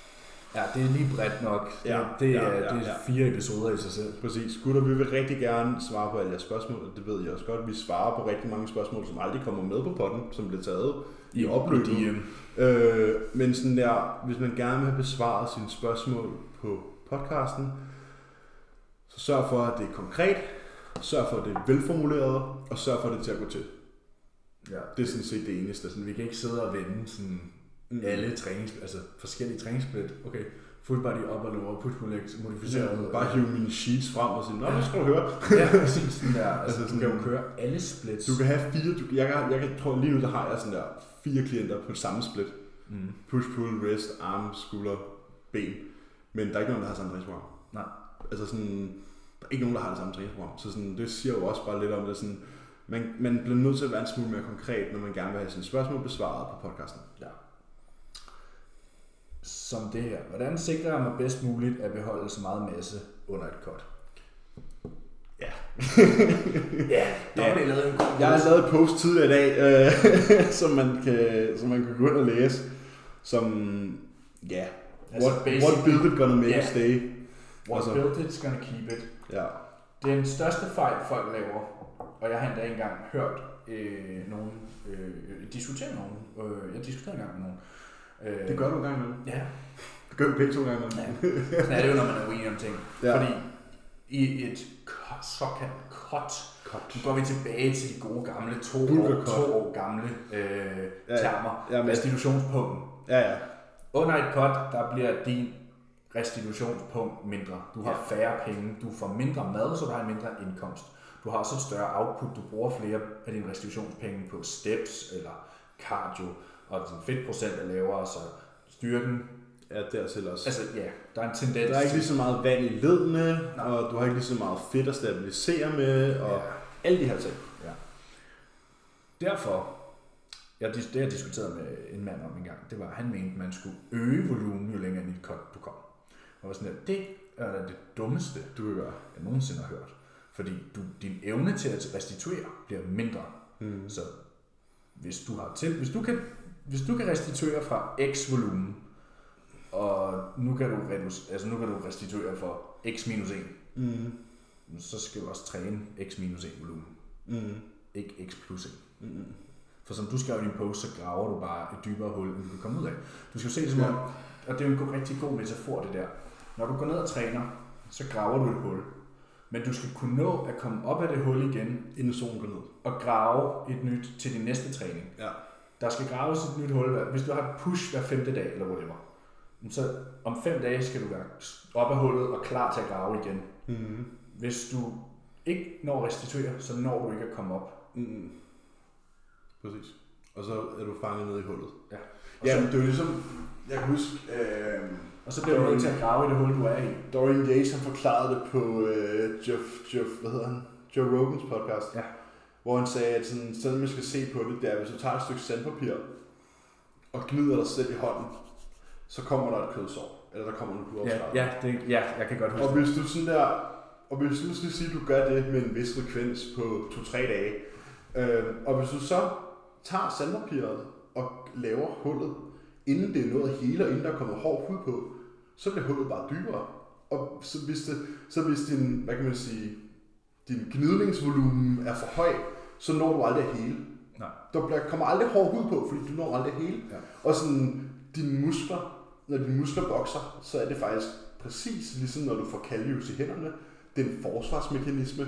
Speaker 1: Ja, det er lige bredt nok.
Speaker 2: Ja,
Speaker 1: det, det,
Speaker 2: ja,
Speaker 1: er,
Speaker 2: ja,
Speaker 1: det er
Speaker 2: ja.
Speaker 1: fire episoder i sig selv.
Speaker 2: Præcis. Gutter, vi vil rigtig gerne svare på alle jeres spørgsmål, og det ved jeg også godt. Vi svarer på rigtig mange spørgsmål, som aldrig kommer med på potten, som bliver taget i, opløbet.
Speaker 1: DM.
Speaker 2: Øh, men sådan der, hvis man gerne vil have besvaret sine spørgsmål på podcasten, så sørg for, at det er konkret, sørg for, at det er velformuleret, og sørg for, at det er til at gå til.
Speaker 1: Ja.
Speaker 2: Det er sådan set det eneste.
Speaker 1: Sådan, vi kan ikke sidde og vende sådan mm. alle trænings, altså forskellige træningssplit. Okay, full body op og lower, push pull legs, modificeret.
Speaker 2: Jeg bare hive mine sheets frem og sige, nå, det skal du høre.
Speaker 1: Ja, præcis sådan der. Altså,
Speaker 2: Altså,
Speaker 1: du kan jo
Speaker 2: sådan-
Speaker 1: køre alle splits.
Speaker 2: Du kan have fire, du, jeg, kan, jeg kan, tror lige nu, der har jeg sådan der fire klienter på samme split.
Speaker 1: Mm.
Speaker 2: Push, pull, wrist, arm, skulder, ben. Men der er ikke nogen, der har samme træningsprogram.
Speaker 1: Nej.
Speaker 2: Altså sådan, der er ikke nogen, der har det samme træningsprogram. Så sådan, det siger jo også bare lidt om, at sådan, man, man bliver nødt til at være en smule mere konkret, når man gerne vil have sine spørgsmål besvaret på podcasten.
Speaker 1: Ja. Som det her. Hvordan sikrer jeg mig bedst muligt at beholde så meget masse under et cut?
Speaker 2: Ja.
Speaker 1: [LAUGHS] ja, der var det lavet en god
Speaker 2: Jeg har lavet et post tidligere i dag, øh, [LAUGHS] som, man kan, som man kan gå ind og læse, som, ja, yeah,
Speaker 1: Altså,
Speaker 2: what,
Speaker 1: basic-
Speaker 2: what build it gonna make
Speaker 1: Ja.
Speaker 2: us stay.
Speaker 1: What
Speaker 2: altså-
Speaker 1: built it's gonna keep it.
Speaker 2: Ja.
Speaker 1: Det er den største fejl, folk laver, og jeg har endda engang hørt øh, nogen øh, diskutere nogen. Øh, jeg diskuterede engang med nogen. Øh,
Speaker 2: Det gør du en gang imellem.
Speaker 1: Ja,
Speaker 2: Det gør vi begge to gange imellem.
Speaker 1: sådan er det jo, når man er uenig om ting.
Speaker 2: Ja.
Speaker 1: Ja. Fordi i et cut- såkaldt cut,
Speaker 2: Godt.
Speaker 1: nu går vi tilbage til de gode gamle, to,
Speaker 2: Bulker
Speaker 1: år,
Speaker 2: cut.
Speaker 1: to år gamle øh,
Speaker 2: Ja, ja.
Speaker 1: termer,
Speaker 2: Ja, men-
Speaker 1: restitutionspunkten.
Speaker 2: Ja, ja.
Speaker 1: Under et cut, der bliver din restitutionspunkt mindre. Du har færre penge, du får mindre mad, så du har en mindre indkomst. Du har også et større output, du bruger flere af dine restitutionspenge på steps eller cardio, og din fedtprocent er lavere, så styrken,
Speaker 2: Ja, dertil også.
Speaker 1: altså ja, der er en tendens
Speaker 2: Der er ikke
Speaker 1: til-
Speaker 2: lige så meget vand i ledene, og du har ikke lige så meget fedt at stabilisere med, og alle de her ting.
Speaker 1: Ja. Derfor, jeg, dis- det jeg diskuterede med en mand om en gang, det var, at han mente, at man skulle øge volumen, jo længere ned cut du kom. Og jeg var sådan, at det er da det dummeste, du kan gøre, jeg nogensinde har hørt. Fordi du, din evne til at restituere bliver mindre. Mm. Så hvis du, har til, hvis, du kan, hvis du kan restituere fra x volumen, og nu kan du, reduc- altså nu kan du restituere for x minus 1,
Speaker 2: Mm.
Speaker 1: så skal du også træne x minus 1 volumen
Speaker 2: Mm.
Speaker 1: ikke x plus 1. Mm-hmm. For som du skrev i din post, så graver du bare et dybere hul, end du kan komme ud af. Du skal jo se det som om, og det er jo en god- rigtig god metafor det der. Når du går ned og træner, så graver du et hul. Men du skal kunne nå at komme op af det hul igen
Speaker 2: Inden solen går ned.
Speaker 1: og grave et nyt til din næste træning.
Speaker 2: Ja.
Speaker 1: Der skal graves et nyt hul. hver- Hvis du har et push hver femte dag, eller whatever, så om fem dage skal du være op af hullet og klar til at grave igen.
Speaker 2: Mm.
Speaker 1: Hvis du ikke når at restituere, så når du ikke at komme op.
Speaker 2: Mm. Præcis. Og så er du fanget ned i hullet.
Speaker 1: Ja.
Speaker 2: Og ja, så, det er jo ligesom, jeg kan huske, øh,
Speaker 1: Og så bliver du nødt til at grave i det hul, du er i.
Speaker 2: Dorian Yates han forklarede det på øh, Jeff, Jeff, hvad hedder han? Joe Rogans podcast.
Speaker 1: Ja.
Speaker 2: Hvor han sagde, at sådan, sådan man skal se på det, det er, hvis du tager et stykke sandpapir og gnider dig selv i hånden, så kommer der et kødsår. Eller der kommer en blodopslag.
Speaker 1: Ja, ja, det, ja, jeg kan godt huske
Speaker 2: Og
Speaker 1: det.
Speaker 2: hvis du sådan der, og hvis du skal sige, at du gør det med en vis frekvens på 2-3 dage, øh, og hvis du så tager sandpapiret og laver hullet, inden det er nået at hele, og inden der er kommet hård hud på, så bliver hullet bare dybere. Og så hvis, det, så hvis din, hvad kan man sige, din gnidningsvolumen er for høj, så når du aldrig at hele.
Speaker 1: Nej.
Speaker 2: Der bliver, kommer aldrig hård hud på, fordi du når aldrig at hele.
Speaker 1: Ja.
Speaker 2: Og sådan, dine muskler, når dine muskler vokser, så er det faktisk præcis ligesom når du får kalius i hænderne. Det er en forsvarsmekanisme.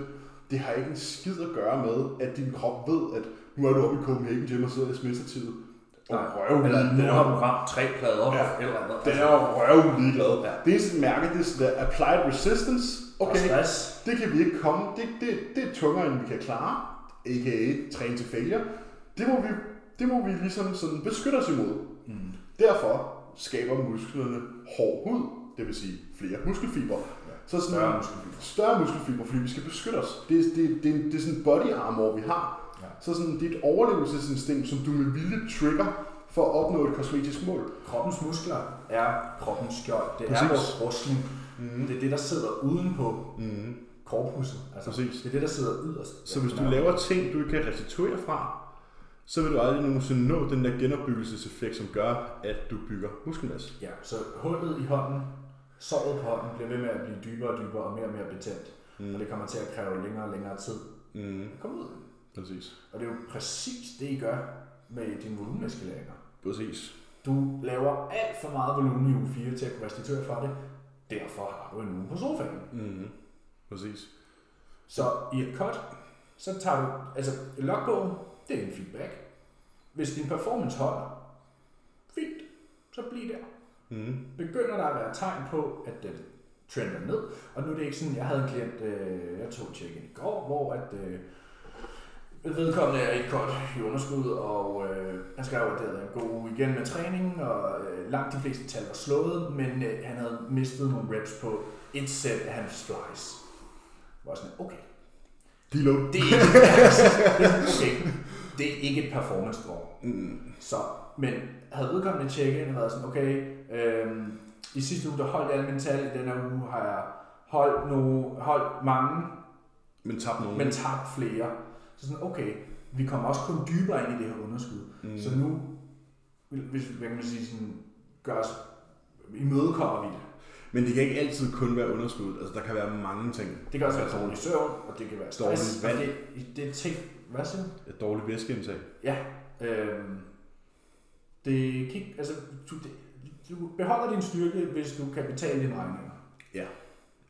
Speaker 2: Det har ikke en skid at gøre med, at din krop ved, at nu er du oppe i Copenhagen Gym og sidder i smistertid. Og røv,
Speaker 1: Eller
Speaker 2: den
Speaker 1: nu har du
Speaker 2: er,
Speaker 1: ramt tre plader.
Speaker 2: Ja.
Speaker 1: Eller andet.
Speaker 2: den er jo røv ligeglad. Det eneste den mærker, det er sådan der, applied resistance.
Speaker 1: Og
Speaker 2: Okay,
Speaker 1: stress.
Speaker 2: det kan vi ikke komme. Det, det, det er tungere, end vi kan klare. A.k.a. træne til failure. Det må vi, det må vi ligesom sådan beskytte os imod. Mm. Derfor skaber musklerne hård hud. Det vil sige flere muskelfiber. Ja, så sådan,
Speaker 1: større muskelfibre.
Speaker 2: Større muskelfiber, fordi vi skal beskytte os. Det, er- det, er- det, er en- det er sådan en body armor, vi har.
Speaker 1: Ja.
Speaker 2: Så sådan, det er et overlevelsesinstinkt, som du med vilje trigger for at opnå et kosmetisk mål.
Speaker 1: Kroppens muskler er kroppens skjold. Det
Speaker 2: Præcis.
Speaker 1: er vores rustning. Mm. Det er det, der sidder udenpå mm. korpuset. Altså,
Speaker 2: Præcis.
Speaker 1: Det er det, der sidder yderst.
Speaker 2: Så hvis du laver ting, du ikke kan restituere fra, så vil du aldrig nogensinde nå den der genopbyggelseseffekt, som gør, at du bygger muskelmasse.
Speaker 1: Ja, så hullet i hånden, såret på hånden, bliver ved med at blive dybere og dybere og mere og mere betændt. Mm. Og det kommer til at kræve længere og længere tid
Speaker 2: Mm,
Speaker 1: at komme ud.
Speaker 2: præcis.
Speaker 1: Og det er jo præcis det, I gør med dine volumeneskaleringer.
Speaker 2: Præcis.
Speaker 1: Du laver alt for meget volumen i uge 4 til at kunne restituere fra det. Derfor har du en uge på sofaen.
Speaker 2: Mm, præcis.
Speaker 1: Så i et cut, så tager du... Altså, logbogen, det er en feedback. Hvis din performance holder, fint, så bliv der. Mm-hmm.
Speaker 2: Mm,
Speaker 1: begynder der at være tegn på, at den trender ned. Og nu er det ikke sådan, jeg havde en klient, øh, jeg tog tjek i går, hvor at, øh, vedkommende er ikke godt i underskud, og øh, han skrev, at det havde været en god uge igen med træningen, og øh, langt de fleste tal var slået, men øh, han havde mistet nogle reps på et sæt af hans flies. Jeg var sådan, okay,
Speaker 2: Deload.
Speaker 1: det er ikke, [LAUGHS] okay, det er ikke et performance draw.
Speaker 2: Mm,
Speaker 1: Så, men havde vedkommende tjekket ind og været sådan, okay, øhm, i sidste uge, der holdt jeg alle mine tal, i denne uge har jeg holdt, no, holdt mange,
Speaker 2: men tab nogen.
Speaker 1: men tabt flere. Så sådan, okay, vi kommer også kun dybere ind i det her underskud. Mm.
Speaker 2: Mm-hmm.
Speaker 1: Så nu, hvis, hvad kan man sige, sådan, gør os, imødekommer vi det.
Speaker 2: Men det kan ikke altid kun være underskud. Altså, der kan være mange ting.
Speaker 1: Det kan også være dårlig søvn, og det kan være
Speaker 2: Dårlig
Speaker 1: stress. og
Speaker 2: vand.
Speaker 1: Det, det er ting, hvad siger du?
Speaker 2: Et dårligt væskeindtag.
Speaker 1: Ja, øhm, det kan ikke, altså, du, det, du beholder din styrke, hvis du kan betale dine regninger
Speaker 2: Ja.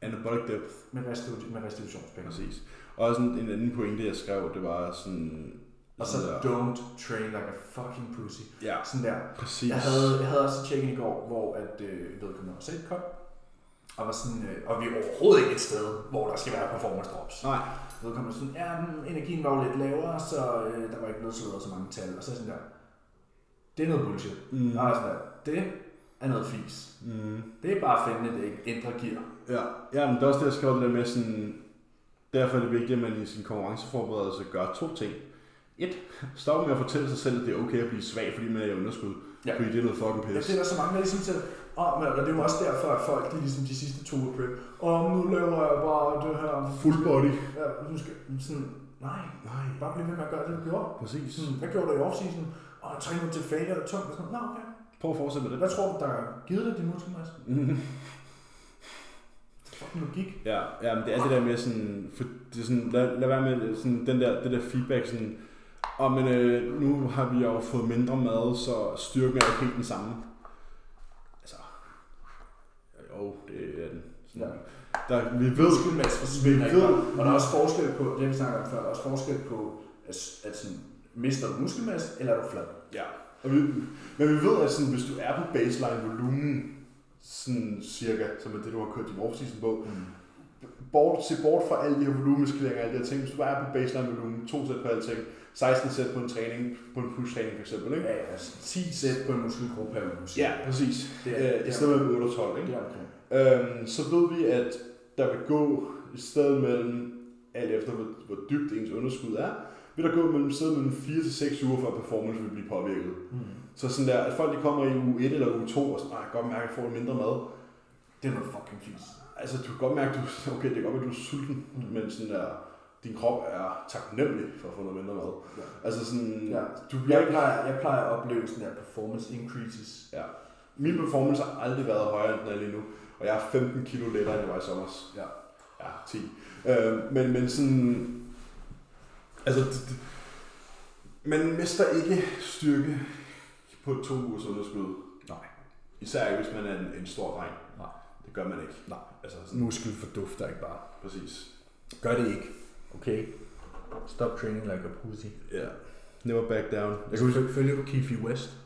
Speaker 2: Anabolic depth.
Speaker 1: med, restitu- med restitutionspenge.
Speaker 2: Præcis. Og sådan en anden pointe, jeg skrev, det var sådan...
Speaker 1: Og så
Speaker 2: sådan
Speaker 1: don't train like a fucking pussy.
Speaker 2: Ja,
Speaker 1: Sådan der.
Speaker 2: præcis.
Speaker 1: Jeg havde, jeg havde også tjekket i går, hvor at øh, vedkommende også selv kom. Og, var sådan, øh, og vi er overhovedet ikke et sted, hvor der skal være performance drops.
Speaker 2: Nej.
Speaker 1: Vedkommende sådan, ja, men energien var jo lidt lavere, så øh, der var ikke blevet slået så mange tal. Og så sådan der, det er noget bullshit.
Speaker 2: Mm.
Speaker 1: Mm. Og jeg er sådan der, det er noget fis.
Speaker 2: Mm.
Speaker 1: Det er bare at finde det ændre gear.
Speaker 2: Ja, ja men det er også det, jeg skrev det der med sådan... Derfor er det vigtigt, at man i sin konkurrenceforberedelse gør to ting. Et, stop med at fortælle sig selv, at det er okay at blive svag, fordi man er i underskud. Ja.
Speaker 1: Ja.
Speaker 2: Fordi det er noget fucking
Speaker 1: Jeg
Speaker 2: pis.
Speaker 1: ser der så mange, der ligesom til, og, men, og det er jo også derfor, at folk de, ligesom de sidste to uger prep, og nu laver jeg bare det her,
Speaker 2: Full body.
Speaker 1: ja, nu skal sådan, nej,
Speaker 2: Nej,
Speaker 1: bare blive ved med at gøre det, du gjorde.
Speaker 2: præcis.
Speaker 1: Sådan, hvad gjorde du i offseason? Og jeg trænede til failure og tungt og sådan, nå okay.
Speaker 2: Prøv at fortsætte med det.
Speaker 1: Hvad tror du, der har givet dig din muskelmasse?
Speaker 2: Mhm.
Speaker 1: Det er fucking logik.
Speaker 2: Ja, ja men det er altså det der med sådan, for, det er sådan lad, lad være med sådan, den der, det der feedback sådan, og men øh, nu har vi jo fået mindre mad, så styrken er ikke helt den samme. Altså, jo, det er den. Sådan, ja.
Speaker 1: Ja.
Speaker 2: der, vi ved,
Speaker 1: Muskelmasse forsvinder ikke. bare. Og der er også forskel på, det vi snakker om før, der er også forskel på, at, at sådan, mister du muskelmasse, eller er du flad?
Speaker 2: ja,
Speaker 4: Og vi, men vi ved, at sådan, hvis du er på baseline volumen, sådan cirka, som er det, du har kørt din off-season på,
Speaker 1: Mm.
Speaker 4: bort, se bort fra alle de her volumeskaleringer og alle de her ting, hvis du bare er på baseline volumen, to sæt på alle ting, 16 sæt på en træning, på en push-træning for eksempel, ikke?
Speaker 1: Ja, ja, altså 10 sæt på en muskelgruppe per uge.
Speaker 2: ja, præcis.
Speaker 1: det er,
Speaker 2: Øh, I stedet mellem 8 og 12, ikke?
Speaker 1: det er okay.
Speaker 2: Øhm, så ved vi, at der vil gå et sted mellem, alt efter hvor, hvor dybt ens underskud er, vil der gå mellem et sted mellem 4 til 6 uger, før performance vil blive påvirket.
Speaker 1: Mm.
Speaker 2: Så sådan der, at folk de kommer i uge 1 eller uge 2, og sådan, "Ej, jeg kan godt mærke, at jeg får lidt mindre mad.
Speaker 1: Det er noget fucking fint.
Speaker 2: Altså, du [LAUGHS] kan godt mærke, at du, okay, det kan godt være, at du er sulten, mm. men sådan der, din krop er taknemmelig for at få noget mindre mad.
Speaker 1: Ja.
Speaker 2: Altså sådan,
Speaker 1: Ja.
Speaker 2: du bliver
Speaker 1: Jeg
Speaker 2: ikke...
Speaker 1: plejer, jeg plejer at opleve sådan der performance increases.
Speaker 2: Ja. Min performance har aldrig været højere, end den er lige nu. Og jeg er 15 kilo lettere, end jeg var i sommer.
Speaker 1: Ja.
Speaker 2: Ja, 10. Øh, men, men sådan... Altså, det, det, man mister ikke styrke på to ugers underskud.
Speaker 1: Nej.
Speaker 2: Især ikke, hvis man er en, en stor dreng.
Speaker 1: Nej.
Speaker 2: Det gør man ikke.
Speaker 1: Nej.
Speaker 2: Altså, sådan,
Speaker 1: Muskel fordufter ikke bare.
Speaker 2: præcis.
Speaker 1: Gør det ikke. Okay. Stop training like a pussy.
Speaker 2: Ja. Never back down. Jeg kan huske,
Speaker 1: Følger følge du Keefe West?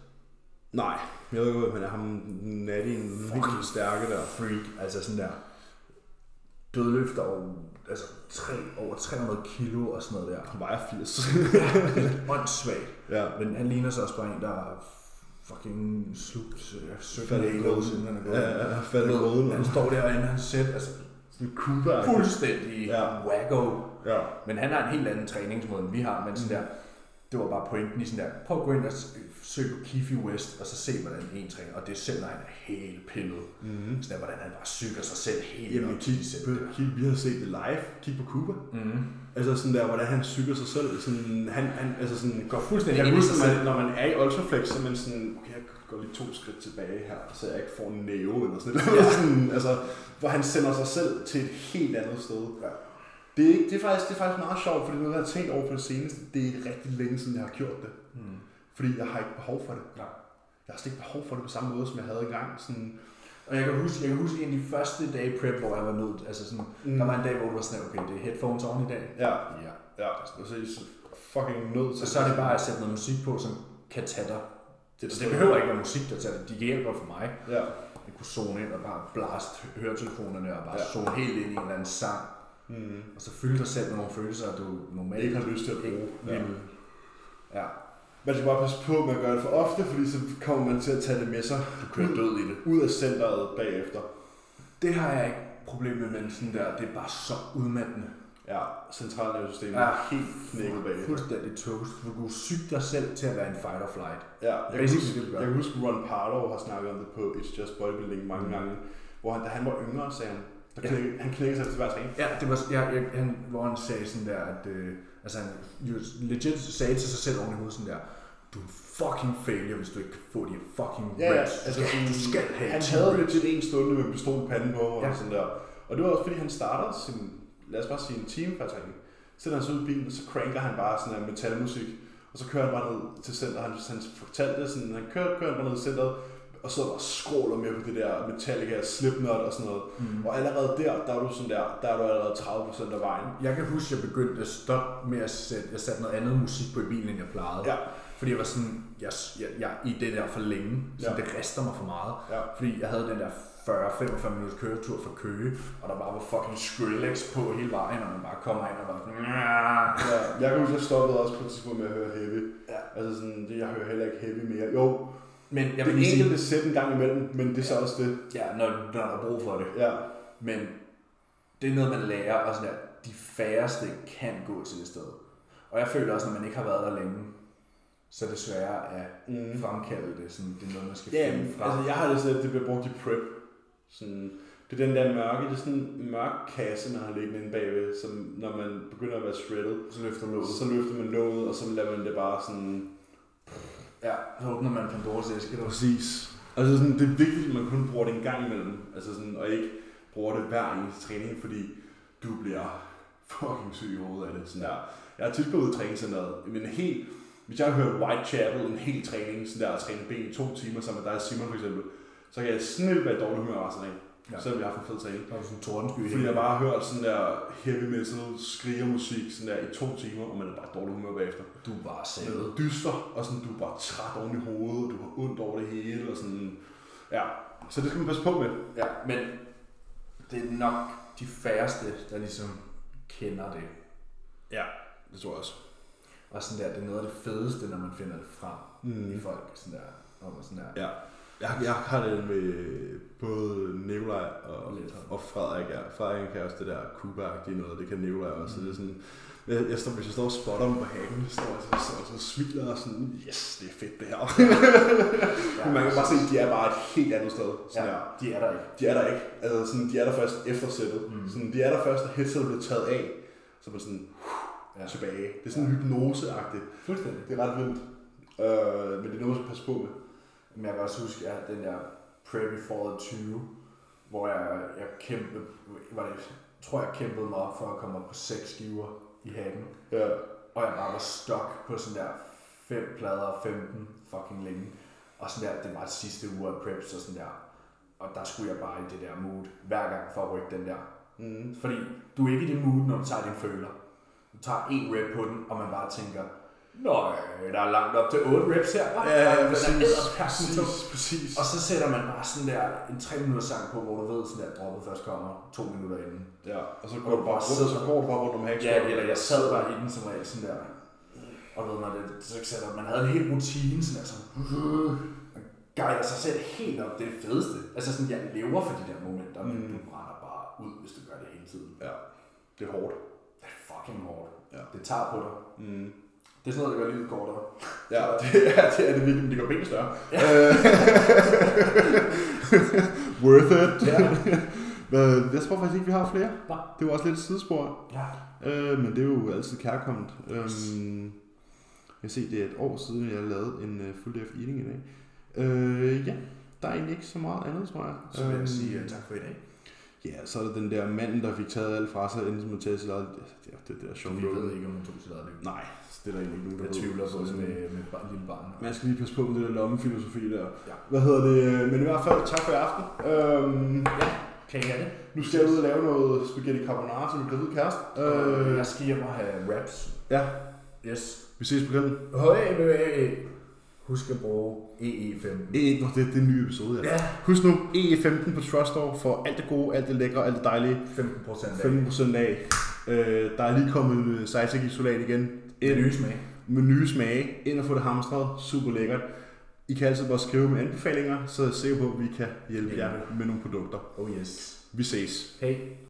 Speaker 2: nej, jeg ved ikke, hvad han er. Ham natty en virkelig stærke der.
Speaker 1: Freak. Altså sådan der dødløfter over, altså, tre, over 300 kilo og sådan noget der.
Speaker 2: Han vejer 80. [LAUGHS]
Speaker 1: Åndssvagt.
Speaker 2: ja.
Speaker 1: Men han ligner så også bare en, der er fucking slugt øh, 17
Speaker 2: Faldet i
Speaker 1: kilo,
Speaker 2: gulvet.
Speaker 1: siden han er gået.
Speaker 2: Ja, han faldt i
Speaker 1: Ved,
Speaker 2: hovedet.
Speaker 1: Han
Speaker 2: mand.
Speaker 1: står der, inden han sæt, altså
Speaker 2: Sådan en kuba.
Speaker 1: fuldstændig
Speaker 2: Ja.
Speaker 1: ja. wacko.
Speaker 2: Ja. Mm.
Speaker 1: Men han har en helt anden træningsmåde, end vi har, men sådan der, Det var bare pointen i sådan der, prøv at gå ind og s- søg på Keefe West, og så se, hvordan en træner, og det er selv, når han er helt pillet.
Speaker 2: Mhm.
Speaker 1: Mm. Sådan der, hvordan han bare syger sig selv helt
Speaker 2: Jamen,
Speaker 1: op
Speaker 2: kig,
Speaker 1: til de sæt.
Speaker 2: kig, vi har set det live. Kig på Cuba. Mm. Altså sådan der, hvordan han psyker sig selv. Sådan, han, han altså sådan, går
Speaker 1: fuldstændig
Speaker 2: jeg kan
Speaker 1: ind i
Speaker 2: huske,
Speaker 1: sig
Speaker 2: når man, når man er i Ultraflex, så er man sådan, okay, jeg går lige to skridt tilbage her, så jeg ikke får en næve eller sådan noget. Ja. [LAUGHS] sådan, altså, hvor han sender sig selv til et helt andet sted. Ja. Det er, ikke, det, er faktisk, det er faktisk meget sjovt, fordi noget, jeg har tænkt over på det seneste, det er rigtig længe siden, jeg har gjort det. Mm. Fordi jeg har ikke behov for det.
Speaker 1: Nej.
Speaker 2: Jeg har slet ikke behov for det på samme måde, som jeg havde engang. Sådan,
Speaker 1: Og jeg kan huske, jeg kan huske en af de første dage i prep, hvor jeg var nødt, altså sådan, mm. der var en dag, hvor du var sådan, okay, det er headphones on i dag.
Speaker 2: ja,
Speaker 1: Ja.
Speaker 2: ja, præcis. Fucking nødt
Speaker 1: Og
Speaker 2: til
Speaker 1: så er det bare at sætte noget musik på, som kan tage dig. Det, det behøver ikke være musik, der tager dig. De hjælper for mig.
Speaker 2: Ja.
Speaker 1: Jeg kunne zone ind og bare blast høretelefonerne og bare ja. zone helt ind i en eller anden sang. Mm. Og så fylde dig selv med nogle følelser, du normalt
Speaker 2: Mhm. Ikke har lyst til at bruge.
Speaker 1: ikke
Speaker 2: Ja.
Speaker 1: ville. Ja.
Speaker 2: Man skal bare passe på med at gøre det for ofte, fordi så kommer man til at tage det med sig. Du kører død i det. Ud af centret bagefter.
Speaker 1: Det har jeg ikke problem med, men sådan der, det er bare så udmattende.
Speaker 2: Ja, Ah. centralnervesystemet
Speaker 1: Ja.
Speaker 2: ja. er helt knækket bagefter.
Speaker 1: Fuldstændig toast. Du kunne syge dig selv til at være en fight or flight.
Speaker 2: Ja, jeg kan,
Speaker 1: Basically
Speaker 2: huske,
Speaker 1: det, du gør.
Speaker 2: jeg kan huske, Ron Parlow har snakket om det på It's Just Bodybuilding mange gange, hvor han, da han var yngre, sagde han, der
Speaker 1: Ja.
Speaker 2: knækkede, han knækkede sig til hver træning.
Speaker 1: Ja, det var, ja, ja, han, hvor han sagde sådan der, at øh, altså han jo legit sagde til sig selv oven i hovedet sådan der, du er en fucking failure, hvis du ikke kan få de her fucking
Speaker 2: Ja, ja,
Speaker 1: reps. Du
Speaker 2: altså
Speaker 1: skal-
Speaker 2: sådan,
Speaker 1: du skal have
Speaker 2: Han
Speaker 1: 10
Speaker 2: havde
Speaker 1: reps."
Speaker 2: lidt en stunde med en pistol i panden på, og
Speaker 1: Ja.
Speaker 2: ja. sådan der. Og det var også fordi, han startede sin, lad os bare sige en time faktisk. Sætter han sig ud i bilen, og så cranker han bare sådan en metalmusik. Og så kører han bare ned til centret. Han, han fortalte sådan, han kører, kører han bare ned til centret, og så bare skråler med på det der Metallica Slipknot og sådan noget. Mm. Og allerede der, der er du sådan der, der er du allerede 30% af vejen.
Speaker 1: Jeg kan huske, at jeg begyndte at stoppe med at sætte, jeg satte noget andet musik på i bilen, end jeg plejede.
Speaker 2: Ja.
Speaker 1: Fordi jeg var sådan, jeg, jeg, jeg er i det der for længe, så
Speaker 2: Ja.
Speaker 1: det rister mig for meget.
Speaker 2: Ja.
Speaker 1: Fordi jeg havde den der 40-45 minutters køretur fra Køge, og der bare var fucking Skrillex på hele vejen, og man bare kommer ind og bare sådan, "Nyah."
Speaker 2: Ja, jeg kan huske, jeg stoppede også på et tidspunkt med at høre heavy. Ja. Altså sådan, det- jeg hører heller ikke heavy mere. Jo,
Speaker 1: Men jeg
Speaker 2: jeg det
Speaker 1: vil lige sige,
Speaker 2: enkelte sæt en gang imellem, men det er så også det.
Speaker 1: ja, når, når der er brug for det.
Speaker 2: Ja,
Speaker 1: Men det er noget, man lærer, og sådan der, de færreste kan gå til det sted. Og jeg føler også, når man ikke har været der længe, så er det sværere at mm. fremkalde det. Sådan, det er noget, man skal
Speaker 2: ja
Speaker 1: finde frem.
Speaker 2: altså jeg har det sådan, at det bliver brugt i prep. Sådan, det er den der mørke, det er sådan en mørk kasse, man har liggende inde bagved, som når man begynder at være shredded,
Speaker 1: så løfter låget.
Speaker 2: så løfter man låget, og så lader man det bare sådan...
Speaker 1: Ja, så åbner man Pandoras æske. Der.
Speaker 2: Præcis. Altså sådan, det er vigtigt, at man kun bruger det en gang imellem, altså sådan, og ikke bruger det hver eneste træning, fordi du bliver fucking syg i hovedet af det. Sådan der. Jeg har tit gået ud i træningscenteret, men helt, hvis jeg har hørt Whitechapel en hel træning, sådan der at træne ben i to timer sammen med dig og Simon for eksempel, så kan jeg snildt være i dårlig humør resten af dagen,
Speaker 1: Ja.
Speaker 2: ja. selvom jeg har haft en fed træning.
Speaker 1: Der er sådan en tordensky. i
Speaker 2: Fordi jeg
Speaker 1: hele-
Speaker 2: bare har hørt sådan der heavy metal skrigermusik sådan der i to timer, og man er bare i dårlig humør bagefter.
Speaker 1: Du er bare
Speaker 2: Man
Speaker 1: savet.
Speaker 2: er dyster, og sådan, du er bare træt oven i hovedet, og du har ondt over det hele, og sådan... Ja, så det skal man passe på med.
Speaker 1: Ja, men det er nok de færreste, der ligesom kender det.
Speaker 2: Ja, det tror jeg også.
Speaker 1: Og sådan der, det er noget af det fedeste, når man finder det frem mm. i folk. Sådan der, og sådan der.
Speaker 2: Ja. Jeg, jeg har det med både Nikolaj og,
Speaker 1: Lidt.
Speaker 2: og Frederik. Ja. Frederik kan også det der kuba noget, det kan Nikolaj også. Mm. Det er sådan, jeg, jeg står, hvis jeg står og spotter dem på hagen, så står jeg så, så, så, smiler og sådan, yes, det er fedt det her. Men man kan bare se, at de er bare et helt andet sted. Sådan
Speaker 1: Ja,
Speaker 2: her.
Speaker 1: de er der ikke.
Speaker 2: De er der ikke. Altså, sådan, de er der først efter sættet. Mm. Sådan, de er der først, da headsetet bliver taget af. Så er man sådan uh,
Speaker 1: Ja.
Speaker 2: ja. tilbage. Det er sådan ja. hypnoseagtigt.
Speaker 1: Fuldstændig.
Speaker 2: Det er ret vildt. Øh, men det er noget, man skal passe på med.
Speaker 1: Men jeg kan også huske, at den der Prep i foråret 20, hvor jeg, jeg kæmpede, var det, tror jeg kæmpede mig op for at komme op på seks skiver i haven.
Speaker 2: Ja.
Speaker 1: Og jeg bare var stok på sådan der fem plader og 15 fucking længe. Og sådan der, det var det sidste uge af Prep, så sådan der. Og der skulle jeg bare i det der mood hver gang for at rykke den der. Mm. Fordi du er ikke i det mood, når du tager din føler. Du tager en rep på den, og man bare tænker, Nøj, der er langt op til 8 reps her. hva?
Speaker 2: Ja,
Speaker 1: Den
Speaker 2: ja,
Speaker 1: er
Speaker 2: præcis,
Speaker 1: edderperkende tung."
Speaker 2: præcis, præcis.
Speaker 1: Og så sætter man bare sådan der en 3 minutters sang på, hvor du ved sådan der, at droppet først kommer to minutter inden.
Speaker 2: Ja, og så
Speaker 1: Og
Speaker 2: går du
Speaker 1: du
Speaker 2: bare
Speaker 1: bare
Speaker 2: rundt,
Speaker 1: sidder-
Speaker 2: så går du bare rundt om hagen.
Speaker 1: Ja, eller jeg sad bare i den som regel sådan der. Og ved man, det, så sætter man havde en hel rutine, sådan der, sådan, øh, man guider sig selv helt op, det er det fedeste. Altså sådan, jeg lever for de der momenter, men
Speaker 2: Mm.
Speaker 1: du brænder bare ud, hvis du gør det hele tiden.
Speaker 2: Ja, det er hårdt.
Speaker 1: Det er fucking hårdt.
Speaker 2: Ja.
Speaker 1: Det tager på dig.
Speaker 2: Mm.
Speaker 4: Det er sådan noget, der gør livet kortere.
Speaker 2: Ja. [LAUGHS]
Speaker 4: det er det, er det virkelig, men det gør benet større.
Speaker 2: Øh, Worth it.
Speaker 4: Ja.
Speaker 2: [LAUGHS] Hvad, jeg tror faktisk ikke, vi har flere.
Speaker 4: Nej.
Speaker 2: Det var også lidt et sidespor.
Speaker 4: ja.
Speaker 2: Øh, men det er jo altid kærkommet. Øhm, jeg kan se, det er et år siden, jeg lavede en uh, full day of eating i dag. Øh, ja, der er egentlig ikke så meget andet, tror jeg.
Speaker 1: Så vil
Speaker 2: Øhm,
Speaker 1: jeg sige øh, tak for i dag.
Speaker 2: Ja, så er der den der mand, der fik taget alt fra sig, inden som at tage sit eget... Det er det der show.
Speaker 1: Vi ved ikke, om hun tog sit eget liv.
Speaker 2: Nej, det er der egentlig ikke nogen, der
Speaker 1: Jeg
Speaker 2: ved.
Speaker 1: tvivler på øh, det
Speaker 2: Sådan-
Speaker 1: med, med bar- lille barn.
Speaker 2: Man skal lige passe på med det der lommefilosofi der.
Speaker 1: Ja.
Speaker 2: Hvad hedder det? Men i hvert fald, tak for i aften. Øhm,
Speaker 1: Kan I have det?
Speaker 2: nu skal jeg ud og lave noget spaghetti carbonara til min gravide kæreste.
Speaker 1: Øh,
Speaker 2: Øh,
Speaker 1: jeg skal hjem og have wraps.
Speaker 2: ja,
Speaker 1: Yes.
Speaker 2: vi ses på grillen.
Speaker 1: Høj, Husk at bruge EE15.
Speaker 2: E, nå, det, det er en ny episode, ja.
Speaker 1: Ja,
Speaker 2: Husk nu, EE15 på Trustor for alt det gode, alt det lækre, alt det dejlige.
Speaker 1: 15 procent af.
Speaker 2: 15% af. Øh, der er lige kommet en øh, sejtik isolat igen.
Speaker 1: Det
Speaker 2: En
Speaker 1: nye smag.
Speaker 2: med nye smage. Ind og få det hamstret. Super lækkert. I kan altid bare skrive med anbefalinger, så er jeg sikker på, at vi kan hjælpe jer med nogle produkter.
Speaker 1: Oh yes.
Speaker 2: Vi ses.
Speaker 1: Hey.